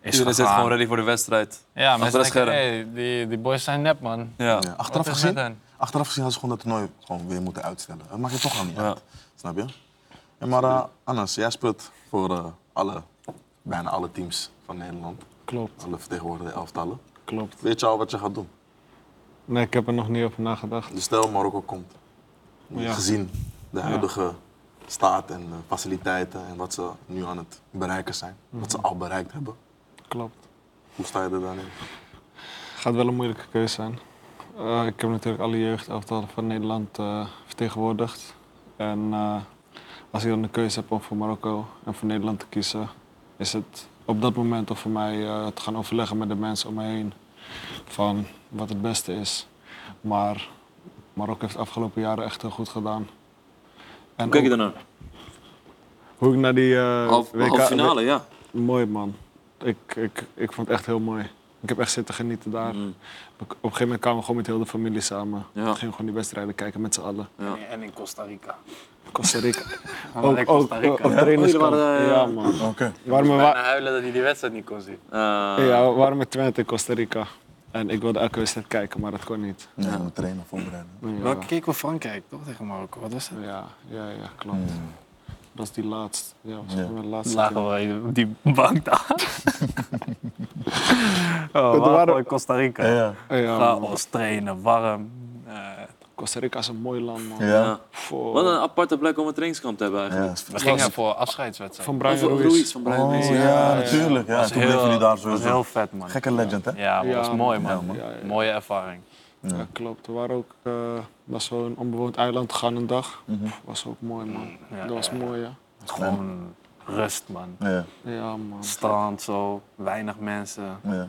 [SPEAKER 5] is
[SPEAKER 7] Iedereen zit
[SPEAKER 5] gegaan.
[SPEAKER 7] gewoon ready voor de wedstrijd.
[SPEAKER 5] Ja, mensen
[SPEAKER 7] achter het
[SPEAKER 5] denken, hey, die, die boys zijn nep, man.
[SPEAKER 7] Ja.
[SPEAKER 3] Ja,
[SPEAKER 5] Wat is
[SPEAKER 3] Achteraf
[SPEAKER 5] met
[SPEAKER 3] gezien,
[SPEAKER 5] hen?
[SPEAKER 3] achteraf gezien hadden ze gewoon dat toernooi gewoon weer moeten uitstellen. Dat maakt het toch al niet
[SPEAKER 7] Ja.
[SPEAKER 3] uit. Snap je? Ja, maar eh Anas, jij speelt voor eh, alle, bijna alle teams van Nederland.
[SPEAKER 6] Klopt,
[SPEAKER 3] Alle vertegenwoordigde elftallen.
[SPEAKER 6] klopt.
[SPEAKER 3] Weet je al wat je gaat doen?
[SPEAKER 6] Nee, ik heb er nog niet over nagedacht.
[SPEAKER 3] Dus stel Marokko komt.
[SPEAKER 6] Ja.
[SPEAKER 3] Gezien de huidige staat en eh, faciliteiten en wat ze nu aan het bereiken zijn. Wat ze al bereikt hebben.
[SPEAKER 6] Klopt.
[SPEAKER 3] Hoe sta je er dan in?
[SPEAKER 6] Gaat wel een moeilijke keuze zijn. Eh, ik heb natuurlijk alle jeugdelftallen van Nederland eh, vertegenwoordigd. En eh, als ik dan de keuze heb om voor Marokko en voor Nederland te kiezen, is het op dat moment om voor mij eh, te gaan overleggen met de mensen om me heen van wat het beste is. Maar Marokko heeft de afgelopen jaren echt heel goed gedaan. En
[SPEAKER 4] Hoe kijk je
[SPEAKER 6] ook
[SPEAKER 4] daarnaar?
[SPEAKER 6] hoe ik naar die eh,
[SPEAKER 4] Half,
[SPEAKER 6] WK
[SPEAKER 4] halve finale, ja.
[SPEAKER 6] Mooi man. Ik, ik, ik vond het echt heel mooi. Ik heb echt zitten genieten daar.
[SPEAKER 4] Mm.
[SPEAKER 6] Op een gegeven moment kwamen we gewoon met heel de familie samen.
[SPEAKER 4] Ja.
[SPEAKER 6] We gingen gewoon die wedstrijden kijken met z'n allen.
[SPEAKER 4] Ja.
[SPEAKER 5] En in Costa Rica.
[SPEAKER 6] Costa Rica. *laughs* ook,
[SPEAKER 5] Ook,
[SPEAKER 6] ook, ook op trainerskamp.
[SPEAKER 4] Oh, jullie waren, eh,
[SPEAKER 6] ja, man.
[SPEAKER 3] Oké.
[SPEAKER 6] We waren, we,
[SPEAKER 5] huilen dat hij die wedstrijd niet kon zien.
[SPEAKER 4] Eh,
[SPEAKER 6] ja, we waren met Twente in Costa Rica. En ik wilde elke wedstrijd kijken, maar dat kon niet.
[SPEAKER 3] Ja, je moet trainen, voorbereiden.
[SPEAKER 6] Ja,
[SPEAKER 2] Welke keken we Frankrijk, toch? Tegen Marokko. Wat was dat?
[SPEAKER 6] ja, ja, ja, klopt. Dat is die laatste. Ja, was
[SPEAKER 3] Ja.
[SPEAKER 6] ja. mijn laatste. keer.
[SPEAKER 8] Lagen wij op die bank daar. oh,
[SPEAKER 6] er
[SPEAKER 8] waren
[SPEAKER 6] waren-
[SPEAKER 8] we in Costa Rica.
[SPEAKER 3] Ja, ja.
[SPEAKER 6] Ja, man.
[SPEAKER 8] Chaos, trainen, warm. Eh,
[SPEAKER 6] Costa Rica is een mooi land, man.
[SPEAKER 3] ja.
[SPEAKER 6] Voor-
[SPEAKER 4] Wat een aparte plek om een trainingskamp te hebben eigenlijk.
[SPEAKER 3] ja.
[SPEAKER 5] We gingen voor afscheidswedstrijd.
[SPEAKER 6] Van
[SPEAKER 4] Of
[SPEAKER 6] Brian
[SPEAKER 4] Ruiz.
[SPEAKER 6] Ruiz.
[SPEAKER 4] van Brian
[SPEAKER 3] Oh
[SPEAKER 4] Ruiz.
[SPEAKER 3] ja, natuurlijk. Ja,
[SPEAKER 8] was
[SPEAKER 3] toen
[SPEAKER 8] heel-
[SPEAKER 3] bleven jullie daar
[SPEAKER 8] was
[SPEAKER 3] sowieso.
[SPEAKER 8] heel vet, man.
[SPEAKER 3] Gekke legend, hè?
[SPEAKER 8] Ja, maar dat
[SPEAKER 6] Ja,
[SPEAKER 8] was mooi, man.
[SPEAKER 3] ja, man.
[SPEAKER 6] Ja, ja.
[SPEAKER 8] Mooie ervaring.
[SPEAKER 6] Ja, klopt. We waren ook eh naar zo'n onbewoond eiland gegaan een dag.
[SPEAKER 3] Mhm.
[SPEAKER 6] Was ook mooi, man.
[SPEAKER 8] Ja,
[SPEAKER 6] dat was
[SPEAKER 8] ja.
[SPEAKER 6] mooi, ja.
[SPEAKER 8] Gewoon rust, man.
[SPEAKER 3] Ja,
[SPEAKER 6] Ja, man.
[SPEAKER 8] Strand, zo. Weinig mensen.
[SPEAKER 3] ja.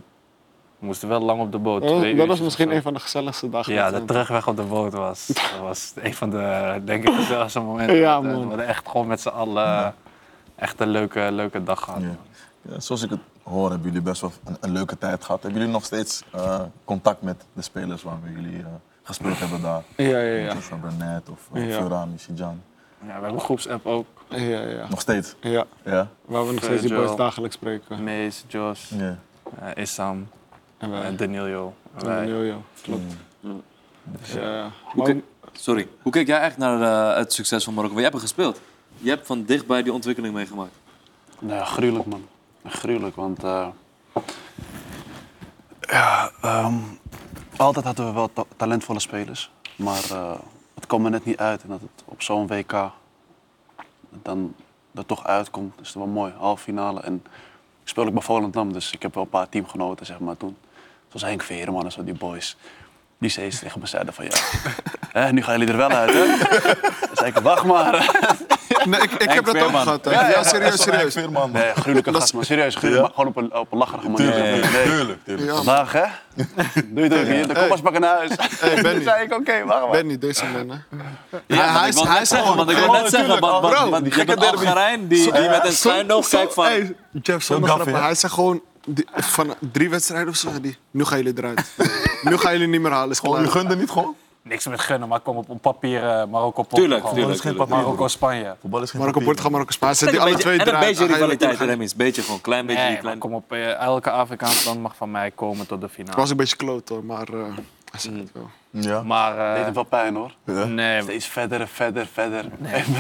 [SPEAKER 8] We moesten wel lang op de boot.
[SPEAKER 6] Dat,
[SPEAKER 8] twee
[SPEAKER 6] Oh, dat was
[SPEAKER 8] uurtjes
[SPEAKER 6] misschien
[SPEAKER 8] of zo.
[SPEAKER 6] een van de gezelligste dagen.
[SPEAKER 8] Ja,
[SPEAKER 6] met
[SPEAKER 8] de
[SPEAKER 6] hun.
[SPEAKER 8] terugweg op de boot was, dat was een van de, denk ik, gezelligste momenten.
[SPEAKER 6] Ja,
[SPEAKER 8] we
[SPEAKER 6] man.
[SPEAKER 8] hadden echt gewoon met z'n allen echt een leuke, leuke dag gehad.
[SPEAKER 3] Ja.
[SPEAKER 8] man.
[SPEAKER 3] Ja, Zoals ik het hoor, hebben jullie best wel een, een leuke tijd gehad. Hebben jullie nog steeds eh, contact met de spelers waarmee jullie eh, gespeeld hebben daar?
[SPEAKER 6] Ja, ja, ja.
[SPEAKER 3] Zoals Burnett of uh,
[SPEAKER 6] Ja.
[SPEAKER 3] Fiorani, Sijan.
[SPEAKER 8] Ja, we hebben een groepsapp ook.
[SPEAKER 6] Ja, ja.
[SPEAKER 3] Nog steeds,
[SPEAKER 6] ja.
[SPEAKER 3] ja?
[SPEAKER 6] Waar we nog steeds die
[SPEAKER 8] Virgil.
[SPEAKER 6] boys dagelijks spreken.
[SPEAKER 8] Mees, Jos,
[SPEAKER 3] Ja.
[SPEAKER 8] eh, Issam,
[SPEAKER 6] En wij.
[SPEAKER 8] eh, Danilo. en
[SPEAKER 6] En
[SPEAKER 8] wij.
[SPEAKER 6] Yo, yo. Klopt.
[SPEAKER 4] Mm.
[SPEAKER 6] Dus, ja.
[SPEAKER 4] Oké.
[SPEAKER 6] Maar we-
[SPEAKER 4] Sorry. Hoe kijk jij echt naar eh, het succes van Marokko? Want jij hebt er gespeeld. Je hebt van dichtbij die ontwikkeling meegemaakt.
[SPEAKER 1] Nou ja, gruwelijk man. Gruwelijk, want... eh, ja, ehm, altijd hadden we wel ta- talentvolle spelers. Maar eh, het kwam er net niet uit. En dat het op zo'n WK dan er toch uitkomt, is toch wel mooi. Halve finale. En ik speel ook bij Volendam, dus ik heb wel een paar teamgenoten zeg maar toen. Zoals Henk Veerman en zo, die boys. Die steeds tegen me zeiden van ja, *laughs* hè, nu gaan jullie er wel uit hè. *laughs* Dan zei ik, wacht maar.
[SPEAKER 9] Nee, ik, ik heb dat ook gehad. hè. Ja, serieus, serieus.
[SPEAKER 3] Veerman.
[SPEAKER 1] Nee, gruwelijke gast, maar serieus, gruwelijk, maar gewoon op een, op een lacherige manier.
[SPEAKER 3] Tuurlijk,
[SPEAKER 1] Nee, nee.
[SPEAKER 3] tuurlijk, tuurlijk.
[SPEAKER 9] Ja,
[SPEAKER 1] Vandaag, hè? Doe je het ook niet, dan kom
[SPEAKER 9] Hey.
[SPEAKER 1] maar bakken naar huis.
[SPEAKER 9] hey,
[SPEAKER 1] *laughs* Toen
[SPEAKER 9] Benny.
[SPEAKER 1] zei ik, oké, wacht maar.
[SPEAKER 9] Benny, deze man, hè.
[SPEAKER 4] Ja,
[SPEAKER 9] hij
[SPEAKER 4] ik
[SPEAKER 9] is-
[SPEAKER 4] wil
[SPEAKER 9] hij
[SPEAKER 4] net
[SPEAKER 9] is
[SPEAKER 4] zeggen,
[SPEAKER 9] gewoon-
[SPEAKER 4] want ik wil
[SPEAKER 9] Ja,
[SPEAKER 4] net zeggen, want, want,
[SPEAKER 9] Bro,
[SPEAKER 4] want je
[SPEAKER 9] gekke
[SPEAKER 4] bent
[SPEAKER 9] derby.
[SPEAKER 4] Algerijn die, die met een
[SPEAKER 9] Zo-
[SPEAKER 4] klein oog
[SPEAKER 9] zo-
[SPEAKER 4] kijkt van...
[SPEAKER 9] hey, Jeff, zonder
[SPEAKER 3] gaaf,
[SPEAKER 9] grappen.
[SPEAKER 3] hè?
[SPEAKER 9] Hij zei gewoon die- van drie wedstrijden of zo. zei Die, nu gaan jullie eruit. nu gaan jullie niet meer halen. Is
[SPEAKER 3] Gewoon, u
[SPEAKER 9] klaar.
[SPEAKER 3] gunde niet gewoon?
[SPEAKER 8] Niks met gunnen, maar kom op, op papier eh, Marokko pot.
[SPEAKER 4] Tuurlijk,
[SPEAKER 8] Gewoon.
[SPEAKER 4] tuurlijk, tuurlijk.
[SPEAKER 8] Marokko, Spanje.
[SPEAKER 3] Voetbal is geen
[SPEAKER 9] Marco
[SPEAKER 3] papier.
[SPEAKER 9] Portugal, Marco Spanje. Zet
[SPEAKER 4] En
[SPEAKER 9] die
[SPEAKER 4] een
[SPEAKER 9] alle
[SPEAKER 4] beetje,
[SPEAKER 9] twee
[SPEAKER 4] en een
[SPEAKER 9] eruit.
[SPEAKER 4] beetje
[SPEAKER 9] dan gaan jullie
[SPEAKER 4] rivaliteit,
[SPEAKER 9] terug.
[SPEAKER 4] Remmings. Beetje gewoon, klein beetje
[SPEAKER 8] Nee,
[SPEAKER 4] hier,
[SPEAKER 8] maar
[SPEAKER 4] klein.
[SPEAKER 8] kom op, eh, elke Afrikaans land mag van mij komen tot de
[SPEAKER 9] Het
[SPEAKER 8] finale.
[SPEAKER 9] was een beetje kloot hoor, maar eh, hij zei het wel.
[SPEAKER 3] Ja.
[SPEAKER 1] Het
[SPEAKER 8] Maar
[SPEAKER 1] deed
[SPEAKER 8] eh,
[SPEAKER 1] hem wel pijn, hoor.
[SPEAKER 8] nee,
[SPEAKER 1] Steeds verder en verder en verder.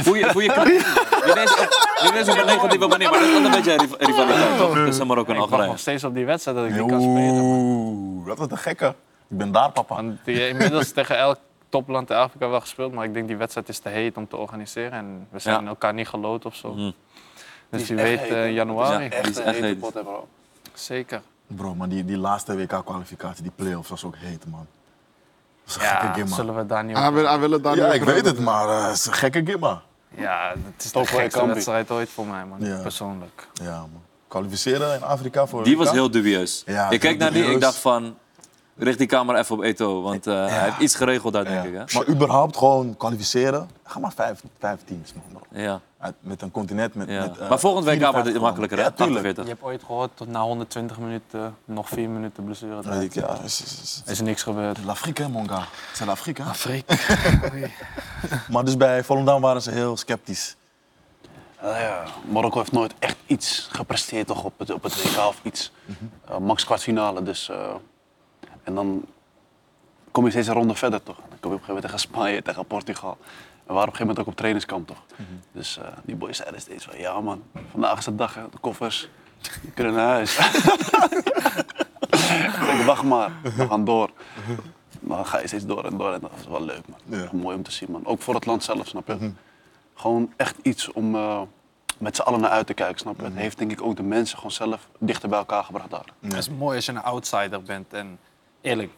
[SPEAKER 4] Voel je,
[SPEAKER 9] *laughs*
[SPEAKER 4] voel je knip? Je weet op- je weet op een negatieve manier, maar dat is altijd een beetje een riv- rivaliteit
[SPEAKER 9] Oh.
[SPEAKER 4] toch? tussen Marokko en
[SPEAKER 8] ik wacht nog
[SPEAKER 4] Algerijn.
[SPEAKER 8] steeds op die wedstrijd dat ik niet kan spelen.
[SPEAKER 3] Oeh, dat was een gekke. Ik ben daar, papa.
[SPEAKER 5] Want die heeft
[SPEAKER 4] *laughs*
[SPEAKER 5] inmiddels tegen elk topland in Afrika wel gespeeld, maar ik denk die wedstrijd is te heet om te organiseren en we zijn
[SPEAKER 4] Ja.
[SPEAKER 5] elkaar niet geloot of zo.
[SPEAKER 4] Mhm.
[SPEAKER 5] Dus
[SPEAKER 1] is
[SPEAKER 5] die
[SPEAKER 1] echt
[SPEAKER 5] weet
[SPEAKER 1] heet,
[SPEAKER 5] eh,
[SPEAKER 1] hè? Dat is
[SPEAKER 5] januari.
[SPEAKER 4] Ja.
[SPEAKER 1] Echt
[SPEAKER 4] Die
[SPEAKER 1] een
[SPEAKER 4] is echt
[SPEAKER 1] hete
[SPEAKER 4] heet.
[SPEAKER 1] pot, hè, bro.
[SPEAKER 5] Zeker.
[SPEAKER 3] Bro, maar die, die laatste WK-kwalificatie, die play-offs, was ook heet, man. Dat is een
[SPEAKER 5] Ja,
[SPEAKER 3] gekke gimma.
[SPEAKER 5] zullen we daar niet
[SPEAKER 6] Ah,
[SPEAKER 5] op.
[SPEAKER 9] Hij wil, hij wil het daar
[SPEAKER 3] Ja,
[SPEAKER 9] niet
[SPEAKER 3] ik
[SPEAKER 9] over
[SPEAKER 3] weet het,
[SPEAKER 9] hebben.
[SPEAKER 3] maar eh, het is een gekke gimma.
[SPEAKER 5] Ja, het is de
[SPEAKER 1] Ook voor
[SPEAKER 5] gekste
[SPEAKER 1] Ekambi.
[SPEAKER 5] wedstrijd ooit voor mij, man.
[SPEAKER 3] Ja.
[SPEAKER 5] Persoonlijk.
[SPEAKER 3] Ja, man. Kwalificeren in Afrika voor
[SPEAKER 4] Die was
[SPEAKER 3] WK?
[SPEAKER 4] heel dubieus.
[SPEAKER 3] Ja,
[SPEAKER 4] Ik keek naar die, ik
[SPEAKER 3] dubieus.
[SPEAKER 4] dacht van... Richt die camera even op Eto, want eh, hij heeft iets geregeld daar, denk ik.
[SPEAKER 3] Ja.
[SPEAKER 4] Hè?
[SPEAKER 3] Maar überhaupt gewoon kwalificeren. Ga maar vijf, vijf teams, man. bro.
[SPEAKER 4] Ja,
[SPEAKER 3] Uit- Met een continent, met...
[SPEAKER 4] ja.
[SPEAKER 3] met eh,
[SPEAKER 4] maar volgend WK wordt
[SPEAKER 3] 54 man.
[SPEAKER 4] het makkelijker, hè?
[SPEAKER 3] Ja, tuurlijk.
[SPEAKER 4] 48.
[SPEAKER 5] Je hebt ooit gehoord tot na 120 minuten nog 4 minuten blessure.
[SPEAKER 3] Weet ik,
[SPEAKER 5] tijd.
[SPEAKER 3] ja. is- is- is-
[SPEAKER 5] Is niks gebeurd.
[SPEAKER 3] L'Afrique, hè, mon gars. Het is Afrika. Afrika. *laughs* maar dus bij Volendam waren ze heel sceptisch.
[SPEAKER 1] Nou ja, Marokko heeft nooit echt iets gepresteerd toch op het, op het WK of iets. Eh, max kwartfinale, dus... eh, en dan kom je steeds een ronde verder, toch? Dan kom je op een gegeven moment tegen Spanje, tegen Portugal. We waren op een gegeven moment ook op trainingskamp, toch? Dus eh, die boys zeiden steeds van, ja man, vandaag is de dag, hè, de koffers. We kunnen naar huis. *laughs* Ik denk, wacht maar, we gaan door. Maar dan ga je steeds door en door en dat is wel leuk, man.
[SPEAKER 3] Ja.
[SPEAKER 1] Mooi om te zien, man. Ook voor het land zelf, snap je? Gewoon echt iets om eh, met z'n allen naar uit te kijken, snap je?
[SPEAKER 4] Mhm.
[SPEAKER 1] Het heeft denk ik ook de mensen gewoon zelf dichter bij elkaar gebracht daar.
[SPEAKER 5] Het is mooi als je een outsider bent. En eerlijk,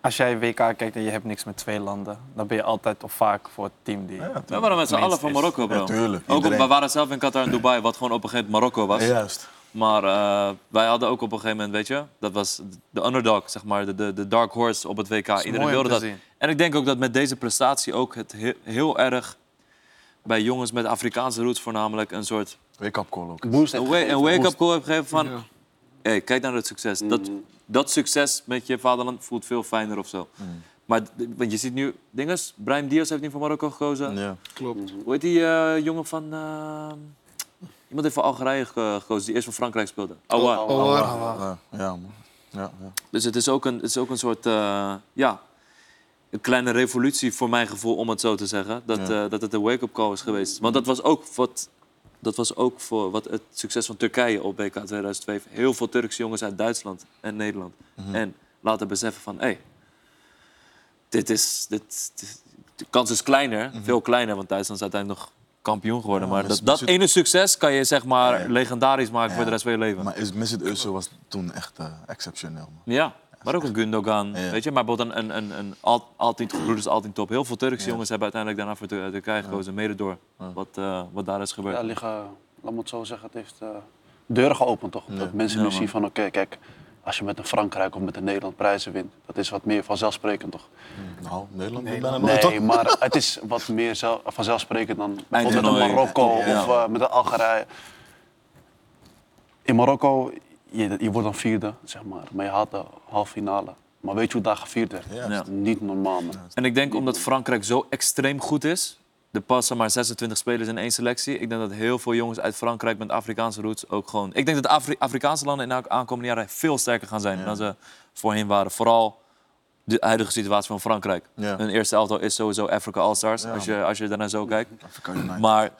[SPEAKER 5] als jij WK kijkt en je hebt niks met twee landen, dan ben je altijd of vaak voor het team die.
[SPEAKER 4] We waren met z'n allen van Marokko, bro.
[SPEAKER 3] Ja, tuurlijk.
[SPEAKER 4] Ook, op-
[SPEAKER 3] Iedereen.
[SPEAKER 4] we waren zelf in Qatar en Dubai, wat gewoon op een gegeven moment Marokko was.
[SPEAKER 3] Juist.
[SPEAKER 4] Maar eh, wij hadden ook op een gegeven moment, weet je, dat was de underdog, zeg maar, de, de, de dark horse op het WK. Iedereen
[SPEAKER 5] mooi om
[SPEAKER 4] wilde
[SPEAKER 5] te
[SPEAKER 4] dat.
[SPEAKER 5] zien.
[SPEAKER 4] En ik denk ook dat met deze prestatie ook het he- heel erg bij jongens met Afrikaanse roots voornamelijk een soort
[SPEAKER 3] Wake-up call ook.
[SPEAKER 1] Boost
[SPEAKER 4] een
[SPEAKER 1] heeft
[SPEAKER 4] wa- een wake-up call heeft gegeven van,
[SPEAKER 9] Ja.
[SPEAKER 4] hey, kijk naar het succes. Dat, dat succes met je vaderland voelt veel fijner of zo. Maar d- want je ziet nu, dinges, Brian Diaz heeft nu voor Marokko gekozen.
[SPEAKER 3] Ja.
[SPEAKER 9] Klopt.
[SPEAKER 3] Mm.
[SPEAKER 4] Hoe heet die eh, jongen van... eh, iemand heeft van Algerije ge- gekozen, die eerst voor Frankrijk speelde. Aouar.
[SPEAKER 9] Oh,
[SPEAKER 3] Ja, ja, man. Ja, ja.
[SPEAKER 4] Dus het is ook een, het is ook een soort, eh, ja, een kleine revolutie voor mijn gevoel, om het zo te zeggen. Dat,
[SPEAKER 3] Ja.
[SPEAKER 4] eh, dat het een wake-up call is geweest. Want dat was ook wat, dat was ook voor wat het succes van Turkije op WK 2002. heeft. Heel veel Turkse jongens uit Duitsland en Nederland.
[SPEAKER 3] Mhm.
[SPEAKER 4] En laten beseffen van, hé, hey, dit is, dit, dit- de kans is kleiner, veel kleiner, want Duitsland is uiteindelijk nog kampioen geworden.
[SPEAKER 3] Mhm. Ja,
[SPEAKER 4] maar
[SPEAKER 3] dus-
[SPEAKER 4] dat, dat
[SPEAKER 3] dus-
[SPEAKER 4] ene succes kan je zeg maar
[SPEAKER 3] Ja.
[SPEAKER 4] legendarisch maken
[SPEAKER 3] Ja.
[SPEAKER 4] voor de rest van je leven.
[SPEAKER 3] Maar is- Mesut Özil was toen echt eh, exceptioneel. man.
[SPEAKER 4] Ja, maar ook een Gundogan.
[SPEAKER 3] Ja.
[SPEAKER 4] Weet je, maar bijvoorbeeld een, een, een, een Al- altijd gebroeders, altijd top. Heel veel Turkse
[SPEAKER 3] Ja.
[SPEAKER 4] jongens hebben uiteindelijk daarna voor Tur- Turkije gekozen. Mede door
[SPEAKER 3] Ja.
[SPEAKER 4] wat, eh, wat daar is gebeurd.
[SPEAKER 1] Ja, liggen, laat me het zo zeggen, het heeft eh, deuren geopend toch? Dat mensen
[SPEAKER 4] Ja,
[SPEAKER 1] nu
[SPEAKER 4] man.
[SPEAKER 1] zien van, oké, kijk, als je met een Frankrijk of met een Nederland prijzen wint, dat is wat meer vanzelfsprekend toch?
[SPEAKER 3] Nou, Nederland nee, bijna nooit, toch?
[SPEAKER 1] Nee, maar het is wat meer zel- vanzelfsprekend dan bijvoorbeeld met een
[SPEAKER 4] Eindtoernooi.
[SPEAKER 1] Marokko
[SPEAKER 3] Ja.
[SPEAKER 1] of eh, met een Algerije. In Marokko, je, je wordt dan vierde, zeg maar, maar je haalt de halve finale. Maar weet je hoe daar gevierd werd?
[SPEAKER 3] Ja.
[SPEAKER 1] Dat is niet normaal, man.
[SPEAKER 4] En ik denk omdat Frankrijk zo extreem goed is. Er passen maar 26 spelers in één selectie. Ik denk dat heel veel jongens uit Frankrijk met Afrikaanse roots ook gewoon... Ik denk dat de Afri- Afrikaanse landen in de aankomende jaren veel sterker gaan zijn dan ze voorheen waren. Vooral de huidige situatie van Frankrijk.
[SPEAKER 3] Ja.
[SPEAKER 4] Hun eerste elftal is sowieso Africa All-Stars, als, je, als je daarnaar zo kijkt.
[SPEAKER 3] Afrika United.
[SPEAKER 4] Maar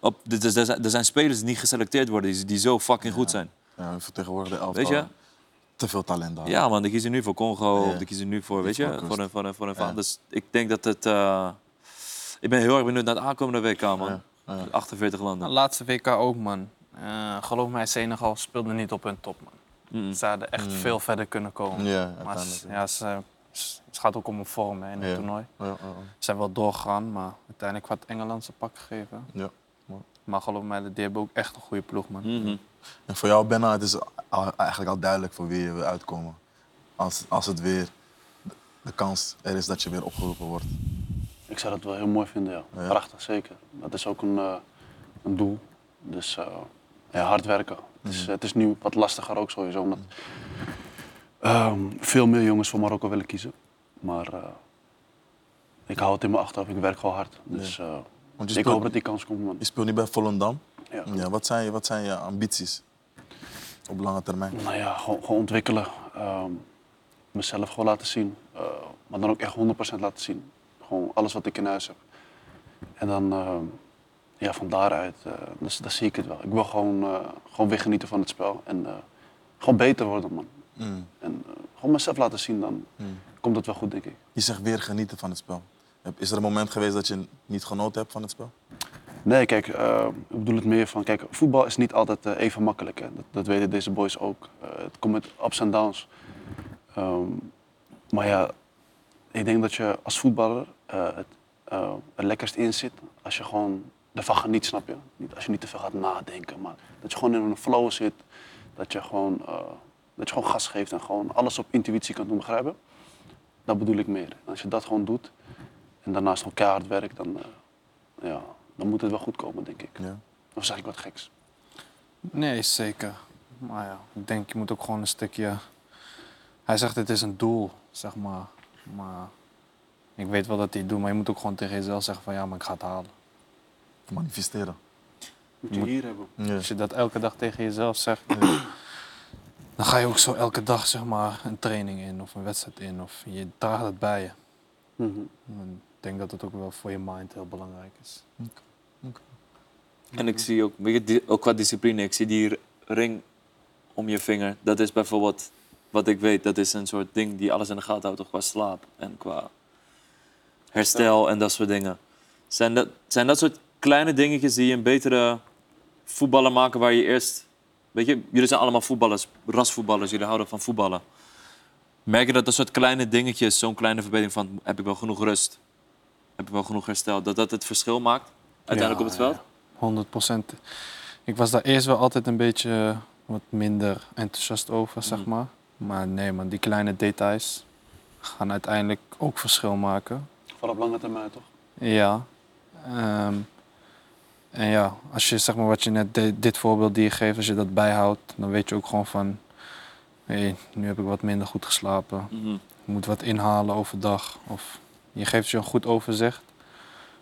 [SPEAKER 4] op, dit is- er, zijn, er zijn spelers die niet geselecteerd worden, die, die zo fucking goed zijn.
[SPEAKER 3] Ja, we vertegenwoordigen de elftal.
[SPEAKER 4] Weet je?
[SPEAKER 3] Te veel talent daar.
[SPEAKER 4] Ja, man, die kiezen nu voor Congo,
[SPEAKER 3] Ja.
[SPEAKER 4] of die kiezen nu voor, weet
[SPEAKER 3] voor
[SPEAKER 4] je,
[SPEAKER 3] Kust.
[SPEAKER 4] voor een, voor een, voor een
[SPEAKER 3] Ja.
[SPEAKER 4] Dus ik denk dat het... eh, ik ben heel erg benieuwd naar het aankomende WK, man.
[SPEAKER 3] Ja, ja.
[SPEAKER 4] 48 landen.
[SPEAKER 5] Nou, Laatste WK ook, man. Eh, geloof mij, Senegal speelde niet op hun top, man.
[SPEAKER 4] Mm.
[SPEAKER 5] Ze hadden echt veel verder kunnen komen.
[SPEAKER 3] Hm. Ja,
[SPEAKER 5] maar
[SPEAKER 3] uiteindelijk.
[SPEAKER 5] ze- ja, ze, ze- het gaat ook om een vorm hè, in het
[SPEAKER 3] Ja.
[SPEAKER 5] toernooi.
[SPEAKER 3] Ja, ja, ja.
[SPEAKER 5] Ze zijn wel doorgegaan, maar uiteindelijk had Engeland zijn pak gegeven.
[SPEAKER 3] Ja, mooi. Hm.
[SPEAKER 5] Maar geloof mij, die hebben ook echt een goede ploeg, man.
[SPEAKER 4] Mhm.
[SPEAKER 3] En voor jou, Benna, het is al- eigenlijk al duidelijk voor wie je wil uitkomen. Als, als het weer de kans er is dat je weer opgeroepen wordt.
[SPEAKER 1] Ik zou dat wel heel mooi vinden, ja.
[SPEAKER 3] Ja.
[SPEAKER 1] Prachtig, zeker. Dat is ook een, eh, een doel. Dus eh, ja, hard werken. Het, is, het is nu wat lastiger ook sowieso, omdat ehm, veel meer jongens voor Marokko willen kiezen. Maar eh, ik hou het in mijn achterhoofd, ik werk gewoon hard. Dus eh,
[SPEAKER 3] Want
[SPEAKER 1] ik
[SPEAKER 3] je speelt,
[SPEAKER 1] hoop dat die kans komt, man.
[SPEAKER 3] je speelt nu bij Volendam.
[SPEAKER 1] Ja.
[SPEAKER 3] Ja, wat, zijn, je- wat zijn je ambities op lange termijn?
[SPEAKER 1] Nou ja, gewoon, gewoon ontwikkelen. Ehm, mezelf gewoon laten zien. Eh, maar dan ook echt 100% laten zien. Gewoon alles wat ik in huis heb. En dan ehm, ja, van daaruit, eh dan, dan zie ik het wel. Ik wil gewoon, eh, gewoon weer genieten van het spel. En eh, gewoon beter worden, man.
[SPEAKER 3] Mm.
[SPEAKER 1] En eh, gewoon mezelf laten zien, dan komt het wel goed, denk ik.
[SPEAKER 3] Je zegt weer genieten van het spel. Heb- Is er een moment geweest dat je niet genoten hebt van het spel?
[SPEAKER 1] Nee, kijk, eh, ik bedoel het meer van, kijk, voetbal is niet altijd eh, even makkelijk. Hè. Dat, dat weten deze boys ook. Eh, het komt met ups en downs. Ehm, maar ja, ik denk dat je als voetballer eh, het, eh, het lekkerst in zit als je gewoon ervan geniet, snap je? Niet, als je niet te veel gaat nadenken, maar dat je gewoon in een flow zit. Dat je gewoon, eh, dat je gewoon gas geeft en gewoon alles op intuïtie kan doen begrijpen. Dat bedoel ik meer. En als je dat gewoon doet en daarnaast gewoon keihard werkt, dan... eh, ja, dan moet het wel goed komen, denk ik.
[SPEAKER 3] Ja.
[SPEAKER 1] Of zeg ik wat geks?
[SPEAKER 5] Nee, zeker. Maar ja, ik denk je moet ook gewoon een stukje. Hij zegt het is een doel, zeg maar. Maar ik weet wel dat hij het doet, maar je moet ook gewoon tegen jezelf zeggen van ja, maar ik ga het halen.
[SPEAKER 3] Manifesteren.
[SPEAKER 1] Moet je hier hebben.
[SPEAKER 3] Ja.
[SPEAKER 5] Als je dat elke dag tegen jezelf zegt, *clears throat* dan ga je ook zo elke dag zeg maar een training in of een wedstrijd in of je draagt het bij je.
[SPEAKER 1] Mhm.
[SPEAKER 5] En ik denk dat het ook wel voor je mind heel belangrijk is.
[SPEAKER 4] En ik zie ook, weet je, di- ook qua discipline, ik zie die r- ring om je vinger. Dat is bijvoorbeeld, wat ik weet, dat is een soort ding die alles in de gaten houdt toch, qua slaap en qua herstel en dat soort dingen. Zijn dat, zijn dat soort kleine dingetjes die je een betere voetballer maken waar je eerst... Weet je, jullie zijn allemaal voetballers, rasvoetballers, jullie houden van voetballen. Merk je dat dat soort kleine dingetjes, zo'n kleine verbetering van heb ik wel genoeg rust, heb ik wel genoeg herstel, dat dat het verschil maakt uiteindelijk op het veld?
[SPEAKER 5] 100%. Ik was daar eerst wel altijd een beetje wat minder enthousiast over, zeg maar. Maar nee, man, die kleine details gaan uiteindelijk ook verschil maken.
[SPEAKER 1] Vooral op lange termijn, toch?
[SPEAKER 5] Ja. Ehm, en ja, als je zeg maar wat je net deed, dit voorbeeld die je geeft, als je dat bijhoudt, dan weet je ook gewoon van. Hé, nu heb ik wat minder goed geslapen.
[SPEAKER 4] Mhm.
[SPEAKER 5] Ik moet wat inhalen overdag. Of je geeft je een goed overzicht,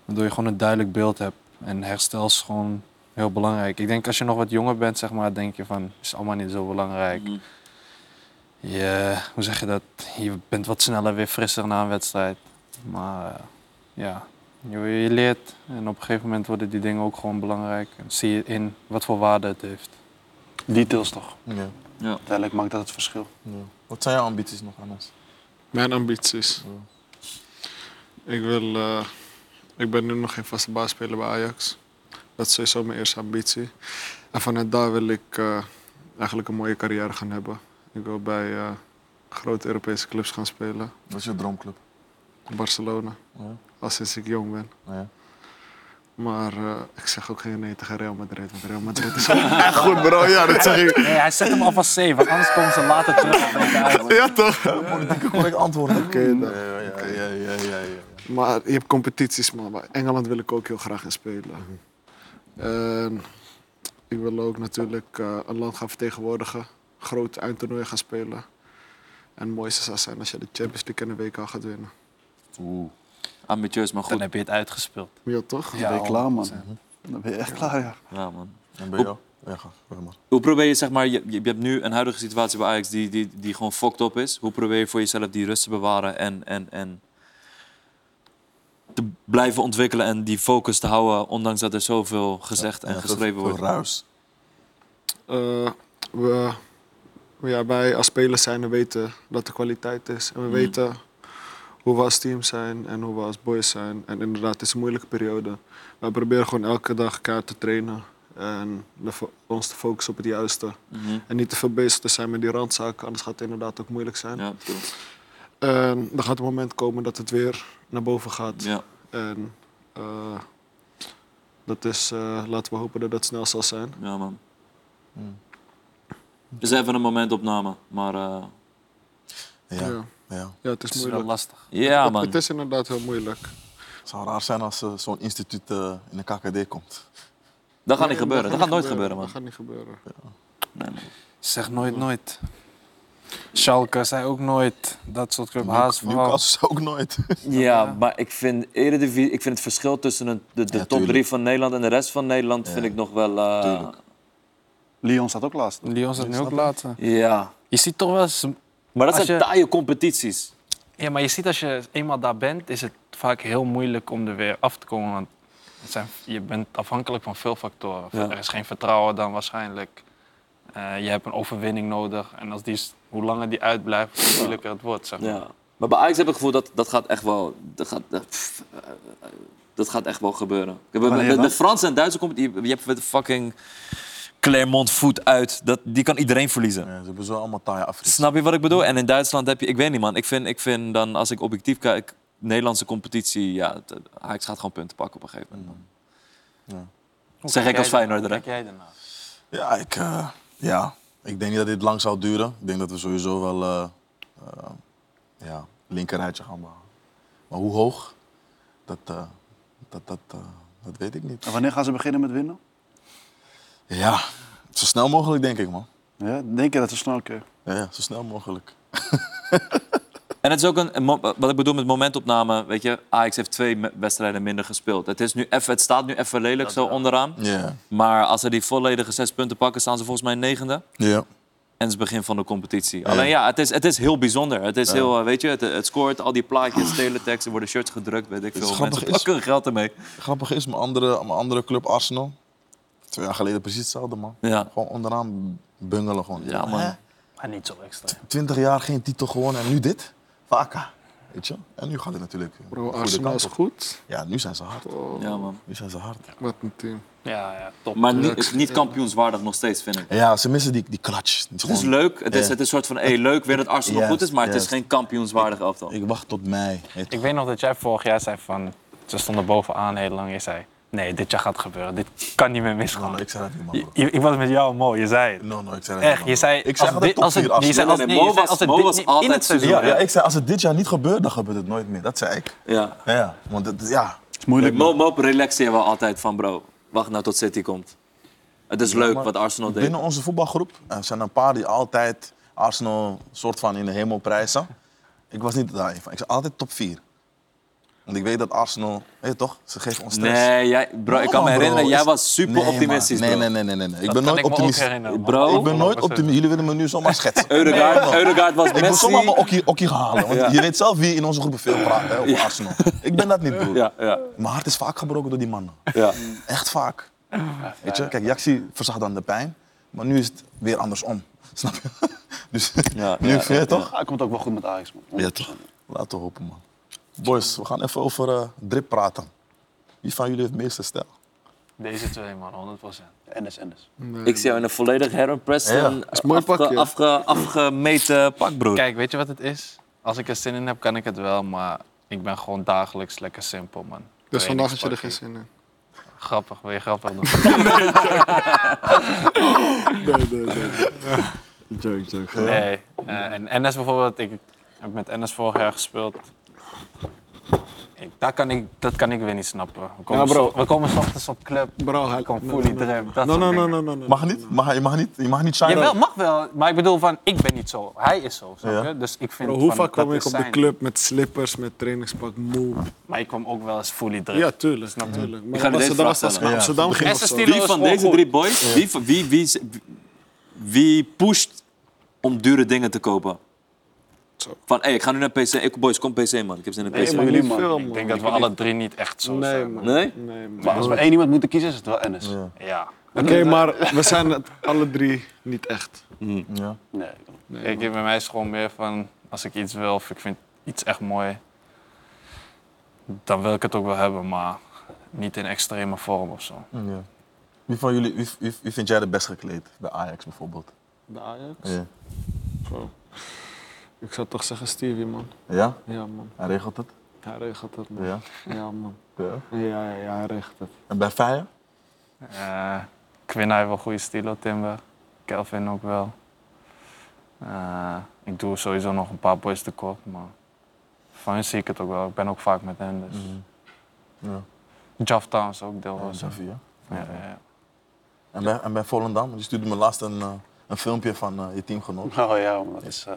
[SPEAKER 5] waardoor je gewoon een duidelijk beeld hebt. En herstel is gewoon heel
[SPEAKER 4] Mhm.
[SPEAKER 5] belangrijk. Ik denk als je nog wat jonger bent, zeg maar, denk je van, is allemaal niet zo belangrijk.
[SPEAKER 10] je, hoe zeg je dat? Je bent wat sneller weer frisser na een wedstrijd. Maar eh, ja, je, je leert. En op een gegeven moment worden die dingen ook gewoon belangrijk. En zie je in wat voor waarde het heeft.
[SPEAKER 1] Details toch?
[SPEAKER 3] Ja.
[SPEAKER 1] Uiteindelijk maakt dat het verschil.
[SPEAKER 3] Ja. Wat zijn jouw ambities nog aan ons?
[SPEAKER 6] Mijn ambities. Ik, wil, eh, ik ben nu nog geen vaste baasspeler bij Ajax. Dat is sowieso mijn eerste ambitie. En vanuit daar wil ik eh, eigenlijk een mooie carrière gaan hebben. Ik wil bij eh, grote Europese clubs gaan spelen.
[SPEAKER 3] Wat is je droomclub?
[SPEAKER 6] Barcelona.
[SPEAKER 3] Ja.
[SPEAKER 6] Al sinds ik jong ben.
[SPEAKER 3] Ja.
[SPEAKER 6] Maar eh, ik zeg ook geen nee tegen Real Madrid. Want Real Madrid is *laughs* gewoon echt goed, bro. Ja, dat zeg ik.
[SPEAKER 11] Nee, hij zet hem alvast safe, want anders komen ze later terug. op elkaar.
[SPEAKER 6] Ja, toch?
[SPEAKER 3] Politieke correct antwoord. *laughs* Oké,
[SPEAKER 6] dan.
[SPEAKER 3] ja, ja, ja, ja, ja, ja.
[SPEAKER 6] Maar je hebt competities, man. Maar Engeland wil ik ook heel graag in spelen. En ik wil ook natuurlijk eh, een land gaan vertegenwoordigen. Groot eindtoernooi gaan spelen. En het mooiste zou zijn als je de Champions League en de WK gaat winnen.
[SPEAKER 3] Oeh.
[SPEAKER 4] Ambitieus, maar
[SPEAKER 10] Dan
[SPEAKER 4] goed.
[SPEAKER 10] heb je het uitgespeeld.
[SPEAKER 6] Ja, toch?
[SPEAKER 1] Dan ben je klaar, man. Dan ben je echt klaar, ja.
[SPEAKER 4] Ja, man.
[SPEAKER 3] En bij jou? Ja, ga. Wacht maar.
[SPEAKER 4] Hoe probeer je, zeg maar, je, je hebt nu een huidige situatie bij Ajax die, die, die gewoon fucked up is. Hoe probeer je voor jezelf die rust te bewaren en, en, en te blijven ontwikkelen en die focus te houden, ondanks dat er zoveel gezegd en
[SPEAKER 3] Ja, veel-
[SPEAKER 4] geschreven
[SPEAKER 3] veel
[SPEAKER 4] wordt?
[SPEAKER 3] ruis.
[SPEAKER 6] Eh, we, ja, wij als spelers zijn en weten dat er kwaliteit is. En we
[SPEAKER 4] Mm.
[SPEAKER 6] weten hoe we als team zijn en hoe we als boys zijn. En inderdaad, het is een moeilijke periode. We proberen gewoon elke dag elkaar te trainen. En de fo- ons te focussen op het juiste.
[SPEAKER 4] Mhm.
[SPEAKER 6] En niet te veel bezig te zijn met die randzaken, anders gaat het inderdaad ook moeilijk zijn.
[SPEAKER 4] Ja, true.
[SPEAKER 6] En er gaat een moment komen dat het weer naar boven gaat.
[SPEAKER 4] ja,
[SPEAKER 6] En eh, dat is, eh, laten we hopen dat dat snel zal zijn.
[SPEAKER 4] ja, man.
[SPEAKER 3] Hmm.
[SPEAKER 4] Het is even een momentopname, maar eh,
[SPEAKER 3] Ja,
[SPEAKER 6] ja.
[SPEAKER 3] ja.
[SPEAKER 6] Ja, het is,
[SPEAKER 10] Het is wel
[SPEAKER 6] moeilijk.
[SPEAKER 10] lastig.
[SPEAKER 4] ja,
[SPEAKER 6] Het-
[SPEAKER 4] man.
[SPEAKER 6] Het is inderdaad heel moeilijk.
[SPEAKER 3] Het zou raar zijn als eh, zo'n instituut eh, in de KKD komt.
[SPEAKER 4] Dat gaat
[SPEAKER 6] Nee,
[SPEAKER 4] niet gebeuren. Dat gaat nooit gebeuren, man.
[SPEAKER 6] Dat gaat niet gebeuren.
[SPEAKER 4] Nee, man.
[SPEAKER 10] Zeg nooit nooit. Schalke zei ook nooit. Dat soort club. Haas
[SPEAKER 3] Nieuw- Newcastle is ook nooit.
[SPEAKER 4] Ja, maar ik vind, Eredivisie, ik vind het verschil tussen een- de, de
[SPEAKER 3] Ja,
[SPEAKER 4] top
[SPEAKER 3] tuurlijk.
[SPEAKER 4] drie van Nederland en de rest van Nederland vind ik nog wel... eh,
[SPEAKER 3] Tuurlijk.
[SPEAKER 1] Lyon staat ook laatst.
[SPEAKER 10] Lyon zat nu ook later.
[SPEAKER 4] ja,
[SPEAKER 10] Je ziet toch wel eens
[SPEAKER 4] maar dat
[SPEAKER 10] Als
[SPEAKER 4] zijn
[SPEAKER 10] je-
[SPEAKER 4] taaie competities.
[SPEAKER 5] Ja, maar je ziet als je eenmaal daar bent, is het vaak heel moeilijk om er weer af te komen. Want het zijn, je bent afhankelijk van veel factoren.
[SPEAKER 4] Ja.
[SPEAKER 5] Er is geen vertrouwen dan waarschijnlijk. Eh, je hebt een overwinning nodig. En als die, is- hoe langer die uitblijft, hoe moeilijker het wordt. Zeg maar.
[SPEAKER 4] Ja. Maar bij Ajax heb ik het gevoel dat dat gaat echt wel... Dat gaat, eh, pff, eh, eh, dat gaat echt wel gebeuren. Ik heb-
[SPEAKER 1] Wanneer
[SPEAKER 4] De, de
[SPEAKER 1] dan?
[SPEAKER 4] Franse en Duitse competitie... Je hebt de fucking Clermont voet uit. Dat, die kan iedereen verliezen.
[SPEAKER 3] Ja, ze hebben zo allemaal taaie Afrika.
[SPEAKER 4] Snap je wat ik bedoel? En in Duitsland heb je... Ik weet niet, man. Ik vind, ik vind dan, als ik objectief kijk... Nederlandse competitie, ja, het- Ajax gaat gewoon punten pakken op een gegeven moment. man. Zeg ik als Feyenoorder, hè?
[SPEAKER 10] Kijk jij daarna?
[SPEAKER 3] Ja, ik, eh, ja, ik denk niet dat dit lang zou duren. Ik denk dat we sowieso wel eh eh, ja, linkerrijtje gaan behalen. Maar hoe hoog, dat, eh, dat, dat, eh, dat weet ik niet.
[SPEAKER 1] En wanneer gaan ze beginnen met winnen?
[SPEAKER 3] Ja, zo snel mogelijk denk ik, man.
[SPEAKER 1] Ja, denk je dat ze snel oké.
[SPEAKER 3] Ja, ja, zo snel mogelijk.
[SPEAKER 4] En het is ook een, een mo- wat ik bedoel met momentopname. Weet je, Ajax heeft twee me- wedstrijden minder gespeeld. Het, is nu even, het staat nu even lelijk zo onderaan.
[SPEAKER 3] Ja,
[SPEAKER 4] Maar als ze die volledige zes punten pakken, staan ze volgens mij negende. En
[SPEAKER 3] ja.
[SPEAKER 4] het is het begin van de competitie. Alleen ja, het is, het is heel bijzonder. Het is heel, eh, weet je, het, het scoort al die plaatjes, teletext, er worden shirts gedrukt, weet ik
[SPEAKER 3] is
[SPEAKER 4] veel.
[SPEAKER 3] grappig
[SPEAKER 4] Mensen
[SPEAKER 3] is-
[SPEAKER 4] pakken hun geld ermee.
[SPEAKER 3] Grappig is, mijn andere, mijn andere club Arsenal, twee jaar geleden precies hetzelfde, man.
[SPEAKER 4] Ja,
[SPEAKER 3] Gewoon onderaan bungelen gewoon.
[SPEAKER 4] ja
[SPEAKER 3] Hè?
[SPEAKER 4] man.
[SPEAKER 11] Maar niet zo extra.
[SPEAKER 3] 20 jaar geen titel gewonnen en nu dit? Vaka. Weet je? En nu gaat het natuurlijk. eh, de
[SPEAKER 6] Bro,
[SPEAKER 3] goede
[SPEAKER 6] Arsenal
[SPEAKER 3] kant
[SPEAKER 6] is
[SPEAKER 3] op.
[SPEAKER 6] goed. Oh,
[SPEAKER 3] Ja, nu zijn ze hard.
[SPEAKER 4] Ja, man.
[SPEAKER 3] Nu zijn ze hard.
[SPEAKER 6] Wat een team.
[SPEAKER 5] Ja, ja, top.
[SPEAKER 4] Maar niet, niet kampioenswaardig nog steeds, vind ik.
[SPEAKER 3] Ja, ze missen die, die clutch. Het is
[SPEAKER 4] Het is
[SPEAKER 3] gewoon-
[SPEAKER 4] leuk. Het is,
[SPEAKER 3] Ja.
[SPEAKER 4] het is een soort van, hey, leuk weer dat Arsenal
[SPEAKER 3] Juist,
[SPEAKER 4] goed is, maar het is
[SPEAKER 3] juist.
[SPEAKER 4] geen kampioenswaardig elftal.
[SPEAKER 3] Ik wacht tot mei. weet je.
[SPEAKER 5] Ik weet nog dat jij vorig jaar zei van... Ze stonden bovenaan heel lang. Je zei, nee, dit jaar gaat het gebeuren. Dit kan niet meer
[SPEAKER 3] No, no,
[SPEAKER 4] Nou,
[SPEAKER 5] misgaan.
[SPEAKER 3] ik zei dat niet, man.
[SPEAKER 5] Je-
[SPEAKER 3] bro.
[SPEAKER 5] je- Ik was met jou mooi, je zei het.
[SPEAKER 3] No, no, ik zei dat niet,
[SPEAKER 5] Echt,
[SPEAKER 3] man,
[SPEAKER 5] je
[SPEAKER 3] bro.
[SPEAKER 5] zei...
[SPEAKER 3] Ik zei
[SPEAKER 5] als
[SPEAKER 3] altijd
[SPEAKER 5] dit,
[SPEAKER 3] top
[SPEAKER 5] als het,
[SPEAKER 3] 4
[SPEAKER 5] nee, je zei
[SPEAKER 3] Arsenal.
[SPEAKER 5] als,
[SPEAKER 4] Nee, nee,
[SPEAKER 5] nee, je
[SPEAKER 4] Mo
[SPEAKER 5] zei
[SPEAKER 4] was-
[SPEAKER 5] als het
[SPEAKER 4] Mo
[SPEAKER 5] dit
[SPEAKER 4] was
[SPEAKER 5] niet in
[SPEAKER 4] altijd
[SPEAKER 5] het seizoen...
[SPEAKER 3] Ja,
[SPEAKER 5] hè?
[SPEAKER 3] ja, ik zei als het dit jaar niet gebeurt, dan gebeurt het nooit meer. Dat zei ik.
[SPEAKER 4] Ja.
[SPEAKER 3] Ja, ja. Want het, ja.
[SPEAKER 1] is moeilijk.
[SPEAKER 4] Mo, Mo relaxen je wel altijd van bro, wacht nou tot City komt. Het is leuk
[SPEAKER 3] maar
[SPEAKER 4] wat Arsenal deed.
[SPEAKER 3] Binnen onze voetbalgroep eh, zijn er een paar die altijd Arsenal soort van in de hemel prijzen. Ik was niet daar één van. Ik zei altijd top 4. Want ik weet dat Arsenal, weet je toch, ze geven ons stress.
[SPEAKER 4] Nee, jij, bro, ik
[SPEAKER 3] man,
[SPEAKER 4] kan me
[SPEAKER 3] bro,
[SPEAKER 4] herinneren,
[SPEAKER 3] is-
[SPEAKER 4] jij was super
[SPEAKER 3] Nee, man.
[SPEAKER 4] optimistisch, bro.
[SPEAKER 3] Nee, nee, nee, nee, nee. nee. Ik
[SPEAKER 8] Dat kan
[SPEAKER 3] ben nooit
[SPEAKER 8] ik me ook
[SPEAKER 3] optimistisch.
[SPEAKER 8] herinneren. man.
[SPEAKER 4] Bro,
[SPEAKER 3] Ik ben nooit optimistisch. Jullie willen me nu
[SPEAKER 4] *laughs*
[SPEAKER 3] zomaar schetsen.
[SPEAKER 4] Eudegaard, Eudegaard was
[SPEAKER 3] Ik moet
[SPEAKER 4] Messi.
[SPEAKER 3] zomaar mijn okkie, okkie gaan halen. Want
[SPEAKER 4] Ja.
[SPEAKER 3] je weet zelf wie in onze groepen veel praat hè, over
[SPEAKER 4] Ja.
[SPEAKER 3] Arsenal. Ik ben dat niet, broer.
[SPEAKER 4] Ja, ja,
[SPEAKER 3] Mijn hart is vaak gebroken door die mannen.
[SPEAKER 4] ja.
[SPEAKER 3] Echt vaak. Weet je? Kijk, Jaxi verzag dan de pijn. Maar nu is het weer andersom. *laughs* Snap je? Dus
[SPEAKER 4] Ja,
[SPEAKER 3] *laughs* nu
[SPEAKER 4] ja,
[SPEAKER 3] vind je
[SPEAKER 4] ja,
[SPEAKER 3] toch?
[SPEAKER 1] Ah, hij komt ook wel goed met Ajax, man.
[SPEAKER 3] Ja, toch. Laten we hopen, man. Boys, we gaan even over eh, drip praten. Wie van jullie heeft het meeste stijl?
[SPEAKER 5] Deze twee, man, 100%.
[SPEAKER 1] Ennis, Ennis.
[SPEAKER 4] Ik zie jou in een volledig Heron Preston
[SPEAKER 9] is een mooi
[SPEAKER 4] afge-
[SPEAKER 9] pakje.
[SPEAKER 4] afge- afgemeten pak, broer.
[SPEAKER 5] Kijk, weet je wat het is? Als ik er zin in heb, kan ik het wel, maar ik ben gewoon dagelijks lekker simpel, man.
[SPEAKER 9] Dus vandaag had je er geen
[SPEAKER 5] Trainingspakje.
[SPEAKER 9] zin in.
[SPEAKER 5] Grappig, wil je grappig doen?
[SPEAKER 6] *laughs*
[SPEAKER 9] Nee, nee, nee. *laughs* Joke, joke.
[SPEAKER 5] Nee. Eh, en NS bijvoorbeeld, ik heb met NS vorig jaar gespeeld. Ik, dat, kan ik, dat kan ik weer niet snappen. We komen,
[SPEAKER 6] Ja, bro.
[SPEAKER 5] s- we komen s ochtends op club,
[SPEAKER 6] Bro, hij
[SPEAKER 5] ik kom fully drip. dat
[SPEAKER 6] No,
[SPEAKER 5] soort
[SPEAKER 6] no, no,
[SPEAKER 5] dingen.
[SPEAKER 6] no, no, no.
[SPEAKER 3] Mag niet? Mag, je mag niet? Je mag niet shine.
[SPEAKER 5] Jawel, mag wel, maar ik bedoel van, ik ben niet zo. Hij is zo, snap
[SPEAKER 3] Ja.
[SPEAKER 5] je? Dus ik vind
[SPEAKER 6] Bro, hoe
[SPEAKER 5] van,
[SPEAKER 6] vaak
[SPEAKER 5] dat
[SPEAKER 6] kwam ik
[SPEAKER 5] is
[SPEAKER 6] op de
[SPEAKER 5] zijn.
[SPEAKER 6] club met slippers, met trainingspak, moe?
[SPEAKER 5] Maar ik kwam ook wel eens fully drip.
[SPEAKER 6] Ja, tuurlijk, natuurlijk. Maar
[SPEAKER 4] ga
[SPEAKER 6] dan
[SPEAKER 4] je
[SPEAKER 6] was
[SPEAKER 4] deze
[SPEAKER 6] dan
[SPEAKER 4] vraag
[SPEAKER 6] was dat
[SPEAKER 3] stellen.
[SPEAKER 6] Amsterdam ging of
[SPEAKER 5] Essen
[SPEAKER 6] zo.
[SPEAKER 5] Stilo
[SPEAKER 4] Wie
[SPEAKER 5] is
[SPEAKER 4] van
[SPEAKER 5] gewoon
[SPEAKER 4] deze
[SPEAKER 5] goed.
[SPEAKER 4] drie boys, wie, van- wie, wie, is- wie pusht om dure dingen te kopen?
[SPEAKER 6] Zo.
[SPEAKER 4] Van, hé, ik ga nu naar PC. Ik, boys, kom PC, man. Ik heb zin in PC.
[SPEAKER 1] maar
[SPEAKER 6] Nee,
[SPEAKER 1] jullie,
[SPEAKER 6] niet
[SPEAKER 1] man.
[SPEAKER 6] veel,
[SPEAKER 5] Ik
[SPEAKER 6] man.
[SPEAKER 5] denk dat we alle drie niet echt zo
[SPEAKER 6] Nee,
[SPEAKER 5] zijn.
[SPEAKER 6] man.
[SPEAKER 4] Nee?
[SPEAKER 6] Nee, man.
[SPEAKER 1] Maar als we één iemand moeten kiezen, is het wel Ennis.
[SPEAKER 3] Ja.
[SPEAKER 5] Ja.
[SPEAKER 6] Oké, maar we zijn het alle drie niet echt.
[SPEAKER 3] Ja.
[SPEAKER 1] Nee,
[SPEAKER 6] Nee,
[SPEAKER 5] Ik,
[SPEAKER 6] man.
[SPEAKER 5] bij mij is het gewoon meer van, als ik iets wil of ik vind iets echt mooi, dan wil ik het ook wel hebben, maar niet in extreme vorm of zo.
[SPEAKER 3] Ja. Wie van jullie, wie, wie, wie vind jij de best gekleed? Bij Ajax bijvoorbeeld.
[SPEAKER 6] De Ajax?
[SPEAKER 3] Ja?
[SPEAKER 6] Bro. Ik zou toch zeggen Stevie, man.
[SPEAKER 3] ja?
[SPEAKER 6] Ja, man.
[SPEAKER 3] Hij regelt het.
[SPEAKER 6] Hij regelt het, man.
[SPEAKER 3] Ja.
[SPEAKER 6] Ja, man.
[SPEAKER 3] ja.
[SPEAKER 6] Ja, ja, ja, hij regelt het.
[SPEAKER 3] En bij Feyenoord?
[SPEAKER 5] Eh Quinn heeft wel goede stilo, Timber. Kelvin ook wel. Eh, ik doe sowieso nog een paar boys tekort, maar van hen zie ik het ook wel. Ik ben ook vaak met hen, dus...
[SPEAKER 1] Mhm.
[SPEAKER 3] Ja.
[SPEAKER 5] Jaff Towns ook deel was.
[SPEAKER 3] Xavi, ja.
[SPEAKER 5] Ja, ja, ja.
[SPEAKER 3] Oh, En bij, en bij Volendam? Je stuurde me laatst een, eh, een filmpje van eh, je teamgenoot.
[SPEAKER 1] Oh ja, man, dat is... eh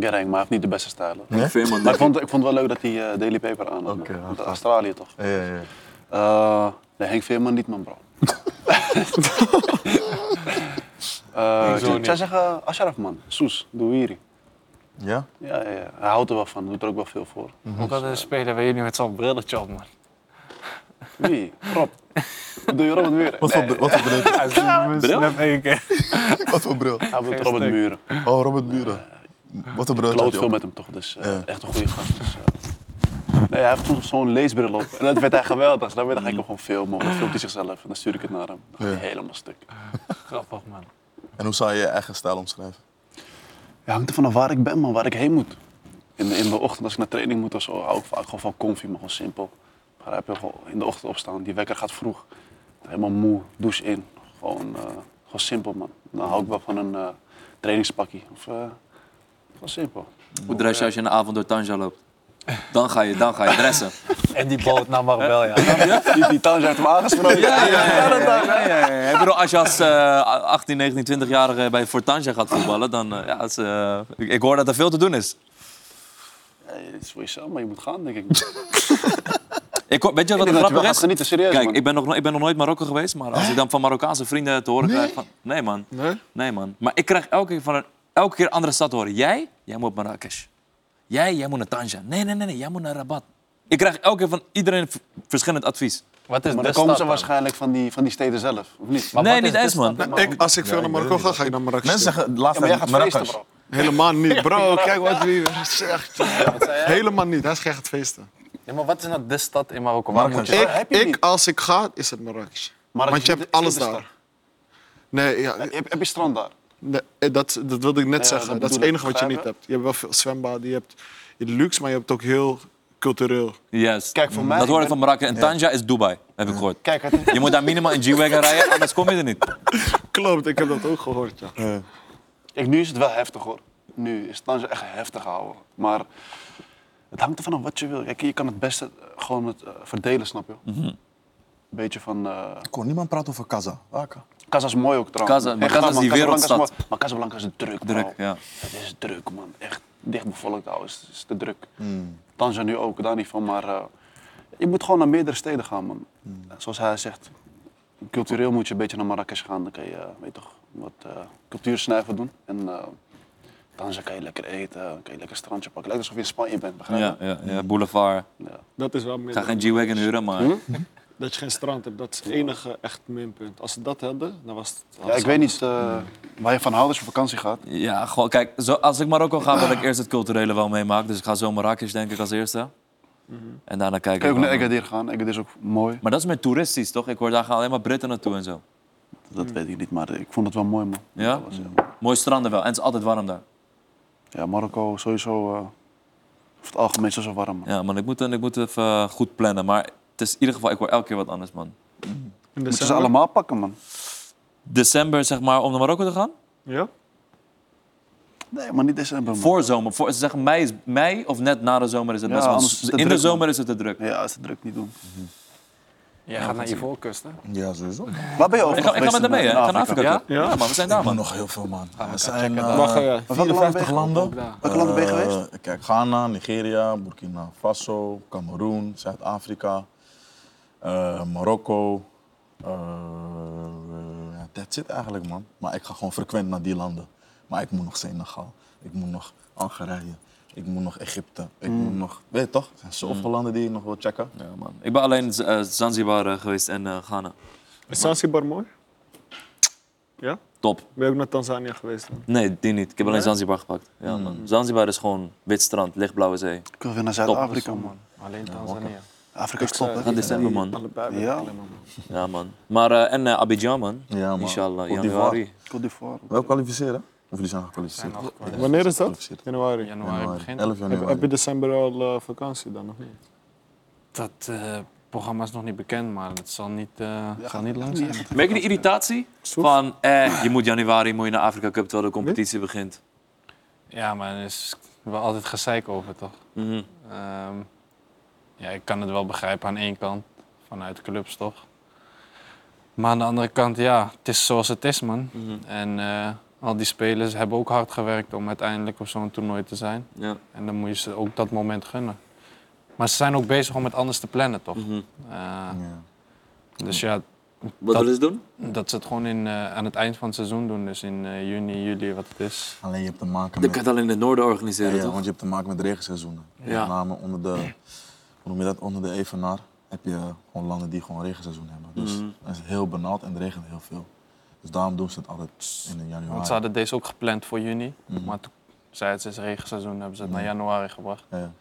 [SPEAKER 1] Gering, maar hij heeft niet de beste stijl. hoor.
[SPEAKER 3] Nee?
[SPEAKER 4] Veerman,
[SPEAKER 1] Maar ik vond, ik vond het wel leuk dat hij eh, Daily Paper aan had.
[SPEAKER 3] Oké,
[SPEAKER 1] man.
[SPEAKER 3] ja.
[SPEAKER 1] Uit Australië toch?
[SPEAKER 3] Ja, ja, ja.
[SPEAKER 1] Eh nee, Henk Veerman niet,
[SPEAKER 3] *laughs*
[SPEAKER 1] man, bro. Eh ik zou- ik zou zeggen Ashraf, man. Soes, Douiri.
[SPEAKER 3] Ja?
[SPEAKER 1] Ja, ja, ja, hij houdt er wel van. Doet er ook wel veel voor.
[SPEAKER 5] Ook altijd spelen bij jullie met zo'n brilletje op, *laughs* man.
[SPEAKER 1] Wie? Rob. Doe je Robert weer?
[SPEAKER 3] Wat voor, br- wat voor
[SPEAKER 1] *laughs*
[SPEAKER 3] bril?
[SPEAKER 5] Snap één keer.
[SPEAKER 3] wat voor bril?
[SPEAKER 1] Hij wil Robert Muren.
[SPEAKER 3] Oh, Robert Buren.
[SPEAKER 1] Eh,
[SPEAKER 3] Wat een bril. had
[SPEAKER 1] kloot
[SPEAKER 3] je
[SPEAKER 1] veel
[SPEAKER 3] op.
[SPEAKER 1] met hem toch, dus eh,
[SPEAKER 3] Ja.
[SPEAKER 1] echt een goede gast. Dus, eh. nee, hij heeft soms zo'n leesbril op. En dat werd hij geweldig. Dus dan werd- dan ga ik hem gewoon filmen. Dan filmt hij zichzelf en dan stuur ik het naar hem. Dan gaat hij helemaal stuk.
[SPEAKER 5] Grappig, man.
[SPEAKER 3] En hoe zou je je eigen stijl omschrijven?
[SPEAKER 1] Ja, hangt er vanaf waar ik ben, man. Waar ik heen moet. In de, in de ochtend als ik naar training moet of zo, hou ik vaak gewoon van comfy, maar gewoon simpel. Maar heb je gewoon in de ochtend opstaan. Die wekker gaat vroeg. Helemaal moe, douche in. Gewoon, eh, gewoon simpel, man. Dan hou ik wel van een eh, trainingspakkie. Of, eh, gewoon simpel.
[SPEAKER 4] Hoe dress je als je in de avond door Tanja loopt? Dan ga je, dan ga je dressen.
[SPEAKER 7] En die boot naar Marbella.
[SPEAKER 2] *laughs*
[SPEAKER 7] ja.
[SPEAKER 1] Die, die thuis heeft hem aangesproken.
[SPEAKER 4] Ja, ja, ja. ja, ja, ja. Ik bedoel, als je als eh, 18, 19, 20-jarige bij Fortanja gaat voetballen, dan... eh, ja, het is, eh, ik, ik hoor dat er veel te doen is.
[SPEAKER 1] Nee, het is voor jezelf, maar je moet gaan, denk ik. ik
[SPEAKER 4] Ik, hoor-
[SPEAKER 1] denk dat
[SPEAKER 4] weet je wat het
[SPEAKER 1] je wel
[SPEAKER 4] grappig
[SPEAKER 1] gaat
[SPEAKER 4] is?
[SPEAKER 1] genieten, serieus.
[SPEAKER 4] Kijk,
[SPEAKER 1] man.
[SPEAKER 4] ik ben, nog, ik ben nog nooit Marokko geweest, maar als ik dan van Marokkaanse vrienden te horen krijg van... Nee man,
[SPEAKER 9] Nee?
[SPEAKER 4] nee man. Maar ik krijg elke keer van een elke keer een andere stad te horen. Jij, jij moet naar Marrakesh. Jij, jij moet naar Tanja. Nee, nee, nee, nee, jij moet naar Rabat. Ik krijg elke keer van iedereen v- verschillend advies.
[SPEAKER 5] Wat
[SPEAKER 1] maar dan
[SPEAKER 5] is de
[SPEAKER 1] komen
[SPEAKER 5] stad
[SPEAKER 1] ze
[SPEAKER 5] dan?
[SPEAKER 1] waarschijnlijk van die, van die steden zelf, of niet?
[SPEAKER 5] Maar
[SPEAKER 4] nee,
[SPEAKER 5] wat
[SPEAKER 4] niet
[SPEAKER 5] is de
[SPEAKER 4] eens man.
[SPEAKER 5] stad?
[SPEAKER 9] Nou, Ik, als ik veel naar Marokko ga, ga ik naar Marrakesh.
[SPEAKER 3] Mensen zeggen laatst
[SPEAKER 1] Ja, maar jij gaat feesten,
[SPEAKER 3] Marrakesh.
[SPEAKER 1] bro.
[SPEAKER 9] Helemaal niet.
[SPEAKER 1] *laughs*
[SPEAKER 9] Bro, kijk wat hij weer zegt. Helemaal niet. Hij is gek aan het feesten.
[SPEAKER 5] Ja, maar wat is nou de stad in Marokko? Waar moet
[SPEAKER 3] Marrakesh.
[SPEAKER 5] je...
[SPEAKER 1] Maar
[SPEAKER 9] Ik,
[SPEAKER 1] heb je
[SPEAKER 9] ik,
[SPEAKER 1] niet.
[SPEAKER 9] als ik ga, is het Marrakesh. Want
[SPEAKER 1] Marrakesh
[SPEAKER 9] je hebt
[SPEAKER 1] is niet-
[SPEAKER 9] alles
[SPEAKER 1] is niet de
[SPEAKER 9] daar. Nee, ja,
[SPEAKER 1] Heb, heb je strand daar?
[SPEAKER 9] Nee, eh, dat, dat wilde ik net
[SPEAKER 1] Ja,
[SPEAKER 9] zeggen.
[SPEAKER 1] dat
[SPEAKER 9] Dat is het
[SPEAKER 1] bedoel
[SPEAKER 9] enige
[SPEAKER 1] ik.
[SPEAKER 9] wat je niet
[SPEAKER 1] Begrijpen?
[SPEAKER 9] hebt. Je hebt wel veel zwembaden, je hebt luxe, maar je hebt het ook heel cultureel.
[SPEAKER 4] Yes.
[SPEAKER 1] Kijk, voor mij...
[SPEAKER 4] dat hoor ik
[SPEAKER 1] ben-
[SPEAKER 4] van Marrakesh. En Tanja is Dubai, heb ik gehoord.
[SPEAKER 1] Kijk, het is...
[SPEAKER 4] Je moet daar minimaal in G-Wagon rijden, anders kom je er niet.
[SPEAKER 9] Klopt, ik heb dat ook gehoord. Ja.
[SPEAKER 1] Ik, nu is het wel heftig hoor. Nu is het dan zo echt heftig houden. Maar het hangt ervan af wat je wil. Kijk, je kan het beste eh, gewoon het eh, verdelen, snap je?
[SPEAKER 4] Mhm.
[SPEAKER 1] Een beetje van. eh
[SPEAKER 3] Kon niemand praten over Kaza? Waka.
[SPEAKER 1] Casa is mooi ook trouwens.
[SPEAKER 4] Casa- maar
[SPEAKER 1] Echt
[SPEAKER 4] Casa
[SPEAKER 1] waar,
[SPEAKER 4] is
[SPEAKER 1] man.
[SPEAKER 4] die
[SPEAKER 1] Casablanca
[SPEAKER 4] wereldstad.
[SPEAKER 1] mooi. maar Casablanca is druk, bro.
[SPEAKER 4] Druk, ja.
[SPEAKER 1] Het is druk, man. Echt dicht bevolkt houden is, is te druk. Tanzania nu ook, daar niet van. Maar eh, Je moet gewoon naar meerdere steden gaan, man. Zoals hij zegt, cultureel moet je een beetje naar Marrakesh gaan. Dan kan je, eh, weet toch, wat eh cultuursnuiven doen. En eh, dan kan je lekker eten, dan kan je lekker strandje pakken. Lijkt alsof je in Spanje bent, begrijp je?
[SPEAKER 4] Ja, ja, ja, boulevard.
[SPEAKER 6] Dat is wel
[SPEAKER 4] Ik
[SPEAKER 6] meer
[SPEAKER 4] ga geen G-Wagon huren, maar...
[SPEAKER 1] Hm?
[SPEAKER 6] dat je geen strand hebt. Dat is het enige echt minpunt. Als ze dat hadden, dan was het...
[SPEAKER 1] Ja, ik weet niet eh, waar je van houdt als je op vakantie gaat.
[SPEAKER 4] Ja, gewoon, kijk, zo, als ik Marokko ga,
[SPEAKER 1] *clears throat*
[SPEAKER 4] wil ik eerst het culturele wel meemaken. Dus ik ga zo Marrakesh, denk ik, als eerste. En daarna
[SPEAKER 1] Kun
[SPEAKER 4] kijken.
[SPEAKER 1] je Mhm. ook naar
[SPEAKER 4] wel.
[SPEAKER 1] Agadir gaan. Agadir is ook mooi.
[SPEAKER 4] Maar dat is meer toeristisch, toch? Ik hoor daar gaan alleen maar Britten naartoe en zo.
[SPEAKER 1] Dat weet ik niet, maar ik vond het wel mooi, man.
[SPEAKER 4] Ja? Mm.
[SPEAKER 1] Dat was, ja.
[SPEAKER 4] Mooie stranden wel. En het is altijd warm daar.
[SPEAKER 1] Ja, Marokko sowieso, eh over het algemeen sowieso warm. man.
[SPEAKER 4] Ja, man, ik moet, ik moet even eh, goed plannen. Maar het is in ieder geval, ik hoor elke keer wat anders, man.
[SPEAKER 6] In
[SPEAKER 4] dus
[SPEAKER 1] Moeten ze
[SPEAKER 6] december?
[SPEAKER 1] allemaal pakken, man.
[SPEAKER 4] December, zeg maar, om naar Marokko te gaan?
[SPEAKER 1] Mm.
[SPEAKER 6] Ja?
[SPEAKER 1] Nee, maar niet december, man.
[SPEAKER 4] Voor zomer. Voor, ze zeggen mei, is, mei of net na de zomer is het
[SPEAKER 1] Ja,
[SPEAKER 4] best wel.
[SPEAKER 1] anders is het te
[SPEAKER 4] in de
[SPEAKER 1] druk, man.
[SPEAKER 4] zomer is het te druk.
[SPEAKER 1] Ja, als ze druk niet doen.
[SPEAKER 8] Jij gaat naar Ivoorkust, hè?
[SPEAKER 3] Ja, sowieso.
[SPEAKER 1] Waar ben je eh, over
[SPEAKER 4] Ik ga, ik ga met hem mee, hè? Ik ga naar Afrika.
[SPEAKER 8] Ja?
[SPEAKER 4] toe. Ja? man, we zijn daar,
[SPEAKER 3] Maar
[SPEAKER 4] Ah, man.
[SPEAKER 3] nog heel veel, man. We zijn eh,
[SPEAKER 6] Wacht, eh,
[SPEAKER 3] 54
[SPEAKER 1] welke landen
[SPEAKER 3] landen.
[SPEAKER 1] Welke landen ben je
[SPEAKER 3] Eh,
[SPEAKER 1] geweest?
[SPEAKER 3] Kijk, Ghana, Nigeria, Burkina Faso, Cameroen, Zuid-Afrika, eh, Marokko. Eh, ja, dat zit eigenlijk, man. Maar ik ga gewoon frequent naar die landen. Maar ik moet nog Senegal, ik moet nog Algerije, ik moet nog Egypte, ik moet nog... Weet je toch? Er zijn zoveel landen die ik nog wil checken.
[SPEAKER 4] Ja, man. Ik ben alleen eh, Zanzibar eh, geweest en eh, Ghana.
[SPEAKER 6] is Zanzibar mooi? Ja?
[SPEAKER 4] Top.
[SPEAKER 6] Ben je ook naar Tanzania geweest dan?
[SPEAKER 4] Nee, die niet. Ik heb alleen
[SPEAKER 6] Nee?
[SPEAKER 4] Zanzibar gepakt. Ja, man. Zanzibar is gewoon wit strand, lichtblauwe zee.
[SPEAKER 1] Ik wil weer naar Zuid-Afrika, man.
[SPEAKER 8] Alleen Tanzania.
[SPEAKER 1] Afrika is
[SPEAKER 6] Ik
[SPEAKER 1] top,
[SPEAKER 6] zou-
[SPEAKER 1] hè?
[SPEAKER 4] Gaat december, man.
[SPEAKER 6] Allebei ben ik
[SPEAKER 1] Ja.
[SPEAKER 6] alleen maar mooi.
[SPEAKER 4] Ja, man. Maar, eh, en eh, Abidjan, man.
[SPEAKER 3] Ja, man.
[SPEAKER 4] Inshallah,
[SPEAKER 3] Op die
[SPEAKER 4] januari.
[SPEAKER 1] Côte d'Ivoire.
[SPEAKER 3] Wel kwalificeren? Of jullie zijn gekwalificeerd?
[SPEAKER 8] Zijn al gekwalificeerd.
[SPEAKER 3] Ja,
[SPEAKER 6] Wanneer is dat?
[SPEAKER 3] gekwalificeerd.
[SPEAKER 6] Januari.
[SPEAKER 2] Januari begint.
[SPEAKER 3] 11
[SPEAKER 6] Heb, heb je
[SPEAKER 3] januari.
[SPEAKER 6] december al eh, vakantie dan, of niet?
[SPEAKER 2] Dat eh, programma is nog niet bekend, maar het zal niet, eh zal niet lang
[SPEAKER 1] niet
[SPEAKER 2] zijn.
[SPEAKER 1] echt.
[SPEAKER 4] Merk je die irritatie?
[SPEAKER 6] Soef?
[SPEAKER 4] Van, eh, je moet januari moet je naar Afrika Cup terwijl de competitie begint.
[SPEAKER 2] Ja, maar er is wel altijd gezeik over, toch?
[SPEAKER 4] Mhm.
[SPEAKER 2] Ehm, ja, ik kan het wel begrijpen aan één kant, vanuit clubs toch. Maar aan de andere kant, ja, het is zoals het is, man.
[SPEAKER 4] Mhm.
[SPEAKER 2] En eh, al die spelers hebben ook hard gewerkt om uiteindelijk op zo'n toernooi te zijn.
[SPEAKER 4] Ja.
[SPEAKER 2] En dan moet je ze ook dat moment gunnen. Maar ze zijn ook bezig om het anders te plannen, toch?
[SPEAKER 4] Mhm.
[SPEAKER 2] Eh,
[SPEAKER 3] Ja.
[SPEAKER 2] dus ja,
[SPEAKER 4] Wat
[SPEAKER 2] Dat-
[SPEAKER 4] willen ze doen?
[SPEAKER 2] dat ze het gewoon in, eh, aan het eind van het seizoen doen. Dus in eh, juni, juli, wat het is.
[SPEAKER 3] Alleen je hebt te maken
[SPEAKER 4] Dan
[SPEAKER 3] met...
[SPEAKER 4] kan je het alleen in het noorden
[SPEAKER 3] Ja,
[SPEAKER 4] organiseren,
[SPEAKER 3] ja,
[SPEAKER 4] toch?
[SPEAKER 3] want je hebt te maken met regenseizoenen.
[SPEAKER 4] Ja.
[SPEAKER 3] Met name onder de, hoe noem je dat, onder de evenaar heb je gewoon landen die gewoon regenseizoen hebben. Dus
[SPEAKER 4] Mhm.
[SPEAKER 3] dan is het heel benauwd en het regent heel veel. Dus daarom doen ze het altijd in de januari.
[SPEAKER 2] Want ze hadden deze ook gepland voor juni.
[SPEAKER 3] Mhm.
[SPEAKER 2] Maar toen zei het, het is regenseizoen, hebben ze het naar
[SPEAKER 3] Mhm.
[SPEAKER 2] januari gebracht.
[SPEAKER 3] Ja, ja.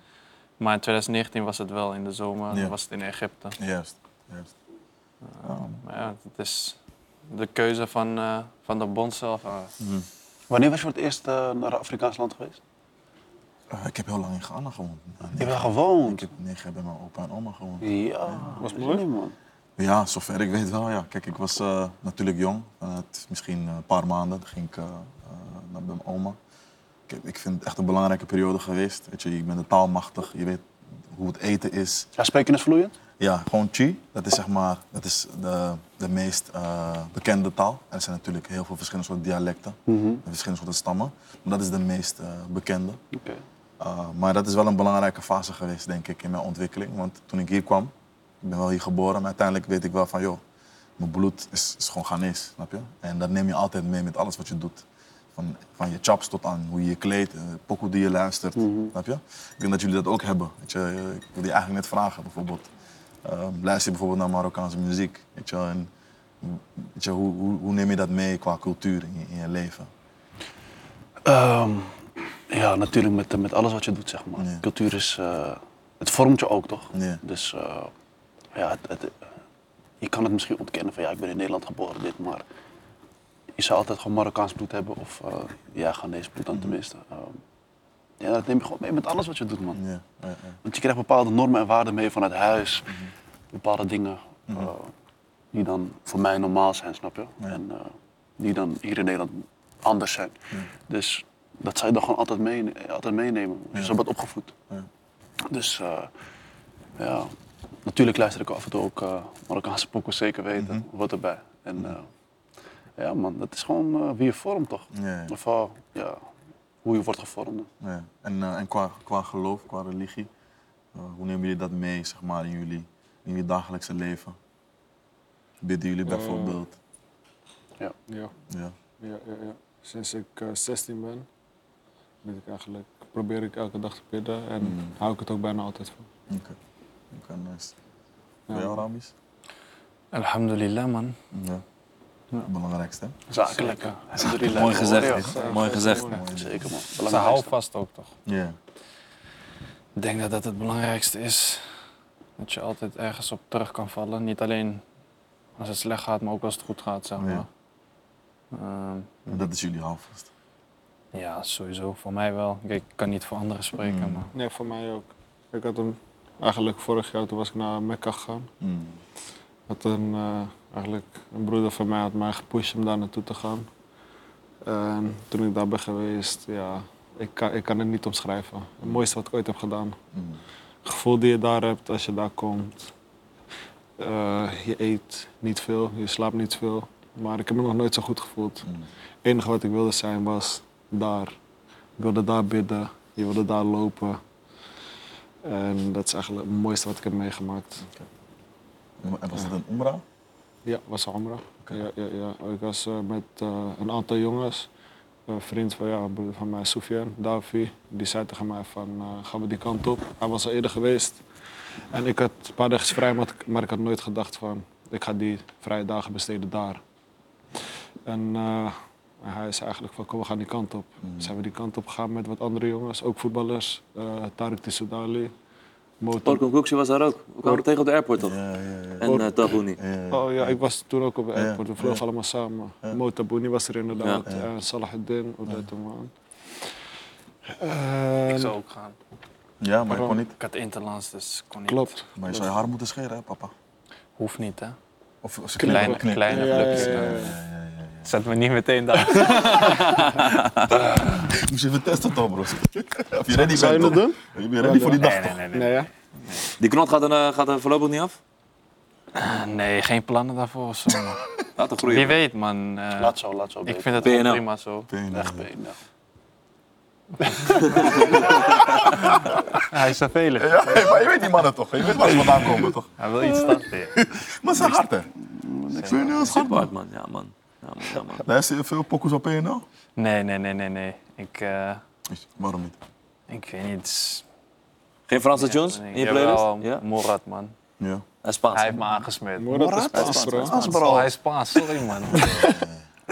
[SPEAKER 2] Maar in 2019 was het wel in de zomer,
[SPEAKER 3] Ja.
[SPEAKER 2] was het in Egypte.
[SPEAKER 3] Juist, juist. Ja,
[SPEAKER 2] Maar ja, het is de keuze van, eh, van de bond zelf. eh.
[SPEAKER 1] Wanneer was je voor het eerst eh, naar een Afrikaans land geweest?
[SPEAKER 3] Eh, ik heb heel lang in Ghana gewoond. Nou,
[SPEAKER 1] Ik heb daar
[SPEAKER 3] Ik
[SPEAKER 1] gewoond.
[SPEAKER 3] heb negen jaar bij mijn opa en oma gewoond.
[SPEAKER 1] Ja,
[SPEAKER 6] Was
[SPEAKER 1] dat
[SPEAKER 6] mooi?
[SPEAKER 1] is niet, man.
[SPEAKER 3] Ja, zover ik weet wel. Ja. Kijk, ik was eh, natuurlijk jong. Eh, het is misschien een paar maanden. Toen ging ik eh, eh, naar bij mijn oma. Kijk, ik vind het echt een belangrijke periode geweest. Weet je, je bent de taalmachtig. Je weet hoe het eten is.
[SPEAKER 1] Ja, spreken is vloeiend.
[SPEAKER 3] Ja, gewoon Chi. Dat is zeg maar dat is de, de meest eh, bekende taal. Er zijn natuurlijk heel veel verschillende soorten dialecten. en Verschillende soorten stammen. Maar dat is de meest eh, bekende.
[SPEAKER 1] Oké.
[SPEAKER 3] Uh, maar dat is wel een belangrijke fase geweest, denk ik, in mijn ontwikkeling. Want toen ik hier kwam, ik ben wel hier geboren, maar uiteindelijk weet ik wel van, joh, mijn bloed is, is gewoon Ghanese, snap je? En dat neem je altijd mee met alles wat je doet. Van, van je chaps tot aan hoe je je kleedt, eh, pokoe die je luistert, snap je? Ik denk dat jullie dat ook hebben. Weet je, Eh, ik wil je eigenlijk net vragen, bijvoorbeeld. eh, luister je bijvoorbeeld naar Marokkaanse muziek, weet je? En, weet je, hoe, hoe, hoe neem je dat mee qua cultuur in je, in je leven?
[SPEAKER 1] Ehm, ja, natuurlijk met, met alles wat je doet, zeg maar.
[SPEAKER 3] Ja.
[SPEAKER 1] Cultuur is... eh, het vormt je ook, toch?
[SPEAKER 3] Ja.
[SPEAKER 1] Dus eh, ja, het, het- je kan het misschien ontkennen van ja, ik ben in Nederland geboren, dit, maar je zou altijd gewoon Marokkaans bloed hebben of eh ja, Ghanese bloed
[SPEAKER 3] Mhm.
[SPEAKER 1] dan tenminste. Ehm, ja, dat neem je gewoon mee met alles wat je doet, man.
[SPEAKER 3] Ja, ja, ja.
[SPEAKER 1] Want je krijgt bepaalde normen en waarden mee vanuit huis, bepaalde dingen eh, die dan voor mij normaal zijn, snap je? En eh, die dan hier in Nederland anders zijn. Dus dat zou je dan gewoon altijd, meene- altijd meenemen. Je zo wordt opgevoed.
[SPEAKER 3] Ja.
[SPEAKER 1] Dus eh, ja, natuurlijk luister ik af en toe ook eh, Marokkaanse pokken, zeker weten, wat erbij. En eh, ja man, dat is gewoon eh, wie je vormt toch?
[SPEAKER 3] Ja, ja.
[SPEAKER 1] Of eh, ja, hoe je wordt gevormd.
[SPEAKER 3] Ja. En, eh, en qua, qua geloof, qua religie, Eh, hoe nemen jullie dat mee, zeg maar, in jullie, in jullie dagelijkse leven? Bidden jullie
[SPEAKER 6] Eh,
[SPEAKER 3] bijvoorbeeld?
[SPEAKER 6] Ja,
[SPEAKER 3] Ja.
[SPEAKER 6] ja, ja, ja. Sinds ik eh, 16 ben, ben ik eigenlijk, probeer ik elke dag te bidden en
[SPEAKER 3] Mm.
[SPEAKER 6] hou ik het ook bijna altijd van.
[SPEAKER 3] Oké, nice.
[SPEAKER 6] Ja.
[SPEAKER 3] Bij jou, Ramis?
[SPEAKER 5] Alhamdulillah, man.
[SPEAKER 3] Ja. Het belangrijkste, hè?
[SPEAKER 1] Zakelijk. Alhamdulillah.
[SPEAKER 12] Mooi gezegd,
[SPEAKER 1] Ja,
[SPEAKER 12] hè? Mooi gezegd.
[SPEAKER 1] Zeker man.
[SPEAKER 13] Ze hou vast ook toch?
[SPEAKER 3] Ja.
[SPEAKER 5] Ik denk dat dat het belangrijkste is. Dat je altijd ergens op terug kan vallen. Niet alleen als het slecht gaat, maar ook als het goed gaat, zeg
[SPEAKER 3] Oh Ja.
[SPEAKER 5] maar. Ehm,
[SPEAKER 3] En Dat is jullie houvast.
[SPEAKER 5] ja, sowieso. Voor mij wel. Kijk, ik kan niet voor anderen spreken,
[SPEAKER 3] Mm.
[SPEAKER 5] maar...
[SPEAKER 6] Nee, voor mij ook. Ik had hem eigenlijk vorig jaar, toen was ik naar Mekka gegaan.
[SPEAKER 3] Mm.
[SPEAKER 6] Had een, eh, eigenlijk een broeder van mij had mij gepusht om daar naartoe te gaan. En toen ik daar ben geweest, ja, ik kan, ik kan het niet omschrijven. Het mooiste wat ik ooit heb gedaan.
[SPEAKER 3] Mm.
[SPEAKER 6] Het gevoel die je daar hebt als je daar komt. Eh, je eet niet veel, je slaapt niet veel. Maar ik heb me nog nooit zo goed gevoeld.
[SPEAKER 3] Mm.
[SPEAKER 6] Het enige wat ik wilde zijn was daar. Ik wilde daar bidden, je wilde daar lopen. En dat is eigenlijk het mooiste wat ik heb meegemaakt.
[SPEAKER 3] En was dat een omra?
[SPEAKER 6] Ja, was Amra. Ja, ja, ja. Ik was eh, met eh, een aantal jongens. Een vriend van, ja, een broer van mij, Soufian, Davi, die zei tegen mij van eh, gaan we die kant op. Hij was al eerder geweest. En ik had een paar dagen vrij, maar ik- maar ik had nooit gedacht van ik ga die vrije dagen besteden daar. En eh, hij zei eigenlijk van kom we gaan die kant op.
[SPEAKER 3] Mm.
[SPEAKER 6] Zijn we die kant op gegaan met wat andere jongens, ook voetballers. eh Tarek Tissoudali, Motor.
[SPEAKER 4] Orkun Koekje was daar ook. We kwamen tegen op de airport toch?
[SPEAKER 3] Ja, ja, ja.
[SPEAKER 4] En eh Tabouni.
[SPEAKER 3] Ja, ja, ja.
[SPEAKER 6] Oh ja, ik was toen ook op de
[SPEAKER 3] Ja,
[SPEAKER 6] airport. We vlogen
[SPEAKER 3] ja.
[SPEAKER 6] allemaal samen.
[SPEAKER 3] Ja.
[SPEAKER 6] Mo Tabouni was er inderdaad.
[SPEAKER 3] Ja.
[SPEAKER 6] En Salah Eddin, Odette Man.
[SPEAKER 5] Ik
[SPEAKER 6] En-
[SPEAKER 5] zou ook gaan.
[SPEAKER 3] Ja, maar ik kon niet.
[SPEAKER 5] Ehm, Ik had interlands, dus ik kon niet.
[SPEAKER 6] Klopt.
[SPEAKER 3] Maar je zou je haar moeten scheren, hè, papa?
[SPEAKER 5] Hoeft niet, hè.
[SPEAKER 3] Of, of ze
[SPEAKER 5] Kleine-
[SPEAKER 3] knippen, knippen.
[SPEAKER 5] kleine
[SPEAKER 3] Ja, ja,
[SPEAKER 5] plukjes,
[SPEAKER 3] ja,
[SPEAKER 6] ja.
[SPEAKER 3] ja, ja, ja, ja.
[SPEAKER 5] Zet me niet meteen daar. *laughs*
[SPEAKER 3] Ik moest even testen, Tom, *laughs* bro. Of je ready
[SPEAKER 6] Zou je
[SPEAKER 3] bent,
[SPEAKER 6] het
[SPEAKER 3] toch?
[SPEAKER 6] doen?
[SPEAKER 3] Je bent ready voor die dag, toch?
[SPEAKER 6] Nee, ja.
[SPEAKER 4] Die knot gaat er, eh, gaat er voorlopig niet af.
[SPEAKER 5] Nee, geen plannen daarvoor of zo.
[SPEAKER 3] *laughs*
[SPEAKER 5] man.
[SPEAKER 4] Laat het
[SPEAKER 5] Wie
[SPEAKER 4] groeien.
[SPEAKER 5] weet, man. eh,
[SPEAKER 1] Laat zo, laat zo.
[SPEAKER 5] ik
[SPEAKER 1] baby.
[SPEAKER 5] vind eh, het wel
[SPEAKER 4] BNL.
[SPEAKER 5] prima zo.
[SPEAKER 3] Pijn,
[SPEAKER 1] Echt
[SPEAKER 3] ja.
[SPEAKER 1] been, ja.
[SPEAKER 5] Hij is vervelend.
[SPEAKER 3] Ja, maar je weet die mannen toch? Je weet waar ze vandaan komen, toch?
[SPEAKER 5] Hij wil iets starten.
[SPEAKER 3] Maar ze zijn hard, hè? Ik vind het heel
[SPEAKER 4] Super
[SPEAKER 3] hard, man.
[SPEAKER 4] hard, man. Ja, man. Ja, man. Ja, man.
[SPEAKER 3] Luister je veel pokoes op PNL?
[SPEAKER 5] *laughs* Nee, nee, nee, nee, nee. Ik, eh,
[SPEAKER 3] Is- Waarom niet?
[SPEAKER 5] ik weet niet. het is-
[SPEAKER 4] Geen Franse Jones in je
[SPEAKER 5] Jawel,
[SPEAKER 4] playlist? Ja.
[SPEAKER 5] Morat, man.
[SPEAKER 3] Ja.
[SPEAKER 4] En Spaans.
[SPEAKER 5] Hij heeft me aangesmeerd.
[SPEAKER 6] Mooi dat het Spaans, bro.
[SPEAKER 5] Oh, hij is Spaans, sorry, man.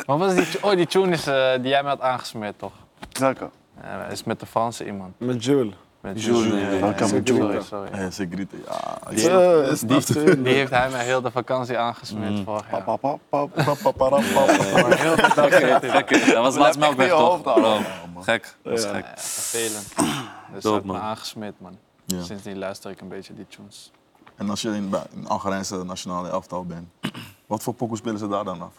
[SPEAKER 5] Wat was die, oh, die tune is, eh, die jij me had aangesmeerd, toch?
[SPEAKER 1] Welke?
[SPEAKER 5] Eh, is met de Franse iemand.
[SPEAKER 6] Met Jewel.
[SPEAKER 5] Met
[SPEAKER 4] Jules,
[SPEAKER 5] Jules,
[SPEAKER 4] ja,
[SPEAKER 5] eh,
[SPEAKER 4] ja,
[SPEAKER 1] ja.
[SPEAKER 5] sorry,
[SPEAKER 6] Jules.
[SPEAKER 5] sorry.
[SPEAKER 3] Ja, Sigrid, ja. ik
[SPEAKER 4] Die-
[SPEAKER 3] snap het, ik snap het.
[SPEAKER 5] Die heeft hij mij heel de vakantie aangesmeerd
[SPEAKER 4] Mm.
[SPEAKER 5] vorig jaar.
[SPEAKER 1] Pap, pap, pap, pap.
[SPEAKER 3] Papaparapapa.
[SPEAKER 5] Maar heel veel dank
[SPEAKER 4] *laughs* Gek, gek, gek. Dat was laatst melkweg toch? Bro, Gek. Dat is
[SPEAKER 6] Ja.
[SPEAKER 4] gek.
[SPEAKER 5] Eh, Vervelend. Dus
[SPEAKER 4] Dope,
[SPEAKER 5] dat me
[SPEAKER 4] man.
[SPEAKER 5] aangesmeerd, man.
[SPEAKER 3] Ja.
[SPEAKER 5] Sindsdien luister ik een beetje die tunes.
[SPEAKER 3] En als je in bij een Algerijnse nationale elftal bent, wat voor pokoes spelen ze daar dan af?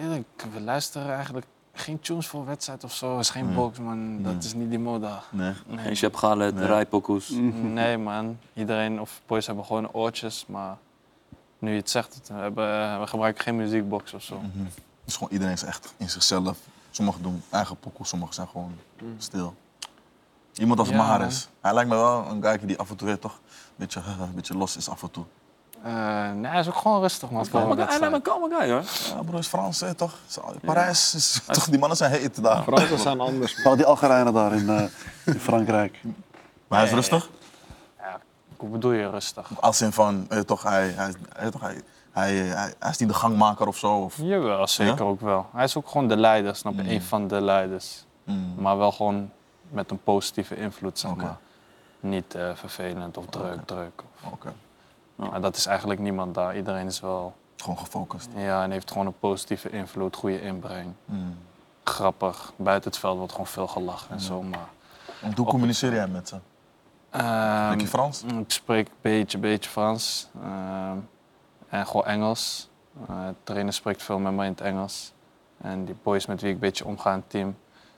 [SPEAKER 5] Eerlijk, we luisteren eigenlijk geen tunes voor wedstrijd of zo. is geen
[SPEAKER 4] Mm.
[SPEAKER 5] box, man. Dat
[SPEAKER 3] Nee.
[SPEAKER 5] is niet die mode.
[SPEAKER 3] Nee.
[SPEAKER 4] Geen Shep Galet,
[SPEAKER 3] Nee.
[SPEAKER 4] Rijpokoes.
[SPEAKER 3] Mhm.
[SPEAKER 5] Nee, man. Iedereen, of boys hebben gewoon oortjes, maar nu je het zegt, het, we, hebben, eh, we gebruiken geen muziekbox of zo.
[SPEAKER 3] Dus gewoon iedereen is echt in zichzelf. Sommigen doen eigen pokoes, sommigen zijn gewoon stil. Iemand als
[SPEAKER 5] Ja,
[SPEAKER 3] Mahrez. Hij lijkt me wel een guy die af en toe weer toch een beetje, *laughs* een beetje los is af en toe.
[SPEAKER 5] Eh, nee, hij is ook gewoon rustig, man. voor een
[SPEAKER 4] Kalme guy, hij lijkt me
[SPEAKER 5] wedstrijd.
[SPEAKER 4] een kalme guy hoor.
[SPEAKER 3] Ja, broer, is Frans, hè, toch? Zo- Parijs, is, toch? Die mannen zijn heet daar.
[SPEAKER 6] Fransen zijn anders.
[SPEAKER 1] Nou, die Algerijnen daar in, eh, in Frankrijk.
[SPEAKER 3] Maar hij is rustig.
[SPEAKER 5] Hoe bedoel je rustig?
[SPEAKER 3] Als in van, eh, toch, hij, hij, hij, toch, hij, hij, hij, hij is niet de gangmaker of zo. Of,
[SPEAKER 5] Jawel, zeker ook wel. Hij is ook gewoon de leider, snap
[SPEAKER 3] Mhm.
[SPEAKER 5] je? Een van de leiders.
[SPEAKER 3] Mm.
[SPEAKER 5] Maar wel gewoon met een positieve invloed, zeg
[SPEAKER 3] Oké.
[SPEAKER 5] maar. Niet eh, vervelend of druk, druk.
[SPEAKER 3] Oké,
[SPEAKER 5] Maar dat is eigenlijk niemand daar. Iedereen is wel...
[SPEAKER 3] gewoon gefocust.
[SPEAKER 5] Ja, en heeft gewoon een positieve invloed, goede inbreng.
[SPEAKER 3] Mm.
[SPEAKER 5] Grappig. Buiten het veld wordt gewoon veel gelachen
[SPEAKER 3] Mhm.
[SPEAKER 5] en zo, maar...
[SPEAKER 3] En hoe communiceer jij met ze?
[SPEAKER 5] Ehm, mm,
[SPEAKER 3] Spreek je Frans?
[SPEAKER 5] Ik spreek een beetje, beetje Frans ehm, en gewoon Engels. Eh de trainer spreekt veel met mij in het Engels. En die boys met wie ik een beetje omga in het team,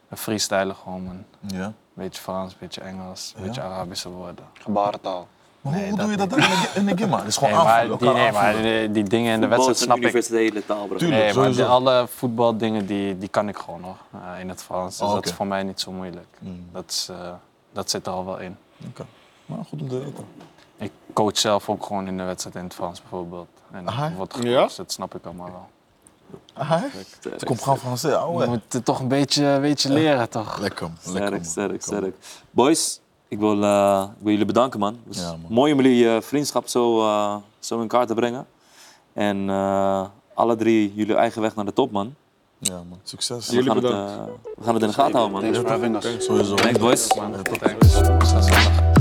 [SPEAKER 5] een freestylen gewoon. man. Een
[SPEAKER 3] Ja.
[SPEAKER 5] beetje Frans, een beetje Engels, een
[SPEAKER 3] Ja?
[SPEAKER 5] beetje Arabische woorden.
[SPEAKER 1] Gebarentaal.
[SPEAKER 3] Maar
[SPEAKER 5] Nee,
[SPEAKER 3] hoe
[SPEAKER 5] dat
[SPEAKER 3] doe je dat dan in de- in de gimma? Het is gewoon
[SPEAKER 5] Nee, maar
[SPEAKER 3] aanvullen,
[SPEAKER 5] die,
[SPEAKER 3] elkaar
[SPEAKER 5] nee, maar
[SPEAKER 3] aanvullen.
[SPEAKER 5] die, die dingen in de
[SPEAKER 4] Voetbal
[SPEAKER 5] wedstrijd
[SPEAKER 4] is een
[SPEAKER 5] snap ik.
[SPEAKER 4] universele taal bro.
[SPEAKER 3] Tuurlijk,
[SPEAKER 5] Nee, maar
[SPEAKER 3] sowieso.
[SPEAKER 5] de, alle voetbaldingen die, die kan ik gewoon hoor, eh, in het Frans. Dus
[SPEAKER 3] Oh,
[SPEAKER 5] dat is
[SPEAKER 3] oké.
[SPEAKER 5] voor mij niet zo moeilijk.
[SPEAKER 3] Mm,
[SPEAKER 5] Dat, is, eh, dat zit er al wel in.
[SPEAKER 3] oké. Maar goed om te weten.
[SPEAKER 5] Ik coach zelf ook gewoon in de wedstrijd in het Frans bijvoorbeeld. En
[SPEAKER 3] Aha.
[SPEAKER 5] wordt
[SPEAKER 6] Ja?
[SPEAKER 5] gecoacht, dat snap ik allemaal wel.
[SPEAKER 3] Aha. Ze komt gewoon van z'n
[SPEAKER 5] Je
[SPEAKER 3] ouwe.
[SPEAKER 5] moet het toch een beetje, een beetje leren, toch?
[SPEAKER 3] Lekker, man. lekker.
[SPEAKER 4] Sterk,
[SPEAKER 3] man.
[SPEAKER 4] sterk,
[SPEAKER 3] Lekker, man.
[SPEAKER 4] sterk. Boys, ik wil, eh, ik wil jullie bedanken, man. Het was
[SPEAKER 3] Ja, man.
[SPEAKER 4] Mooi om jullie eh, vriendschap zo, eh, zo in kaart te brengen. En eh, alle drie jullie eigen weg naar de top, man.
[SPEAKER 3] Ja, man. Succes.
[SPEAKER 4] En we, gaan het, eh, we gaan het in de gaten houden, man.
[SPEAKER 1] Thanks for having us.
[SPEAKER 3] Sowieso.
[SPEAKER 4] Thanks, boys.
[SPEAKER 3] Ja, tot- Succes.